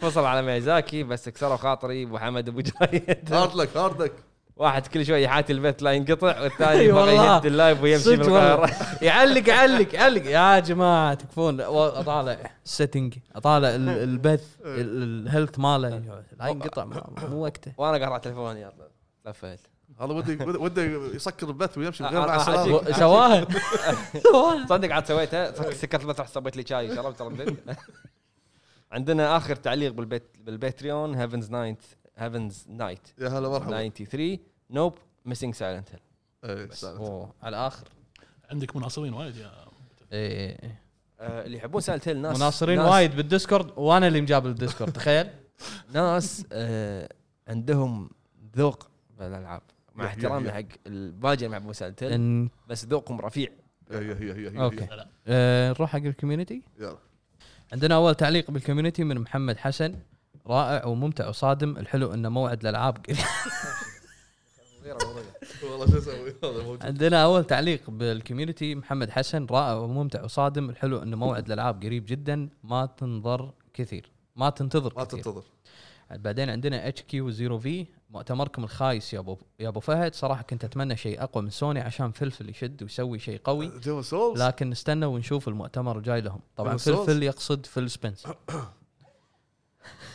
Speaker 1: فصل على ميازاكي بس كسروا خاطري ابو حمد ابو جايد
Speaker 2: هارد لك هارد لك
Speaker 1: واحد كل شوي يحاتي البيت لا ينقطع والثاني
Speaker 3: أي
Speaker 1: يبغى
Speaker 3: أيوة والله.
Speaker 1: يهد اللايف ويمشي من
Speaker 3: صدق والله.
Speaker 1: القاهره
Speaker 3: يعلق علق علق يا جماعه تكفون و- اطالع السيتنج اطالع ال- البث
Speaker 2: إيه.
Speaker 3: ال- الهيلث ماله لا ينقطع ما- مو وقته
Speaker 1: وانا قاعد على تليفوني يلا لفيت
Speaker 2: هذا ودي وده يسكر البث ويمشي من غير
Speaker 1: آه،
Speaker 2: مع
Speaker 1: آه،
Speaker 2: السلامه
Speaker 1: أجيك.
Speaker 3: سواها سواها
Speaker 1: تصدق عاد سويتها صك- سكرت المسرح صبيت لي شاي شربت رديت عندنا اخر تعليق بالبيت بالباتريون هيفنز نايت هيفنز نايت
Speaker 2: يا هلا مرحبا
Speaker 1: 93 نوب ميسنج سايلنت هيل
Speaker 2: إيه، سلام.
Speaker 3: أوه، على الاخر
Speaker 4: عندك مناصرين وايد يا
Speaker 3: إيه، إيه، إيه.
Speaker 1: آه، اللي يحبون سايلنت هيل ناس
Speaker 3: مناصرين
Speaker 1: ناس-
Speaker 3: وايد بالديسكورد وانا اللي مجاب الديسكورد تخيل
Speaker 1: ناس آه، عندهم ذوق بالالعاب مع
Speaker 2: يح- يح-
Speaker 1: احترامي
Speaker 2: يح.
Speaker 1: حق الباجي مع ابو سايلنت هيل
Speaker 3: إن-
Speaker 1: بس ذوقهم رفيع
Speaker 2: يا- يا- يا- يا- يا-
Speaker 3: اوكي
Speaker 4: لا.
Speaker 3: آه، نروح حق الكوميونتي
Speaker 2: يلا
Speaker 3: عندنا اول تعليق بالكوميونتي من محمد حسن رائع وممتع وصادم الحلو انه موعد الالعاب قريب.
Speaker 2: والله شو اسوي هذا
Speaker 1: آه.
Speaker 2: موجود
Speaker 3: عندنا اول تعليق بالكوميونتي محمد حسن رائع وممتع وصادم الحلو انه موعد الالعاب قريب جدا ما تنظر كثير ما تنتظر
Speaker 2: ما
Speaker 3: كثير
Speaker 2: تنتظر
Speaker 3: بعدين عندنا اتش كيو 0 في مؤتمركم الخايس يا ابو يا ابو فهد صراحه كنت اتمنى شيء اقوى من سوني عشان فلفل يشد ويسوي شيء قوي
Speaker 2: ديمون سولز
Speaker 3: لكن نستنى ونشوف المؤتمر الجاي لهم طبعا
Speaker 2: بالصوت.
Speaker 3: فلفل يقصد فيل سبنسر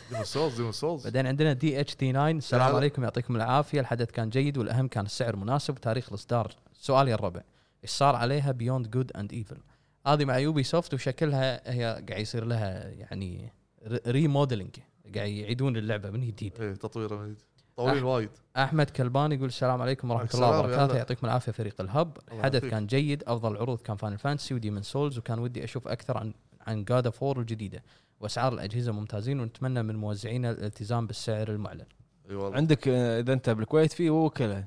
Speaker 2: ديمون سولز ديمون سولز
Speaker 3: بعدين عندنا دي اتش تي 9 السلام
Speaker 2: تعال.
Speaker 3: عليكم يعطيكم العافيه الحدث كان جيد والاهم كان السعر مناسب وتاريخ الاصدار سؤالي الربع ايش صار عليها بيوند جود اند ايفل هذه مع يوبي سوفت وشكلها هي قاعد يصير لها يعني ريموديلنج قاعد يعيدون اللعبه من جديد
Speaker 2: ايه تطويره من جديد
Speaker 1: آه.
Speaker 2: طويل وايد
Speaker 3: احمد كلبان يقول السلام عليكم ورحمه
Speaker 2: السلام
Speaker 3: الله
Speaker 2: يا
Speaker 3: وبركاته
Speaker 2: هلا.
Speaker 3: يعطيكم العافيه فريق الهب الحدث
Speaker 2: يعافيك.
Speaker 3: كان جيد افضل عروض كان فان فانسي وديمن سولز وكان ودي اشوف اكثر عن عن جاد اوف الجديده واسعار الاجهزه ممتازين ونتمنى من موزعينا الالتزام بالسعر المعلن
Speaker 2: اي والله
Speaker 1: عندك آه، اذا انت بالكويت في وكله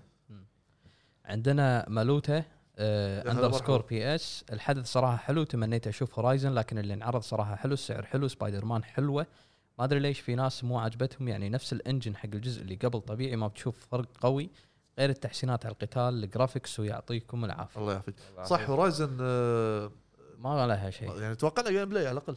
Speaker 3: عندنا مالوتا آه،
Speaker 2: هلا
Speaker 3: اندرسكور بي اس الحدث صراحه حلو تمنيت اشوف هورايزن لكن اللي انعرض صراحه حلو السعر حلو سبايدر مان حلوه ما ادري ليش في ناس مو عجبتهم يعني نفس الانجن حق الجزء اللي قبل طبيعي ما بتشوف فرق قوي غير التحسينات على القتال الجرافكس ويعطيكم العافيه
Speaker 2: الله يعافيك
Speaker 1: إيه.
Speaker 2: صح هورايزن آه،
Speaker 3: ما لها شيء
Speaker 2: يعني توقعنا جيم بلاي على الاقل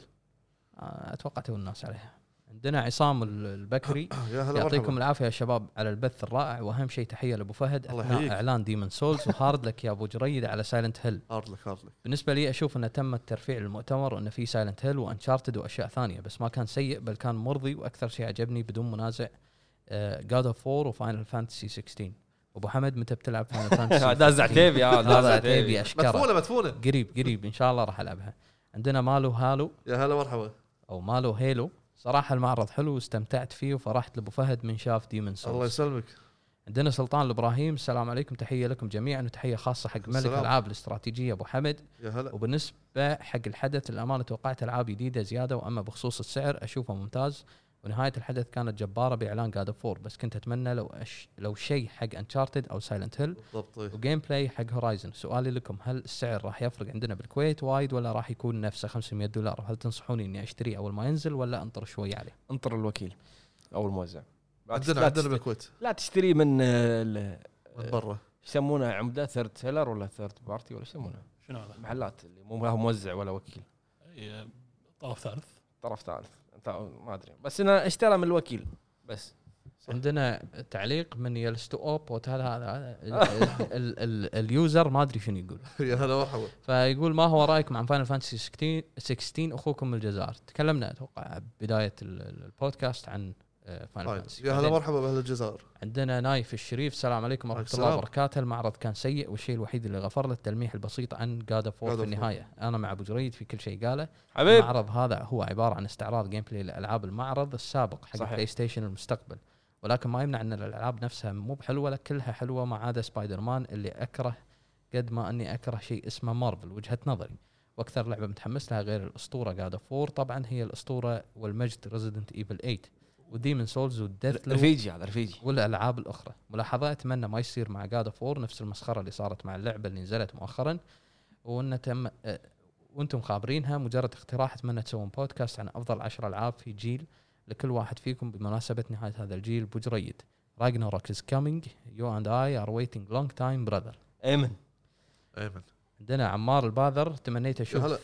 Speaker 3: آه، اتوقع تو الناس عليها عندنا عصام ال- البكري
Speaker 1: آه.
Speaker 2: يا هلا
Speaker 3: يعطيكم
Speaker 2: مرحبا
Speaker 3: العافيه يا شباب على البث الرائع واهم شيء تحيه لابو فهد
Speaker 2: الله
Speaker 3: اثناء
Speaker 2: يحييك.
Speaker 3: اعلان ديمن سولز وهارد لك يا ابو جريد على سايلنت هيل
Speaker 2: هارد لك هارد لك
Speaker 3: بالنسبه لي اشوف انه تم الترفيع للمؤتمر وانه في سايلنت هيل وانشارتد واشياء ثانيه بس ما كان سيء بل كان مرضي واكثر شيء عجبني بدون منازع آه، جاد اوف 4 وفاينل فانتسي 16 ابو حمد متى بتلعب فاينل فانتسي
Speaker 1: داز عتيبي آه، داز
Speaker 3: عتيبي
Speaker 1: عتيبي
Speaker 3: اشكره
Speaker 2: مدفونه مدفونه
Speaker 3: قريب قريب ان شاء الله راح العبها عندنا مالو هالو
Speaker 2: يا هلا مرحبا
Speaker 3: او مالو هيلو صراحه المعرض حلو واستمتعت فيه وفرحت لابو فهد من شاف ديمن
Speaker 2: الله
Speaker 3: سولز
Speaker 2: يسلمك
Speaker 3: عندنا سلطان الابراهيم السلام عليكم تحيه لكم جميعا وتحيه خاصه حق ملك
Speaker 2: السلام.
Speaker 3: الالعاب الاستراتيجيه ابو حمد
Speaker 2: يا هلا
Speaker 3: وبالنسبه حق الحدث الامانه توقعت العاب جديده زياده واما بخصوص السعر اشوفه ممتاز ونهايه الحدث كانت جباره باعلان جاد اوف 4 بس كنت اتمنى لو أش... لو شيء حق انشارتد او سايلنت هيل
Speaker 2: بالضبط إيه.
Speaker 3: وجيم بلاي حق هورايزن سؤالي لكم هل السعر راح يفرق عندنا بالكويت وايد ولا راح يكون نفسه 500 دولار هل تنصحوني اني اشتريه اول ما ينزل ولا انطر شوي عليه
Speaker 1: انطر الوكيل او الموزع لا تشت-
Speaker 2: عندنا
Speaker 1: لا
Speaker 2: عندنا
Speaker 1: تشت-
Speaker 2: بالكويت
Speaker 1: لا تشتري من آه، ال-
Speaker 2: من برا
Speaker 1: يسمونه عمده ثيرد سيلر ولا ثيرد بارتي ولا يسمونه
Speaker 4: شنو هذا؟
Speaker 1: محلات اللي مو ما هو موزع ولا وكيل
Speaker 4: إيه، طرف ثالث
Speaker 1: طرف ثالث انت ما ادري بس انه اشترى من الوكيل بس
Speaker 3: عندنا تعليق من يلست اوب وتال هذا ال- ال- ال- ال- اليوزر ما ادري شنو يقول
Speaker 2: يا هلا مرحبا
Speaker 3: فيقول ما هو رايكم عن فاينل فانتسي 16 16 اخوكم من الجزائر تكلمنا اتوقع بدايه ال- ال- البودكاست عن آه، فاينل
Speaker 2: طيب.
Speaker 3: فانتسي
Speaker 2: يا هلا مرحبا باهل الجزائر
Speaker 3: عندنا نايف الشريف السلام عليكم ورحمه
Speaker 2: عليكم
Speaker 3: الله
Speaker 2: السلام.
Speaker 3: وبركاته المعرض كان سيء والشيء الوحيد اللي غفر له التلميح البسيط عن جاد اوف
Speaker 2: God
Speaker 3: في
Speaker 2: of War.
Speaker 3: النهايه انا مع ابو جريد في كل شيء قاله
Speaker 1: حبيب
Speaker 3: المعرض هذا هو عباره عن استعراض جيم بلاي لالعاب المعرض السابق حق
Speaker 1: صحيح.
Speaker 3: البلاي ستيشن المستقبل ولكن ما يمنع ان الالعاب نفسها مو بحلوه لا كلها حلوه ما عدا سبايدر مان اللي اكره قد ما اني اكره شيء اسمه مارفل وجهه نظري واكثر لعبه متحمس لها غير الاسطوره جاد اوف وور طبعا هي الاسطوره والمجد ريزيدنت ايفل 8 وديمن سولز وديث لوب
Speaker 1: رفيجي هذا رفيجي
Speaker 3: والالعاب الاخرى ملاحظه اتمنى ما يصير مع جاد اوف وور نفس المسخره اللي صارت مع اللعبه اللي نزلت مؤخرا وان تم أه، وانتم خابرينها مجرد اقتراح اتمنى تسوون بودكاست عن افضل عشر العاب في جيل لكل واحد فيكم بمناسبه نهايه هذا الجيل بجريد راجناروك از كامينج يو اند اي ار ويتنج لونج تايم براذر
Speaker 1: ايمن
Speaker 2: ايمن
Speaker 3: عندنا عمار الباذر
Speaker 2: هلا.
Speaker 3: تمنيت اشوف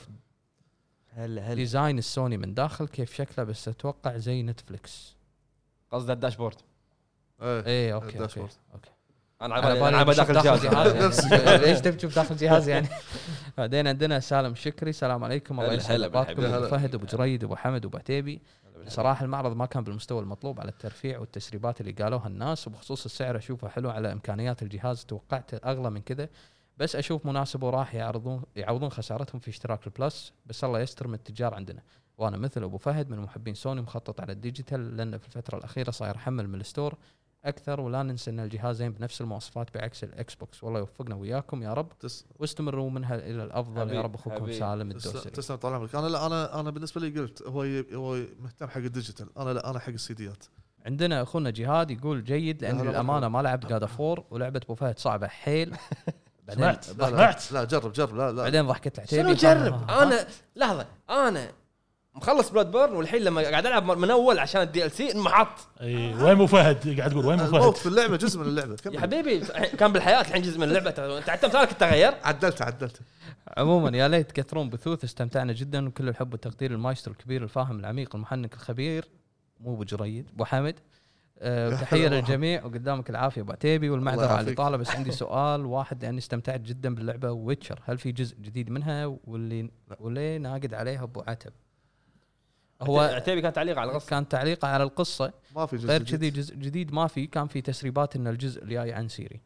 Speaker 1: هلا هلا
Speaker 3: ديزاين السوني من داخل كيف شكله بس اتوقع زي نتفلكس
Speaker 1: قصد الداشبورد
Speaker 2: ايه
Speaker 3: ايه اوكي اوكي,
Speaker 2: الداشبورد.
Speaker 3: أوكي.
Speaker 1: انا
Speaker 3: على بالي
Speaker 1: عبالي انا
Speaker 3: بشوف
Speaker 1: داخل الجهاز
Speaker 2: نفسي.
Speaker 3: يعني. ليش تبي تشوف داخل جهاز يعني بعدين عندنا سالم شكري السلام عليكم الله
Speaker 1: هلا-
Speaker 3: يسعد
Speaker 1: هلا
Speaker 3: اوقاتكم
Speaker 1: بالحبيب.
Speaker 3: ابو
Speaker 2: هلا.
Speaker 3: فهد ابو جريد ابو حمد ابو عتيبي صراحه المعرض ما كان بالمستوى المطلوب على الترفيع والتسريبات اللي قالوها الناس وبخصوص السعر اشوفه حلو على امكانيات الجهاز توقعت اغلى من كذا بس اشوف مناسب وراح يعرضون يعوضون خسارتهم في اشتراك البلس بس الله يستر من التجار عندنا وانا مثل ابو فهد من محبين سوني مخطط على الديجيتال لان في الفتره الاخيره صاير حمل من الستور اكثر ولا ننسى ان الجهازين بنفس المواصفات بعكس الاكس بوكس والله يوفقنا وياكم يا رب
Speaker 2: تس-
Speaker 3: واستمروا منها الى الافضل يا
Speaker 1: حبيب-
Speaker 3: رب اخوكم
Speaker 1: حبيب.
Speaker 3: سالم
Speaker 2: تسلم
Speaker 3: الدوسري
Speaker 2: تسلم طال عمرك انا لا انا انا بالنسبه لي قلت هو ي- هو مهتم حق الديجيتال انا لا انا حق السيديات
Speaker 3: عندنا اخونا جهاد يقول جيد لان
Speaker 2: هلا
Speaker 3: الامانه
Speaker 2: مرحبا.
Speaker 3: ما لعبت جاد فور ولعبه ابو فهد صعبه حيل بعدين
Speaker 4: سمعت
Speaker 2: لا لا,
Speaker 4: سمعت
Speaker 2: لا جرب جرب لا لا
Speaker 3: بعدين ضحكت آه. العتيبي
Speaker 1: شنو جرب
Speaker 3: ها-
Speaker 1: انا لحظه انا مخلص بلاد بيرن والحين لما قاعد العب من اول عشان الدي ال سي انمحط
Speaker 4: اي إيه، وين ابو فهد قاعد تقول وين ابو
Speaker 2: الموت
Speaker 4: فهد
Speaker 2: في اللعبه جزء من اللعبه كمل.
Speaker 1: يا حبيبي كان بالحياه الحين جزء من اللعبه ترى. انت حتى مثالك تغير
Speaker 2: عدلته عدلته
Speaker 3: عموما يا ليت تكثرون بثوث استمتعنا جدا وكل الحب والتقدير للمايسترو الكبير الفاهم العميق المحنك الخبير مو ابو جريد ابو حمد أه، تحيه
Speaker 2: هلا
Speaker 3: للجميع وقدامك العافيه ابو عتيبي والمعذره
Speaker 2: الله
Speaker 3: على
Speaker 2: يعافيك.
Speaker 3: الاطاله بس عندي سؤال واحد لاني استمتعت جدا باللعبه ويتشر هل في جزء جديد منها واللي واللي ناقد عليها ابو عتب هو
Speaker 1: عتيبي كان تعليق على القصه
Speaker 3: كان تعليقه على القصه
Speaker 2: ما في جزء
Speaker 3: غير
Speaker 2: جديد.
Speaker 3: كذي جزء جديد ما في كان في تسريبات ان الجزء الجاي عن سيري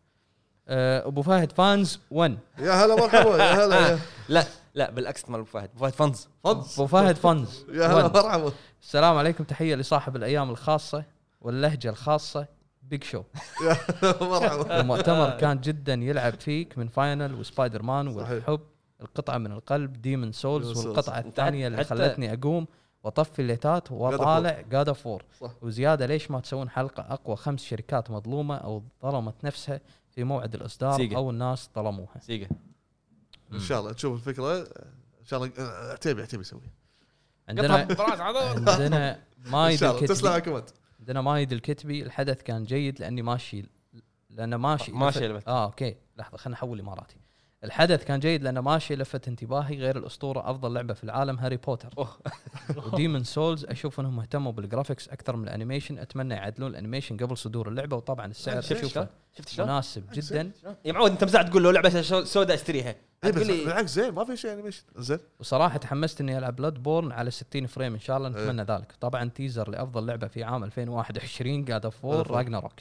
Speaker 3: أه، ابو فهد فانز 1
Speaker 2: يا هلا مرحبا يا هلا يا-
Speaker 1: لا لا بالعكس مال أبو فهد أبو فهد فنز
Speaker 2: فض
Speaker 3: ابو فهد فانز
Speaker 2: يا هلا
Speaker 3: 1
Speaker 2: مرحبا
Speaker 3: السلام عليكم تحيه لصاحب الايام الخاصه واللهجه الخاصه بيج شو
Speaker 2: مرحبا
Speaker 3: المؤتمر كان جدا يلعب فيك من فاينل وسبايدر مان
Speaker 2: صحيح.
Speaker 3: والحب القطعه من القلب ديمن
Speaker 2: Demon
Speaker 3: سولز
Speaker 2: Souls.
Speaker 3: والقطعه
Speaker 1: أنت
Speaker 3: الثانيه اللي
Speaker 1: حتى-
Speaker 3: خلتني اقوم واطفي الليتات واطالع جادا فور
Speaker 2: صح.
Speaker 3: وزياده ليش ما تسوون حلقه اقوى خمس شركات مظلومه او ظلمت نفسها في موعد الاصدار
Speaker 1: سيجا.
Speaker 3: او الناس ظلموها
Speaker 1: سيجا
Speaker 2: ان شاء الله تشوف الفكره ان شاء الله آه، عتيبي عتيبي يسويها
Speaker 3: عندنا عندنا
Speaker 2: ان
Speaker 3: مايد
Speaker 2: شاء الله تسلم
Speaker 3: الكتبي
Speaker 2: عليكم انت
Speaker 3: عندنا مايد الكتبي الحدث كان جيد لاني ماشي لانه ماشي
Speaker 1: ماشي
Speaker 3: لفت-
Speaker 1: لفت.
Speaker 3: اه اوكي لحظه خلينا احول اماراتي الحدث كان جيد لانه ماشي لفت انتباهي غير الاسطوره افضل لعبه في العالم هاري بوتر وديمن سولز اشوف انهم اهتموا بالجرافكس اكثر من الانيميشن اتمنى يعدلون الانيميشن قبل صدور اللعبه وطبعا السعر
Speaker 1: شفت شلون؟
Speaker 3: اشوفه
Speaker 1: شفت شلون؟
Speaker 3: مناسب جدا
Speaker 1: يا معود انت مساعد تقول له لعبه سو- سوداء اشتريها
Speaker 2: اي بس
Speaker 1: تقول لي-
Speaker 2: بالعكس زين ما في شيء انيميشن زين
Speaker 3: وصراحه تحمست اني العب بلاد بورن على 60 فريم ان شاء الله
Speaker 2: إيه.
Speaker 3: نتمنى ذلك طبعا تيزر لافضل لعبه في عام 2021 قاعد
Speaker 2: God
Speaker 3: اوف
Speaker 2: of War.
Speaker 3: راجناروك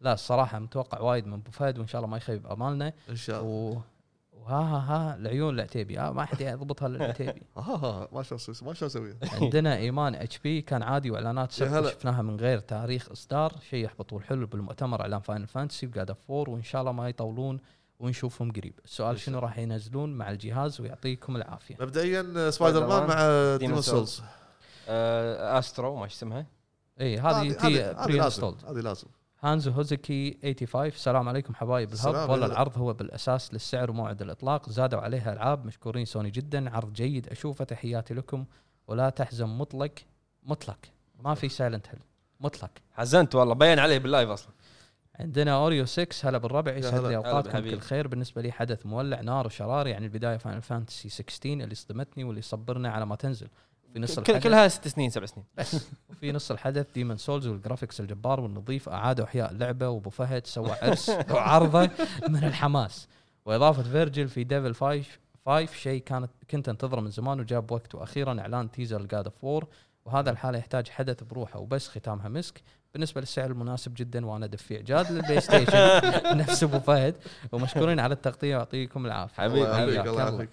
Speaker 3: لا الصراحه متوقع وايد من ابو فهد وان شاء الله ما يخيب امالنا
Speaker 2: ان شاء الله
Speaker 3: و... وها ها ها العيون العتيبي آه ما حد يضبطها للعتيبي
Speaker 2: ها آه، ما شلون أسوي- ما شلون اسويها
Speaker 3: عندنا ايمان اتش بي كان عادي واعلانات
Speaker 2: يا
Speaker 3: سبق
Speaker 2: هلا.
Speaker 3: شفناها من غير تاريخ اصدار شيء يحبط والحلو بالمؤتمر اعلان فاينل فانتسي وجاد اوف فور وان شاء الله ما يطولون ونشوفهم قريب السؤال شنو راح ينزلون مع الجهاز ويعطيكم العافيه
Speaker 2: مبدئيا آه، سبايدر مان
Speaker 1: مان
Speaker 2: مع
Speaker 1: ديمون
Speaker 2: ديمون سولز
Speaker 1: آه، استرو ما إيش اسمها
Speaker 3: اي إيه، هذه تي
Speaker 2: هذه
Speaker 3: بري
Speaker 2: لازم
Speaker 3: انستولد
Speaker 2: هذه لازم
Speaker 3: هانز هوزكي 85 السلام عليكم حبايب
Speaker 2: السلام
Speaker 3: الهب والله
Speaker 2: عليكم.
Speaker 3: العرض هو بالاساس للسعر وموعد الاطلاق زادوا عليها العاب مشكورين سوني جدا عرض جيد اشوفه تحياتي لكم ولا تحزن مطلق مطلق ما في سايلنت هيل مطلق
Speaker 1: حزنت والله بين عليه باللايف اصلا
Speaker 3: عندنا اوريو 6 هلا بالربع يسعد
Speaker 2: هلا.
Speaker 3: لي
Speaker 1: هلا
Speaker 3: اوقاتكم
Speaker 1: بالحبيب.
Speaker 3: كل خير بالنسبه لي حدث مولع نار وشرار يعني البدايه فاينل فانتسي 16 اللي صدمتني واللي صبرنا على ما تنزل في نص
Speaker 1: كل-
Speaker 3: الحدث
Speaker 1: كلها ست سنين سبع سنين
Speaker 3: في نص الحدث ديمن سولز والجرافيكس الجبار والنظيف اعادوا احياء اللعبه وابو فهد سوى عرس وعرضه من الحماس واضافه فيرجل في ديفل فايف فايف شيء كانت كنت انتظره من زمان وجاب وقته واخيرا اعلان تيزر الجاد اوف وور وهذا الحاله يحتاج حدث بروحه وبس ختامها مسك بالنسبه للسعر المناسب جدا وانا دفيع جاد للبلاي ستيشن نفس ابو فهد ومشكورين على التغطيه ويعطيكم العافيه
Speaker 1: حبيبي،
Speaker 2: الله
Speaker 1: حبيبي،
Speaker 2: يعافيك، الله
Speaker 3: يعافيك.
Speaker 2: يعافيك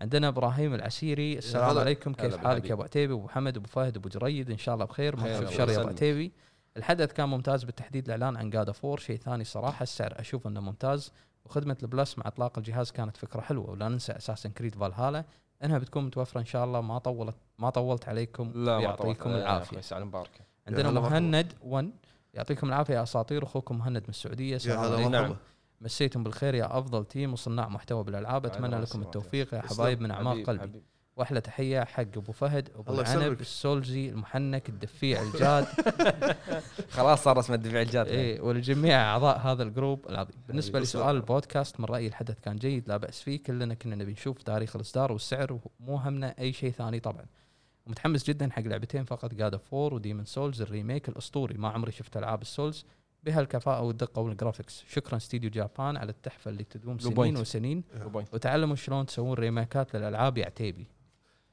Speaker 3: عندنا ابراهيم العسيري السلام
Speaker 2: هلا.
Speaker 3: عليكم
Speaker 1: هلا
Speaker 3: كيف
Speaker 1: بالحبيب.
Speaker 3: حالك يا ابو عتيبي ابو محمد ابو فهد ابو جريد ان شاء الله بخير
Speaker 1: خير
Speaker 3: ما
Speaker 1: الله
Speaker 3: في شر يا ابو
Speaker 1: يسلمك.
Speaker 3: عتيبي الحدث كان ممتاز بالتحديد الاعلان عن جادا فور شيء ثاني صراحه السعر اشوف انه ممتاز وخدمه البلس مع اطلاق الجهاز كانت فكره حلوه ولا ننسى اساسا كريد فالهالا انها بتكون متوفره ان شاء الله ما طولت ما طولت عليكم
Speaker 1: لا ما طولت.
Speaker 3: يعطيكم
Speaker 1: لا، لا،
Speaker 3: العافيه
Speaker 1: أخوي، سعد مبارك
Speaker 3: عندنا
Speaker 2: هلا مرحبا.
Speaker 3: مهند 1 يعطيكم العافيه يا اساطير اخوكم مهند من السعوديه
Speaker 2: يا
Speaker 3: السلام
Speaker 2: هلا
Speaker 3: عليكم
Speaker 1: نعم.
Speaker 2: مرحبا
Speaker 3: مسيتم بالخير يا افضل تيم وصناع محتوى بالالعاب
Speaker 1: بعد
Speaker 3: اتمنى
Speaker 1: الله
Speaker 3: لكم
Speaker 1: يسلمك.
Speaker 3: التوفيق يا
Speaker 2: تسلم.
Speaker 3: حبايب من اعماق
Speaker 1: حبيب،
Speaker 3: قلبي
Speaker 1: حبيب.
Speaker 3: واحلى تحيه حق ابو فهد ابو
Speaker 2: الله
Speaker 3: العنب
Speaker 2: يسلمك.
Speaker 3: السولزي المحنك الدفيع الجاد
Speaker 1: خلاص صار اسمه الدفاع الجاد
Speaker 3: إيه ولجميع اعضاء هذا الجروب العظيم بالنسبه
Speaker 1: يسلمك.
Speaker 3: لسؤال البودكاست من رايي الحدث كان جيد لا باس فيه كلنا كنا نبي نشوف تاريخ الاصدار والسعر ومو همنا اي شيء ثاني طبعا ومتحمس جدا حق لعبتين فقط جاد اوف 4 وديمن سولز الريميك الاسطوري ما عمري شفت العاب السولز بهالكفاءه والدقه والجرافكس شكرا استديو جابان على التحفه اللي تدوم
Speaker 1: بلو
Speaker 3: سنين
Speaker 1: بوينت.
Speaker 3: وسنين
Speaker 1: بلو بوينت
Speaker 3: وتعلموا شلون تسوون ريميكات للالعاب يا عتيبي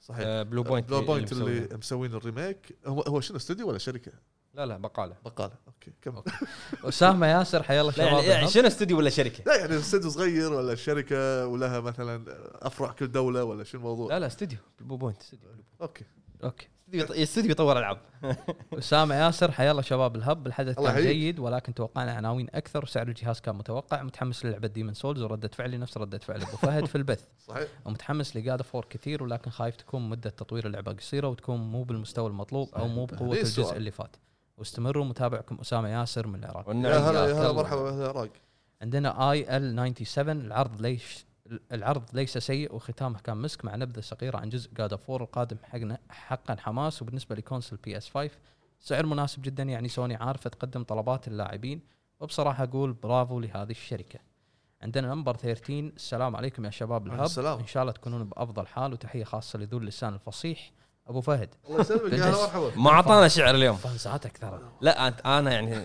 Speaker 2: صحيح
Speaker 1: آه، بلو بوينت
Speaker 2: بلو بوينت
Speaker 1: مسويها.
Speaker 2: اللي مسوين الريميك هو هو شنو استوديو ولا شركه؟
Speaker 1: لا لا بقاله
Speaker 2: بقاله اوكي كمل
Speaker 3: اسامه ياسر حيالله
Speaker 1: لا يعني-
Speaker 3: شباب
Speaker 1: يعني
Speaker 3: يعني
Speaker 1: شنو استوديو ولا شركه؟
Speaker 2: لا يعني استوديو صغير ولا شركه ولها مثلا افرع كل دوله ولا شو الموضوع؟
Speaker 1: لا لا استوديو بلو بوينت استوديو
Speaker 2: اوكي
Speaker 3: اوكي
Speaker 1: استوديو- استوديو يطور العاب
Speaker 3: اسامه ياسر حيالله شباب الهب الحدث
Speaker 2: الله
Speaker 3: كان
Speaker 2: يحييك.
Speaker 3: جيد ولكن توقعنا عناوين اكثر وسعر الجهاز كان متوقع متحمس للعبه ديمن سولز ورده فعلي نفس رده فعل ابو فهد في البث
Speaker 2: صحيح
Speaker 3: ومتحمس لجاد فور كثير ولكن خايف تكون مده تطوير اللعبه قصيره وتكون مو بالمستوى المطلوب او مو بقوه
Speaker 2: ليه
Speaker 3: الجزء
Speaker 2: السؤال؟
Speaker 3: اللي فات واستمروا متابعكم اسامه ياسر من العراق
Speaker 1: والنعم
Speaker 2: يا هلا يا هلا
Speaker 1: الله.
Speaker 2: مرحبا يا هلا راق
Speaker 3: عندنا اي ال 97 العرض ليش العرض ليس سيء وختامه كان مسك مع نبذه صغيره عن جزء جاد اوف القادم حقنا حقا حماس وبالنسبه لكونسل بي اس 5 سعر مناسب جدا يعني سوني عارفه تقدم طلبات اللاعبين وبصراحه اقول برافو لهذه الشركه عندنا نمبر 13 السلام عليكم يا شباب الهب
Speaker 2: السلام.
Speaker 3: ان شاء الله تكونون بافضل حال وتحيه خاصه لذو اللسان الفصيح ابو فهد
Speaker 2: الله يسلمك يا هلا مرحبا
Speaker 1: ما اعطانا شعر اليوم
Speaker 3: فانزاتك ترى
Speaker 1: لا أنت- انا يعني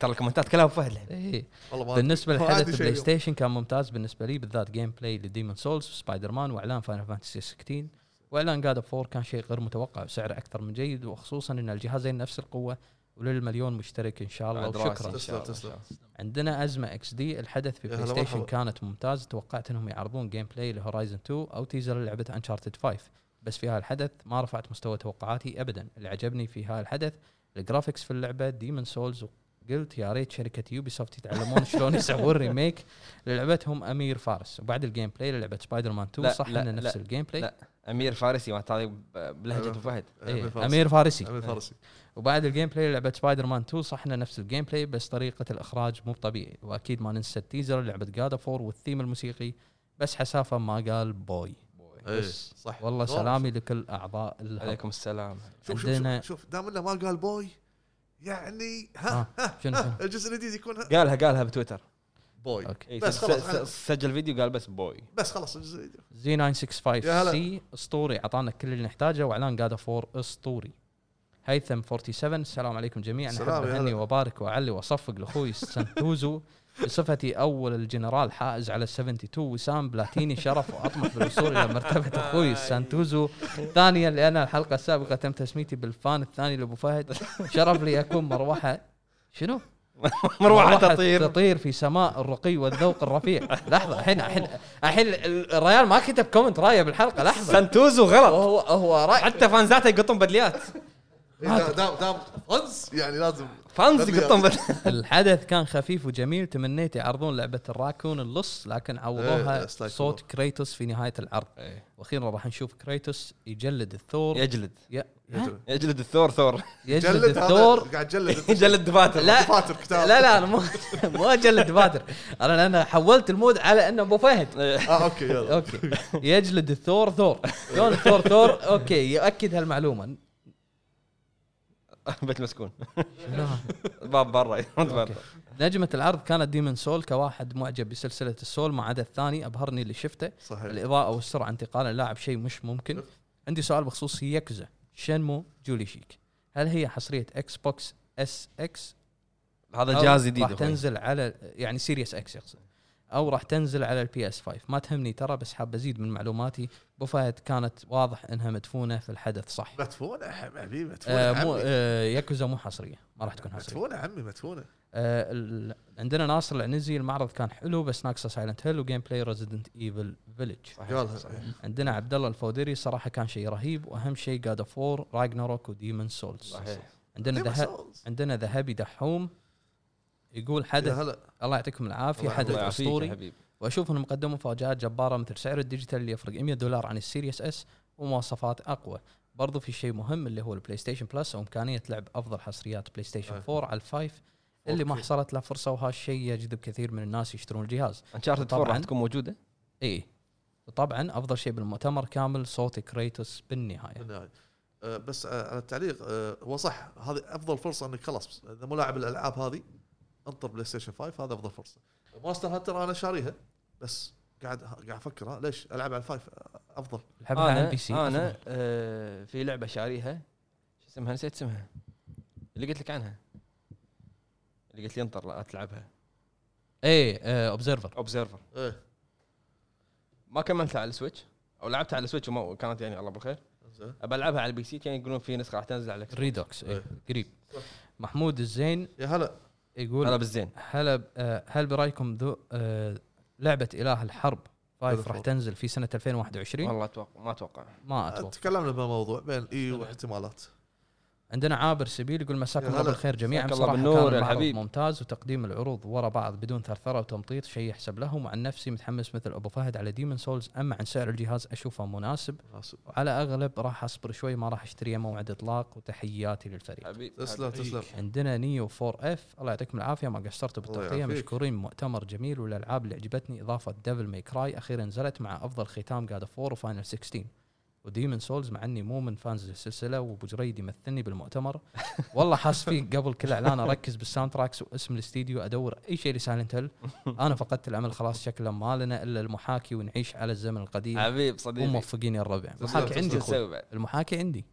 Speaker 1: ترى الكومنتات كلها فهد الحين.
Speaker 3: ايه
Speaker 2: والله ما
Speaker 3: بالنسبه
Speaker 2: ما عندي
Speaker 3: لحدث
Speaker 2: شيء
Speaker 3: بلاي
Speaker 2: اليوم.
Speaker 3: ستيشن كان ممتاز بالنسبه لي بالذات جيم بلاي لديمون سولز وسبايدر مان واعلان فاينل فانتسي 16 واعلان جاد اوف 4 كان شيء غير متوقع وسعره اكثر من جيد وخصوصا ان الجهازين نفس القوه وللمليون مشترك ان شاء الله
Speaker 1: بعد راسي
Speaker 3: وشكرا
Speaker 1: إن شاء الله.
Speaker 2: تسلم،
Speaker 3: عندنا ازمه اكس دي الحدث في
Speaker 2: يا
Speaker 3: بلاي
Speaker 2: هلا
Speaker 3: ستيشن
Speaker 2: مرحبا.
Speaker 3: كانت ممتاز توقعت انهم يعرضون جيم بلاي لهورايزن 2 او تيزر للعبه انشارتد 5 بس في هالحدث ما رفعت مستوى توقعاتي ابدا اللي عجبني في هالحدث الجرافيكس في اللعبه ديمن سولز قلت يا ريت شركه يوبي سوفت يتعلمون شلون يسوون ريميك للعبتهم امير فارس وبعد الجيم بلاي للعبه سبايدر مان 2
Speaker 1: لا،
Speaker 3: صح
Speaker 1: لا،
Speaker 3: انه نفس
Speaker 1: لا،
Speaker 3: الجيم بلاي
Speaker 1: لا. امير فارسي ما هذه بلهجه ابو فهد
Speaker 3: إيه،
Speaker 2: فارسي.
Speaker 3: امير فارسي
Speaker 2: امير فارسي
Speaker 3: وبعد الجيم بلاي لعبه سبايدر مان 2 صح انها نفس الجيم بلاي بس طريقه الاخراج مو طبيعي واكيد ما ننسى التيزر لعبه جاد فور والثيم الموسيقي بس حسافه ما قال بوي
Speaker 2: إيه،
Speaker 3: بس
Speaker 2: صح
Speaker 3: والله
Speaker 2: والله.
Speaker 3: سلامي لكل اعضاء الهب.
Speaker 1: عليكم السلام
Speaker 2: شوف شوف
Speaker 3: عندنا-
Speaker 2: شوف, شوف دام انه ما قال بوي يعني ها
Speaker 3: آه، شنو شنو
Speaker 2: ها الجزء الجديد يكون ها
Speaker 1: قالها قالها بتويتر
Speaker 2: بوي
Speaker 3: اوكي
Speaker 1: إيه،
Speaker 2: بس
Speaker 1: س-
Speaker 2: خلاص،
Speaker 1: س-
Speaker 2: خلاص.
Speaker 1: سجل فيديو قال بس بوي
Speaker 2: بس خلاص الجزء الجديد
Speaker 3: زي 965
Speaker 2: يا هلا.
Speaker 3: سي اسطوري اعطانا كل اللي نحتاجه واعلان جاد فور اسطوري هيثم 47 السلام عليكم جميعا احب
Speaker 2: السلام، يا هلا.
Speaker 3: اهني وابارك واعلي واصفق لاخوي سنتوزو بصفتي اول الجنرال حائز على 72 وسام بلاتيني شرف واطمح بالوصول الى مرتبه اخوي سانتوزو ثانيا لان الحلقه السابقه تم تسميتي بالفان الثاني لابو فهد شرف لي اكون مروحه شنو؟
Speaker 1: مروحه تطير
Speaker 3: تطير في سماء الرقي والذوق الرفيع لحظه الحين الحين الحين ال- الريال ما كتب كومنت رايه بالحلقه لحظه
Speaker 1: سنتوزو غلط
Speaker 3: هو هو راي
Speaker 1: حتى فانزاته يقطون بدليات
Speaker 2: إيه، دام دام- دام فانز يعني لازم
Speaker 1: فانز
Speaker 2: خلي-
Speaker 1: يقطون بس
Speaker 3: الحدث كان خفيف وجميل تمنيت يعرضون لعبه الراكون اللص لكن
Speaker 2: إيه،
Speaker 3: عوضوها
Speaker 2: Sly
Speaker 3: صوت
Speaker 2: Cooper.
Speaker 3: كريتوس في نهايه العرض واخيرا راح نشوف كريتوس يجلد الثور
Speaker 1: يجلد
Speaker 3: ي-
Speaker 2: يجلد.
Speaker 1: يجلد الثور ثور
Speaker 3: يجلد
Speaker 2: جلد
Speaker 3: الثور
Speaker 2: هذا قاعد جلد
Speaker 1: يجلد دفاتر
Speaker 3: لا
Speaker 2: فاتر كتاب
Speaker 3: لا لا انا مو مو اجلد بادر انا لان حولت المود على انه ابو فهد
Speaker 2: اه اوكي يلا
Speaker 3: اوكي يجلد الثور ثور كون الثور ثور اوكي يؤكد هالمعلومه
Speaker 1: بيت مسكون باب برا يرد برا
Speaker 3: نجمة العرض كانت ديمن سول كواحد معجب بسلسلة السول ما عدا الثاني ابهرني اللي شفته
Speaker 2: صحيح
Speaker 3: الاضاءة والسرعة انتقال اللاعب شيء مش ممكن عندي سؤال بخصوص يكزا شنمو جولي شيك هل هي حصرية اكس بوكس اس اكس
Speaker 1: هذا
Speaker 3: أو
Speaker 1: جهاز جديد
Speaker 3: راح
Speaker 1: أخوي.
Speaker 3: تنزل على يعني سيريس اكس يقصد او راح تنزل على البي اس 5 ما تهمني ترى بس حاب ازيد من معلوماتي ابو فهد كانت واضح انها مدفونه في الحدث صح
Speaker 2: مدفونه حبيبي مدفونه
Speaker 3: آه مو
Speaker 2: عمي.
Speaker 3: آه يكوزا مو حصريه ما راح تكون حصريه
Speaker 2: مدفونه عمي مدفونه
Speaker 3: آه ال- عندنا ناصر العنزي المعرض كان حلو بس ناقصه سايلنت هيل وجيم بلاي ريزيدنت ايفل فيلج
Speaker 2: قالها صحيح
Speaker 3: عندنا عبد الله الفوديري صراحه كان شيء رهيب واهم شيء جاد اوف وور راجناروك وديمن سولز
Speaker 1: صحيح.
Speaker 3: عندنا
Speaker 2: Demon's
Speaker 3: ذه...
Speaker 2: Souls.
Speaker 3: عندنا ذهبي دحوم يقول حدث
Speaker 2: يا هلا
Speaker 3: الله يعطيكم العافيه
Speaker 2: الله
Speaker 3: حدث
Speaker 1: الله يعافيك يا
Speaker 3: اسطوري
Speaker 1: حبيبي.
Speaker 3: واشوف انهم قدموا مفاجات جباره مثل سعر الديجيتال اللي يفرق 100 دولار عن السيريس اس ومواصفات اقوى برضو في شيء مهم اللي هو البلاي ستيشن بلس وامكانيه لعب افضل حصريات بلاي ستيشن 4 على الفايف اللي ما حصلت له فرصه وهالشيء يجذب كثير من الناس يشترون الجهاز
Speaker 1: انشارتد 4
Speaker 3: طبعاً.
Speaker 1: راح تكون موجوده
Speaker 3: اي وطبعا افضل شيء بالمؤتمر كامل صوت كريتوس بالنهايه
Speaker 2: بالنهاية. آه، بس آه، على التعليق آه، هو صح هذه افضل فرصه انك خلاص اذا مو لاعب الالعاب هذه انطر بلاي ستيشن 5 هذا افضل فرصه ماستر هانتر انا شاريها بس قاعد قاعد افكر ها ليش العب على الفايف آه، افضل
Speaker 3: العبها على
Speaker 1: انا
Speaker 3: البي سي
Speaker 1: انا آه، في لعبه شاريها شو اسمها نسيت اسمها اللي قلت لك عنها اللي قلت لي انطر لا تلعبها
Speaker 3: اي اوبزرفر
Speaker 1: اوبزرفر
Speaker 2: ايه
Speaker 1: ما كملتها على السويتش او لعبتها على السويتش وما كانت يعني الله بالخير
Speaker 2: زين
Speaker 1: ابى العبها على البي سي كانوا يقولون في نسخه راح تنزل على الكس
Speaker 3: ريدوكس إيه، قريب محمود الزين
Speaker 2: يا هلا
Speaker 3: يقول
Speaker 1: هلا بالزين
Speaker 3: هل آه، هل برايكم ذو آه، لعبه اله الحرب فايف راح
Speaker 2: بالضبط.
Speaker 3: تنزل في سنه 2021
Speaker 1: والله اتوقع ما اتوقع
Speaker 3: ما اتوقع
Speaker 2: تكلمنا بالموضوع بين اي واحتمالات
Speaker 3: عندنا عابر سبيل يقول مساكم
Speaker 2: يا
Speaker 3: الله
Speaker 2: هلا.
Speaker 3: بالخير جميعا
Speaker 1: مساك الله
Speaker 3: بصراحه كان
Speaker 1: بالنور يا
Speaker 3: المعرض
Speaker 1: الحبيب.
Speaker 3: ممتاز وتقديم العروض ورا بعض بدون ثرثره وتمطيط شيء يحسب لهم وعن نفسي متحمس مثل ابو فهد على ديمن سولز اما عن سعر الجهاز اشوفه مناسب
Speaker 2: مناسب
Speaker 3: وعلى اغلب راح اصبر شوي ما راح اشتريه موعد اطلاق وتحياتي للفريق
Speaker 1: حبيب
Speaker 2: تسلم
Speaker 1: إيه.
Speaker 2: تسلم
Speaker 3: عندنا نيو 4 اف الله يعطيكم العافيه ما قصرتوا
Speaker 2: الله
Speaker 3: بالتغطيه
Speaker 2: يعافيك.
Speaker 3: مشكورين مؤتمر جميل والالعاب اللي عجبتني اضافه ديفل ماي كراي اخيرا نزلت مع افضل ختام جاد اوف 4 وفاينل 16 وديمن سولز مع اني مو من فانز السلسله وابو جريد يمثلني بالمؤتمر والله حاس فيه قبل كل اعلان اركز بالساوند تراكس واسم الاستديو ادور اي شيء لسايلنت هيل انا فقدت الامل خلاص شكله ما لنا الا المحاكي ونعيش على الزمن القديم
Speaker 1: حبيب صديقي
Speaker 3: وموفقين يا الربع
Speaker 2: تسلم،
Speaker 3: المحاكي
Speaker 2: تسلم.
Speaker 3: عندي
Speaker 1: شو
Speaker 3: اخوي
Speaker 1: نسوي بعد؟
Speaker 3: المحاكي عندي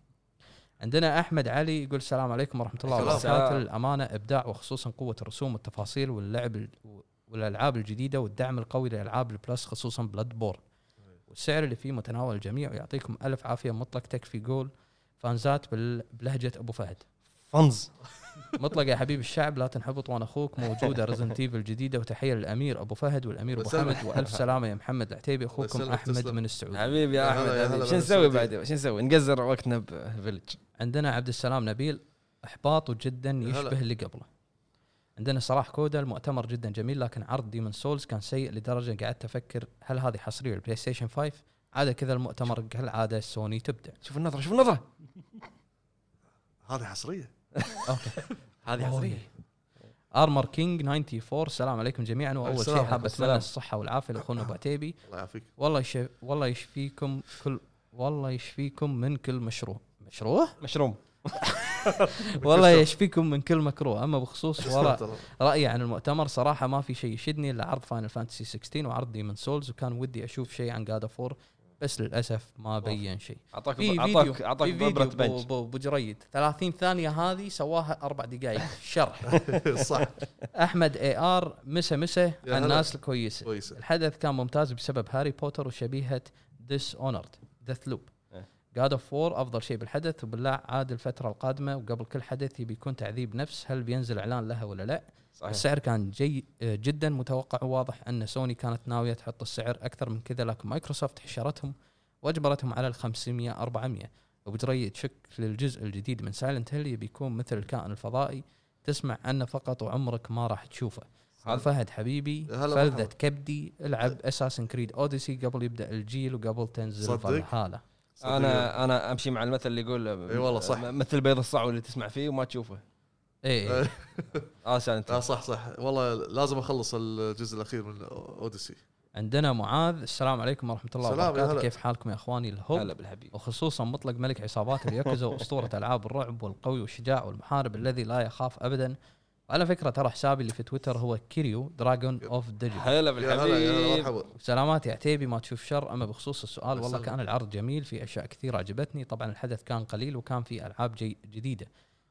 Speaker 3: عندنا احمد علي يقول السلام عليكم ورحمه الله
Speaker 2: السلام.
Speaker 3: وبركاته
Speaker 1: السلام.
Speaker 3: الامانه ابداع وخصوصا قوه الرسوم والتفاصيل واللعب ال- والالعاب الجديده والدعم القوي لالعاب البلس خصوصا بلاد بور والسعر اللي فيه متناول الجميع ويعطيكم الف عافيه مطلق تكفي جول فانزات بال- بلهجه ابو فهد
Speaker 1: فنز
Speaker 3: مطلق يا حبيب الشعب لا تنحبط وانا اخوك موجوده ريزنت ايفل الجديده وتحيه للامير ابو فهد والامير ابو
Speaker 2: بسلم.
Speaker 3: حمد والف سلامه يا محمد العتيبي اخوكم
Speaker 2: بسلم،
Speaker 3: احمد
Speaker 2: تسلم.
Speaker 3: من السعوديه
Speaker 1: حبيب
Speaker 2: يا
Speaker 1: يا
Speaker 2: هلا، يا
Speaker 1: احمد
Speaker 2: هلا
Speaker 1: حبيب شو
Speaker 2: بالسعودية.
Speaker 1: نسوي بعد شو نسوي نقزر وقتنا بفيلج
Speaker 3: عندنا عبد السلام نبيل احباط جدا
Speaker 2: هلا.
Speaker 3: يشبه اللي قبله عندنا صلاح كودا المؤتمر جدا جميل لكن عرض ديمون سولز كان سيء لدرجه قعدت افكر هل هذه حصريه البلاي ستيشن 5 عاده كذا المؤتمر كالعاده سوني تبدع
Speaker 1: شوف النظره شوف النظره
Speaker 2: هذه حصريه
Speaker 1: هذه حصريه
Speaker 3: ارمر كينج 94 السلام عليكم جميعا واول
Speaker 2: السلام
Speaker 3: شيء
Speaker 2: عليكم،
Speaker 3: حاب اتمنى
Speaker 1: السلام.
Speaker 3: الصحه والعافيه لاخونا ابو عتيبي
Speaker 2: الله يعافيك
Speaker 3: والله يش... والله يشفيكم كل والله يشفيكم من كل مشروع مشروع
Speaker 1: مشروم
Speaker 3: والله يشفيكم من كل مكروه اما بخصوص وراء
Speaker 2: تسلم، ترى.
Speaker 3: رايي عن المؤتمر صراحه ما في شيء يشدني الا عرض فاينل فانتسي 16 وعرض ديمن سولز وكان ودي اشوف شيء عن جاد فور بس للاسف ما بين شيء
Speaker 1: اعطاك
Speaker 3: في فيديو
Speaker 1: اعطاك
Speaker 3: في
Speaker 1: اعطاك
Speaker 3: فيديو
Speaker 1: ببره
Speaker 3: بو-
Speaker 1: بنش
Speaker 3: بو- بو جريد 30 ثانيه هذه سواها اربع دقائق شرح
Speaker 2: صح
Speaker 3: احمد اي ار مسا مسا
Speaker 2: هلا.
Speaker 3: على الناس الكويسه
Speaker 2: كويسه
Speaker 3: الحدث كان ممتاز بسبب هاري بوتر وشبيهه ديس اونرد ديث لوب
Speaker 1: إيه.
Speaker 3: جاد اوف وور افضل شيء بالحدث وبالله عاد الفتره القادمه وقبل كل حدث يبي يكون تعذيب نفس هل بينزل اعلان لها ولا لا
Speaker 1: صحيح
Speaker 3: السعر كان جي آه، جدا متوقع وواضح ان سوني كانت ناويه تحط السعر اكثر من كذا لكن مايكروسوفت حشرتهم واجبرتهم على ال 500 400 ابو جري تشكل الجزء الجديد من سايلنت هيل بيكون مثل الكائن الفضائي تسمع عنه فقط وعمرك ما راح تشوفه
Speaker 1: هذا-
Speaker 3: فهد حبيبي
Speaker 2: هلا
Speaker 3: فلذة
Speaker 2: مرحبا.
Speaker 3: كبدي العب اساسن كريد اوديسي قبل يبدا الجيل وقبل تنزل
Speaker 2: صدق؟
Speaker 3: فالهالا
Speaker 1: انا انا امشي مع المثل اللي يقول
Speaker 2: إي والله صح.
Speaker 1: مثل بيض الصعو اللي تسمع فيه وما تشوفه
Speaker 2: إيه.
Speaker 3: ايه
Speaker 1: اه سالنت
Speaker 2: آه صح صح والله لازم اخلص الجزء الاخير من اوديسي
Speaker 3: عندنا معاذ السلام عليكم ورحمه الله
Speaker 2: سلام يا
Speaker 3: وبركاته
Speaker 2: هلا.
Speaker 3: كيف حالكم يا اخواني الهب
Speaker 1: هلا بالحبيب
Speaker 3: وخصوصا مطلق ملك عصابات اليوكوزا واسطوره العاب الرعب والقوي والشجاع والمحارب الذي لا يخاف ابدا وعلى فكره ترى حسابي اللي في تويتر هو كيريو دراجون اوف ديجيتال
Speaker 1: هلا
Speaker 2: يا هلا يا
Speaker 1: بالحبيب
Speaker 2: مرحبا
Speaker 3: سلامات يا عتيبي ما تشوف شر اما بخصوص السؤال والله
Speaker 2: السلام.
Speaker 3: كان العرض جميل في اشياء كثير عجبتني طبعا الحدث كان قليل وكان في العاب جي جديده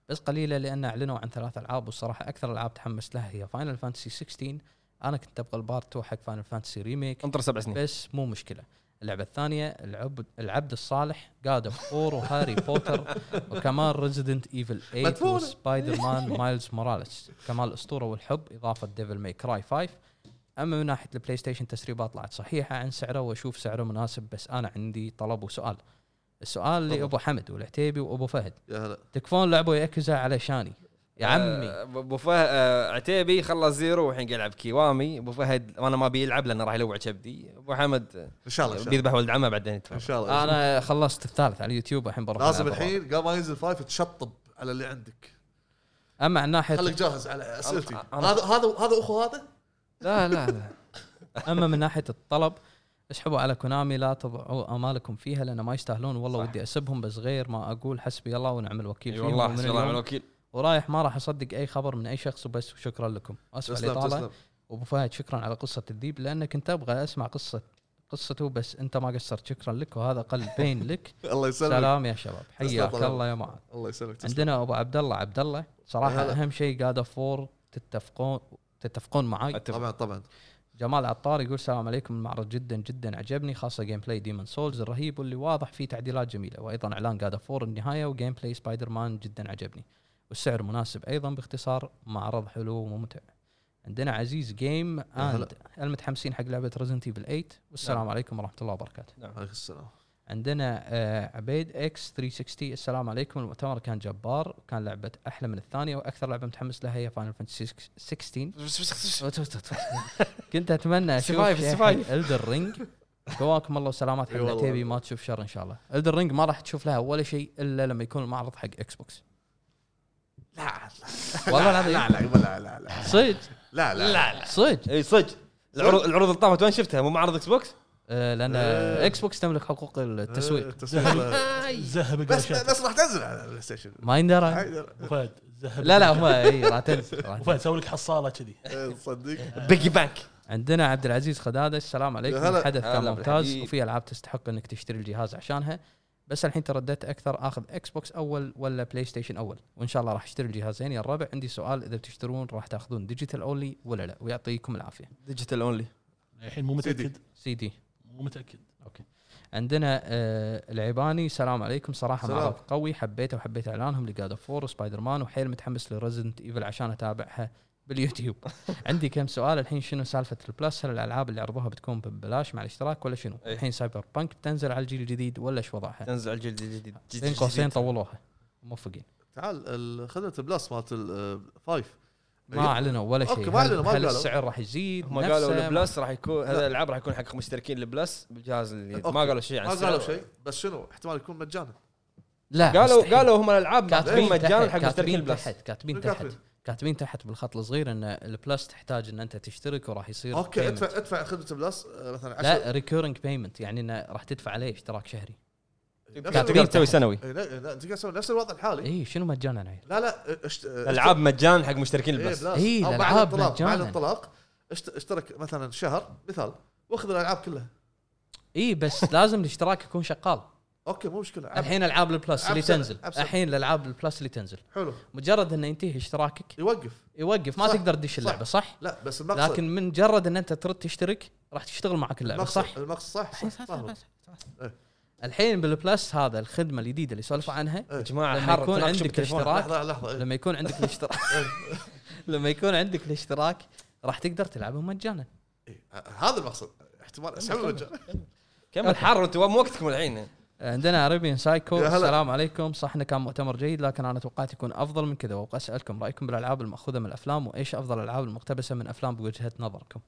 Speaker 3: بس قليله لان اعلنوا عن ثلاث العاب والصراحه اكثر العاب تحمست لها هي فاينل فانتسي 16 انا كنت ابغى البارت 2 حق فاينل فانتسي ريميك
Speaker 1: انطر سبع سنين
Speaker 3: بس مو مشكله اللعبه الثانيه العبد العبد الصالح جاد اوف وور وهاري بوتر وكمان ريزيدنت ايفل 8
Speaker 2: مدفونة.
Speaker 3: وسبايدر مان مايلز موراليس كمان الاسطوره والحب اضافه ديفل ماي كراي 5 اما من ناحيه البلاي ستيشن تسريبها طلعت صحيحه عن سعره واشوف سعره مناسب بس انا عندي طلب وسؤال السؤال
Speaker 2: تفضل.
Speaker 3: لابو حمد والعتيبي وابو فهد
Speaker 2: يا هلا
Speaker 3: تكفون لعبوا ياكوزا علشاني يا عمي
Speaker 1: آه، ابو فهد آه، عتيبي خلص زيرو والحين قاعد يلعب كيوامي ابو فهد انا ما ابي يلعب لانه راح يلوع كبدي ابو حمد آه،
Speaker 2: ان شاء الله ان شاء الله
Speaker 1: بيذبح ولد عمه بعدين يتفاهم
Speaker 2: ان شاء الله
Speaker 3: انا خلصت الثالث على اليوتيوب الحين بروح
Speaker 2: آه، لازم
Speaker 3: ألعب الرابع.
Speaker 2: الحين قبل ما ينزل فايف تشطب على اللي عندك
Speaker 3: اما عن ناحيه
Speaker 2: خليك جاهز على اسئلتي
Speaker 1: أنا- أنا-
Speaker 2: هذا هذا هذا اخو هذا
Speaker 1: لا لا لا
Speaker 3: اما من ناحيه الطلب اسحبوا على كونامي لا تضعوا امالكم فيها لان ما يستاهلون والله
Speaker 1: صح.
Speaker 3: ودي اسبهم بس غير ما اقول حسبي الله ونعم الوكيل
Speaker 1: اي
Speaker 3: فيهم
Speaker 1: والله
Speaker 3: ومن
Speaker 1: حسبي الله
Speaker 3: اليوم
Speaker 1: ونعم الوكيل
Speaker 3: ورايح ما راح اصدق اي خبر من اي شخص وبس وشكرا لكم اسف على
Speaker 2: تسلم
Speaker 3: الاطاله
Speaker 2: تسلم
Speaker 3: وابو فهد شكرا على قصه الذيب لان كنت ابغى اسمع قصه قصته بس انت ما قصرت شكرا لك وهذا قلبين لك
Speaker 2: الله يسلمك
Speaker 3: سلام يا شباب
Speaker 2: تسلم
Speaker 3: حياك
Speaker 2: طال
Speaker 3: الله يا معاذ
Speaker 2: الله يسلمك تسلم
Speaker 3: عندنا ابو عبد الله عبد الله صراحه
Speaker 2: هلا.
Speaker 3: اهم شيء قاعد فور تتفقون تتفقون معاي
Speaker 2: طبعا طبعا
Speaker 3: جمال عطار يقول السلام عليكم المعرض جدا جدا عجبني خاصه جيم بلاي ديمون سولز الرهيب واللي واضح فيه تعديلات جميله وايضا اعلان جاد فور النهايه وجيم بلاي سبايدر مان جدا عجبني والسعر مناسب ايضا باختصار معرض حلو وممتع عندنا عزيز جيم اند
Speaker 2: هلا.
Speaker 3: المتحمسين حق لعبه ريزنت ايفل 8 والسلام نعم. عليكم ورحمه الله وبركاته
Speaker 2: عليك السلام
Speaker 3: عندنا آه، عبيد اكس 360 السلام عليكم المؤتمر كان جبار وكان لعبه احلى من الثانيه واكثر لعبه متحمس لها هي فاينل فانتسي 16 كنت اتمنى اشوف
Speaker 1: Survive, survive.
Speaker 3: الدر رينج قواكم الله وسلامات حق
Speaker 2: إي أيوة، والله.
Speaker 3: العتيبي ما تشوف شر ان شاء الله الدر رينج ما راح تشوف لها ولا شيء الا لما يكون المعرض حق اكس بوكس
Speaker 2: لا
Speaker 3: والله
Speaker 2: لا لا
Speaker 3: العظيم
Speaker 2: لا لا لا
Speaker 3: صدق
Speaker 2: لا لا
Speaker 3: صدق
Speaker 1: اي صدق العروض العروض اللي طافت وين شفتها مو معرض اكس بوكس؟
Speaker 3: آه، لان
Speaker 2: إيه.
Speaker 3: اكس بوكس تملك حقوق
Speaker 2: آه.
Speaker 3: التسويق
Speaker 2: التسويق
Speaker 4: زهبك
Speaker 2: بس
Speaker 4: بس
Speaker 2: بس راح تنزل على البلاي ستيشن
Speaker 3: ما يندرى
Speaker 4: فهد زهبك
Speaker 3: لا لا هم اي راح تنزل راح تنزل.
Speaker 4: وفهد سوي لك حصاله كذي
Speaker 2: إيه، تصدق
Speaker 1: بيجي بانك
Speaker 3: عندنا عبد العزيز خداده السلام عليكم
Speaker 2: هلا.
Speaker 3: الحدث كان
Speaker 1: هلا
Speaker 3: ممتاز
Speaker 1: بالحبيب.
Speaker 3: وفي العاب تستحق انك تشتري الجهاز عشانها بس الحين ترددت اكثر اخذ اكس بوكس اول ولا بلاي ستيشن اول وان شاء الله راح اشتري الجهازين يا الربع عندي سؤال اذا بتشترون راح تاخذون ديجيتال اونلي ولا لا ويعطيكم العافيه
Speaker 1: ديجيتال اونلي
Speaker 4: الحين مو متاكد
Speaker 3: سي دي
Speaker 4: مو متاكد
Speaker 3: عندنا آه العيباني السلام عليكم صراحه
Speaker 2: سلام.
Speaker 3: معرض قوي حبيته وحبيت اعلانهم لجاد اوف فور وسبايدر مان وحيل متحمس لريزدنت ايفل عشان اتابعها باليوتيوب عندي كم سؤال الحين شنو سالفه البلس هل الالعاب اللي عرضوها بتكون ببلاش مع الاشتراك ولا شنو
Speaker 1: إيه.
Speaker 3: الحين سايبر بانك بتنزل على الجيل الجديد ولا ايش وضعها
Speaker 1: تنزل على الجيل الجديد
Speaker 3: بين قوسين طولوها موفقين
Speaker 2: تعال ال- خذت البلاس مالت الفايف
Speaker 3: ما اعلنوا ولا شيء
Speaker 2: أوكي، ما
Speaker 3: هل-
Speaker 2: أعلنوا، ما
Speaker 3: هل
Speaker 2: قالوا.
Speaker 3: السعر راح يزيد
Speaker 1: هم
Speaker 3: نفسه؟
Speaker 1: قالوا البلس راح يكون هذا
Speaker 2: لا.
Speaker 1: الالعاب راح يكون حق مشتركين البلس بالجهاز الجديد
Speaker 2: أوكي.
Speaker 1: ما قالوا شيء عن
Speaker 2: ما
Speaker 1: السعر.
Speaker 2: قالوا شيء بس شنو احتمال يكون مجانا
Speaker 3: لا
Speaker 1: قالوا
Speaker 3: مستحيل.
Speaker 1: قالوا هم الالعاب
Speaker 3: كاتبين
Speaker 1: كاتبين مجانا
Speaker 3: تحت-
Speaker 1: حق مشتركين
Speaker 3: كاتبين
Speaker 1: البلس
Speaker 3: تحت كاتبين
Speaker 2: شنو
Speaker 3: تحت
Speaker 2: كاتبين؟
Speaker 3: كاتبين تحت بالخط الصغير ان البلس تحتاج ان انت تشترك وراح يصير
Speaker 2: اوكي
Speaker 3: payment.
Speaker 2: ادفع ادفع خدمه بلس آه، مثلا 10
Speaker 3: لا ريكورنج بيمنت يعني انه راح تدفع عليه اشتراك شهري
Speaker 1: تقدر تسوي سنوي
Speaker 2: إيه، انت قاعد تسوي نفس الوضع الحالي
Speaker 3: اي شنو مجانا يعني
Speaker 2: لا لا اشت...
Speaker 1: العاب مجانا حق مشتركين البلس
Speaker 3: إيه،
Speaker 2: او بعد
Speaker 3: الألعاب
Speaker 2: الانطلاق بعد
Speaker 3: مجانا.
Speaker 2: الانطلاق اشت- اشترك مثلا شهر مثال واخذ الالعاب كلها
Speaker 3: اي بس لازم الاشتراك يكون شغال
Speaker 2: اوكي مو مشكله عب-
Speaker 3: الحين العاب البلس
Speaker 2: عب
Speaker 3: اللي
Speaker 2: سنة،
Speaker 3: تنزل
Speaker 2: عب سنة.
Speaker 3: الحين الالعاب البلس اللي تنزل
Speaker 2: حلو
Speaker 3: مجرد انه ينتهي اشتراكك
Speaker 2: يوقف
Speaker 3: يوقف ما
Speaker 2: صح،
Speaker 3: تقدر تدش
Speaker 2: صح.
Speaker 3: اللعبه صح
Speaker 2: لا بس المقصد
Speaker 3: لكن من مجرد ان انت ترد تشترك راح تشتغل معك اللعبه
Speaker 2: المقصد
Speaker 3: صح
Speaker 2: المقصد صح صح, صح, صح,
Speaker 3: الحين بالبلس هذا الخدمه الجديده اللي سولفوا عنها
Speaker 2: إيه.
Speaker 1: يا جماعه
Speaker 3: لما
Speaker 1: حر
Speaker 3: يكون
Speaker 1: تناقشوا
Speaker 3: عندك
Speaker 1: بالتليفون.
Speaker 3: اشتراك-
Speaker 2: لحظه لحظه إيه.
Speaker 3: لما يكون عندك الاشتراك لما يكون عندك الاشتراك راح تقدر تلعبهم مجانا
Speaker 2: إيه، ه- هذا المقصد احتمال اسحب المجال
Speaker 1: كمل حر انتم مو وقتكم الحين
Speaker 3: عندنا اريبيان سايكو
Speaker 2: يا هلا.
Speaker 3: السلام عليكم صح انه كان مؤتمر جيد لكن انا توقعت يكون افضل من كذا وابغى اسالكم رايكم بالالعاب الماخوذه من الافلام وايش افضل الالعاب المقتبسه من افلام بوجهه نظركم؟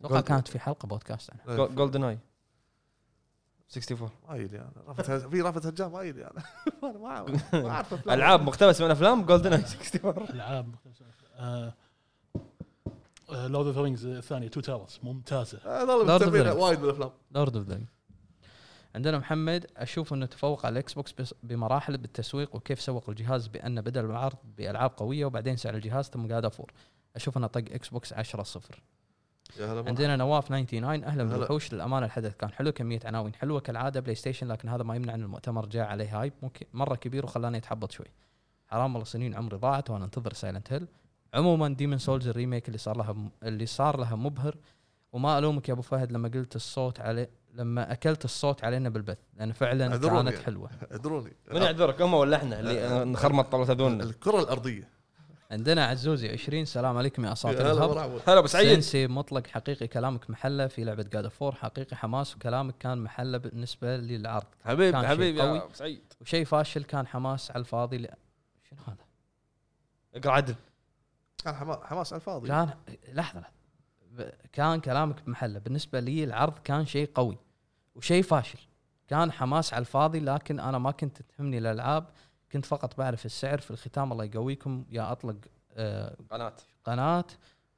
Speaker 3: اتوقع كانت في حلقه بودكاست عنها
Speaker 1: جولدن اي 64
Speaker 2: وايد يعني رافت هج- في رافت هجام وايد يعني أنا ما أعرف- ما اعرف أفلام.
Speaker 1: العاب مقتبسه من افلام جولدن اي 64
Speaker 4: العاب آه، لورد اوف رينجز الثانيه تو تاورز ممتازه
Speaker 2: آه، والله
Speaker 3: Lord of the
Speaker 2: مهتمين
Speaker 3: Rings.
Speaker 2: وايد بالافلام
Speaker 3: لورد اوف ذا عندنا محمد اشوف انه تفوق على الاكس بوكس بس- بمراحل بالتسويق وكيف سوق الجهاز بانه بدا العرض بالعاب قويه وبعدين سعر الجهاز ثم قاعد افور اشوف انه طق اكس بوكس 10 صفر
Speaker 2: يا هلا مرحبا.
Speaker 3: عندنا نواف 99 اهلا
Speaker 2: هلا.
Speaker 3: بالوحوش للامانه الحدث كان حلو كميه عناوين حلوه كالعاده بلاي ستيشن لكن هذا ما يمنع ان المؤتمر جاء عليه هايب ممكن مره كبير وخلاني اتحبط شوي حرام والله سنين عمري ضاعت وانا انتظر سايلنت هيل عموما ديمن سولز الريميك اللي صار لها اللي صار لها مبهر وما الومك يا ابو فهد لما قلت الصوت علي لما اكلت الصوت علينا بالبث لان فعلا
Speaker 2: أدروني.
Speaker 3: كانت حلوه
Speaker 2: ادروني
Speaker 1: من يعذرك هم ولا احنا اللي نخرمط طاوله اذوننا
Speaker 2: الكره الارضيه
Speaker 3: عندنا عزوزي 20 سلام عليكم يا
Speaker 2: يا
Speaker 3: اساطير
Speaker 2: هلا
Speaker 3: الهب
Speaker 2: مرحبا.
Speaker 1: هلا ابو سعيد
Speaker 3: سنسي مطلق حقيقي كلامك محله في لعبه جاد فور حقيقي حماس وكلامك كان محله بالنسبه للعرض
Speaker 1: حبيبي
Speaker 3: كان شيء
Speaker 1: حبيبي
Speaker 3: قوي.
Speaker 1: يا ابو سعيد
Speaker 3: وشيء فاشل كان حماس على الفاضي ل... شنو هذا؟
Speaker 1: اقرا عدل
Speaker 2: كان حما- حماس على الفاضي
Speaker 3: كان لحظه لحظة. ب- كان كلامك بمحله بالنسبه لي العرض كان شيء قوي وشيء فاشل كان حماس على الفاضي لكن انا ما كنت تهمني الالعاب كنت فقط بعرف السعر في الختام الله يقويكم يا اطلق آه،
Speaker 1: قناه
Speaker 3: قناه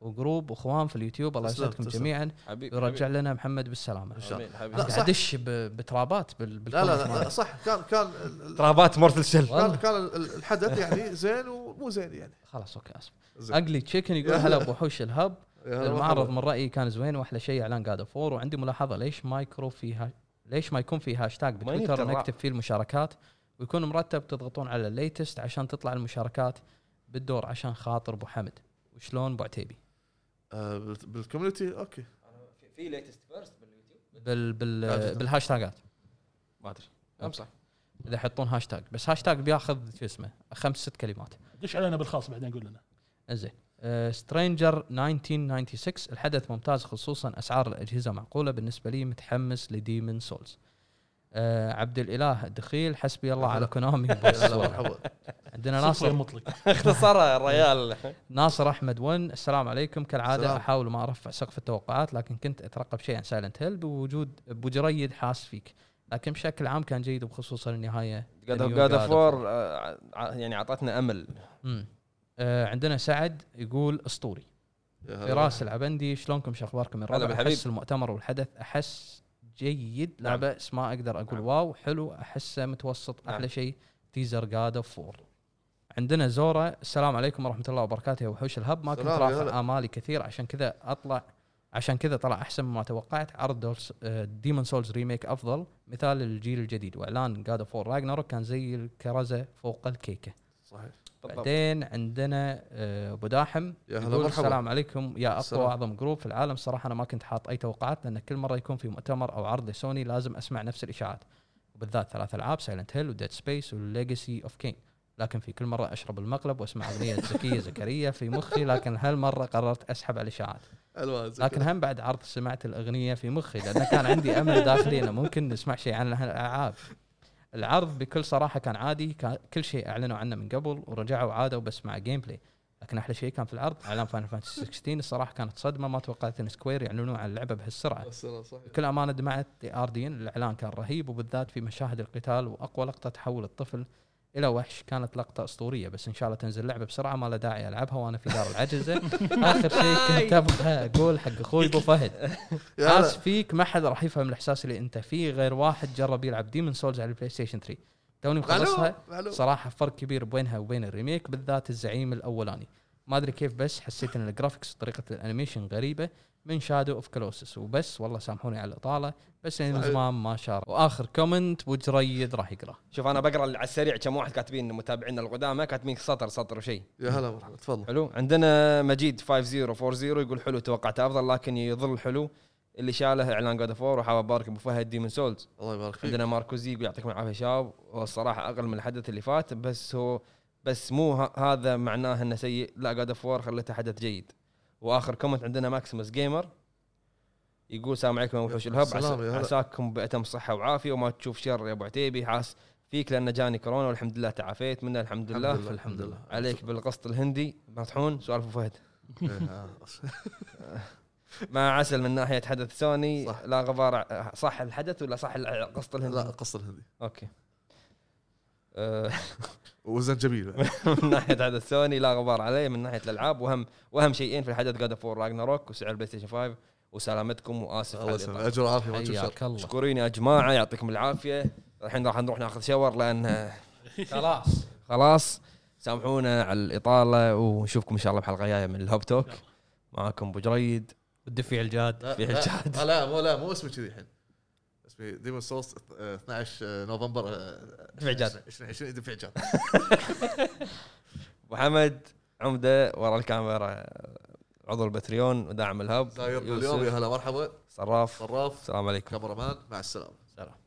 Speaker 3: وجروب واخوان في اليوتيوب الله
Speaker 2: تسلم،
Speaker 3: يسعدكم
Speaker 2: تسلم.
Speaker 3: جميعا
Speaker 1: حبيبي
Speaker 3: ويرجع لنا محمد بالسلامه
Speaker 2: إن شاء الله.
Speaker 1: حبيبي حبيبي
Speaker 2: لا،
Speaker 3: قاعد
Speaker 2: صح.
Speaker 3: ادش ب- بترابات بال
Speaker 2: لا لا
Speaker 3: بالكومنت
Speaker 2: لا
Speaker 3: مالك.
Speaker 2: صح كان كان ال- ال-
Speaker 1: ترابات مورتل شل
Speaker 2: كان
Speaker 3: والله.
Speaker 2: كان ال- الحدث يعني زين ومو زين يعني
Speaker 3: خلاص اوكي اسف
Speaker 2: زين.
Speaker 3: اقلي تشيكن يقول هلا بوحوش الهب
Speaker 2: يا هلا
Speaker 3: المعرض
Speaker 2: مرحبا.
Speaker 3: من رايي كان زوين واحلى شيء اعلان جاد فور وعندي ملاحظه ليش مايكرو في ها... ليش ما يكون في هاشتاج بتويتر
Speaker 1: يترع.
Speaker 3: نكتب فيه المشاركات ويكون مرتب تضغطون على الليتست عشان تطلع المشاركات بالدور عشان خاطر ابو حمد وشلون ابو عتيبي
Speaker 2: آه، بال- بالكوميونتي اوكي
Speaker 1: في ليتست فيرست باليوتيوب
Speaker 3: بال... بال...
Speaker 2: هاشتاج.
Speaker 3: بالهاشتاجات
Speaker 1: ما ادري امسح
Speaker 3: اذا يحطون هاشتاج بس هاشتاج بياخذ شو اسمه خمس ست كلمات
Speaker 4: دش علينا بالخاص بعدين قول لنا
Speaker 3: زين آه، سترينجر 1996 الحدث ممتاز خصوصا اسعار الاجهزه معقوله بالنسبه لي متحمس لديمن سولز آه عبد الاله الدخيل حسبي الله على كونامي
Speaker 2: يا هلا
Speaker 3: بوس.
Speaker 2: مرحبا
Speaker 3: عندنا
Speaker 4: صفر
Speaker 3: ناصر
Speaker 4: مطلق
Speaker 1: اختصرها الريال
Speaker 3: ناصر احمد ون السلام عليكم كالعاده
Speaker 2: سلام.
Speaker 3: احاول ما ارفع سقف التوقعات لكن كنت اترقب شيء عن سايلنت هيل بوجود ابو جريد حاس فيك لكن بشكل عام كان جيد وخصوصا النهايه
Speaker 1: جاد
Speaker 3: The new
Speaker 1: اوف
Speaker 3: God of
Speaker 1: فور يعني اعطتنا امل
Speaker 3: مم. آه عندنا سعد يقول اسطوري
Speaker 2: يا هلا
Speaker 3: فراس العبندي شلونكم شو اخباركم يا
Speaker 1: هلا
Speaker 3: الربع
Speaker 1: بالحبيب.
Speaker 3: احس المؤتمر والحدث احس جيد
Speaker 1: نعم.
Speaker 3: لعبه بس ما اقدر اقول
Speaker 1: نعم.
Speaker 3: واو حلو احسه متوسط
Speaker 1: نعم.
Speaker 3: احلى شيء تيزر جاد اوف فور عندنا زورا السلام عليكم ورحمه الله وبركاته يا وحوش الهب ما كنت
Speaker 2: سلام يا
Speaker 3: رافع
Speaker 2: هلا.
Speaker 3: امالي كثير عشان كذا اطلع عشان كذا طلع احسن مما توقعت آه، عرض ديمون سولز ريميك افضل مثال للجيل الجديد واعلان جاد اوف فور راجناروك كان زي الكرزه فوق الكيكه
Speaker 2: صحيح
Speaker 3: بعدين عندنا آه، ابو داحم
Speaker 2: يا هلا
Speaker 3: يقول
Speaker 2: مرحبا.
Speaker 3: السلام عليكم يا اقوى
Speaker 2: السلام.
Speaker 3: واعظم جروب في العالم صراحه انا ما كنت حاط اي توقعات لان كل مره يكون في مؤتمر او عرض لسوني لازم اسمع نفس الاشاعات وبالذات ثلاث العاب سايلنت هيل وديد سبيس والليجسي اوف كين لكن في كل مره اشرب المقلب واسمع اغنيه زكيه زكريا في مخي لكن هالمره قررت اسحب على الاشاعات
Speaker 2: الوان زين.
Speaker 3: لكن هم بعد عرض سمعت الاغنيه في مخي لان كان عندي امل داخلي انه ممكن نسمع شيء عن الالعاب العرض بكل صراحه كان عادي كان كل شيء اعلنوا عنه من قبل ورجعوا عادوا بس مع جيم بلاي لكن احلى شيء كان في العرض اعلان فاينل فانتسي 16 الصراحه كانت صدمه ما توقعت ان سكوير يعلنون عن اللعبه بهالسرعه
Speaker 2: السلام صحيح
Speaker 3: بكل امانه دمعت لاردين الاعلان كان رهيب وبالذات في مشاهد القتال واقوى لقطه تحول الطفل الى وحش كانت لقطه اسطوريه بس ان شاء الله تنزل لعبه بسرعه ما له داعي العبها وانا في دار العجزه اخر شيء كنت ابغى اقول حق اخوي ابو فهد
Speaker 2: يا
Speaker 3: حاس
Speaker 2: هلا
Speaker 3: فيك ما حد راح يفهم الاحساس اللي انت فيه غير واحد جرب يلعب ديمن سولز على البلاي ستيشن 3 توني مخلصها
Speaker 2: معلوم، معلوم.
Speaker 3: صراحه فرق كبير بينها وبين الريميك بالذات الزعيم الاولاني ما ادري كيف بس حسيت ان الجرافكس وطريقه الانيميشن غريبه من شادو اوف كلوسس وبس والله سامحوني على الاطاله بس لان
Speaker 2: صحيح.
Speaker 3: زمان ما شارك واخر كومنت وجريد راح يقراه
Speaker 1: شوف انا بقرا على السريع كم واحد كاتبين متابعينا القدامى كاتبين سطر سطر وشيء
Speaker 2: يا هلا مرحبا تفضل
Speaker 1: حلو عندنا مجيد 5040 يقول حلو توقعت افضل لكن يظل حلو اللي شاله اعلان جود فور وحاب ابارك ابو فهد ديمون سولز
Speaker 2: الله يبارك فيك
Speaker 1: عندنا ماركوزي يقول يعطيكم العافيه شباب هو الصراحه اقل من الحدث اللي فات بس هو بس مو ه- هذا معناه انه سيء لا جاد اوف وور خلته حدث جيد واخر كومنت عندنا ماكسيموس جيمر يقول السلام عليكم يا وحوش الهب
Speaker 2: سلام يا
Speaker 1: عسا-
Speaker 2: هلا.
Speaker 1: عساكم بأتم صحة وعافية وما تشوف شر يا أبو عتيبي حاس فيك لأن جاني كورونا والحمد لله تعافيت منها الحمد لله
Speaker 2: لله، الحمد لله.
Speaker 1: عليك بالقسط الهندي مطحون سؤال أبو فهد ما عسل من ناحية حدث سوني
Speaker 2: صح.
Speaker 1: لا غبار ع- صح الحدث ولا صح القسط الهندي
Speaker 2: لا القصه الهندي
Speaker 1: أوكي أه،
Speaker 2: وزنجبيل بعد.
Speaker 1: من ناحيه حدث سوني لا غبار عليه من ناحيه الالعاب واهم واهم شيئين في الحدث جاد اوف وور راجناروك وسعر البلاي ستيشن 5 وسلامتكم واسف على
Speaker 2: الله يسلمك
Speaker 1: الإطالة.
Speaker 2: اجر وعافيه ما تشوف شر
Speaker 3: حياك الله
Speaker 1: مشكورين يا جماعه يعطيكم العافيه الحين راح نروح ناخذ شاور لان
Speaker 3: خلاص
Speaker 1: خلاص سامحونا على الاطاله ونشوفكم ان شاء الله بحلقه جايه من الهوب توك معاكم ابو جريد
Speaker 3: والدفيع الجاد
Speaker 2: لا،
Speaker 1: في
Speaker 2: لا،
Speaker 1: حجاد.
Speaker 2: لا، لا مو لا مو اسمي كذي الحين اسمي ديمون سوس 12 نوفمبر
Speaker 1: دفع جاد.
Speaker 2: 2020 دفع جاد
Speaker 1: ابو حمد عمده ورا الكاميرا عضو البتريون وداعم الهب
Speaker 2: دايرنا
Speaker 1: يوسف،
Speaker 2: اليوم يا هلا مرحبا
Speaker 1: صراف
Speaker 2: صراف
Speaker 1: السلام عليكم
Speaker 2: كاميرامان مع السلامه
Speaker 3: سلام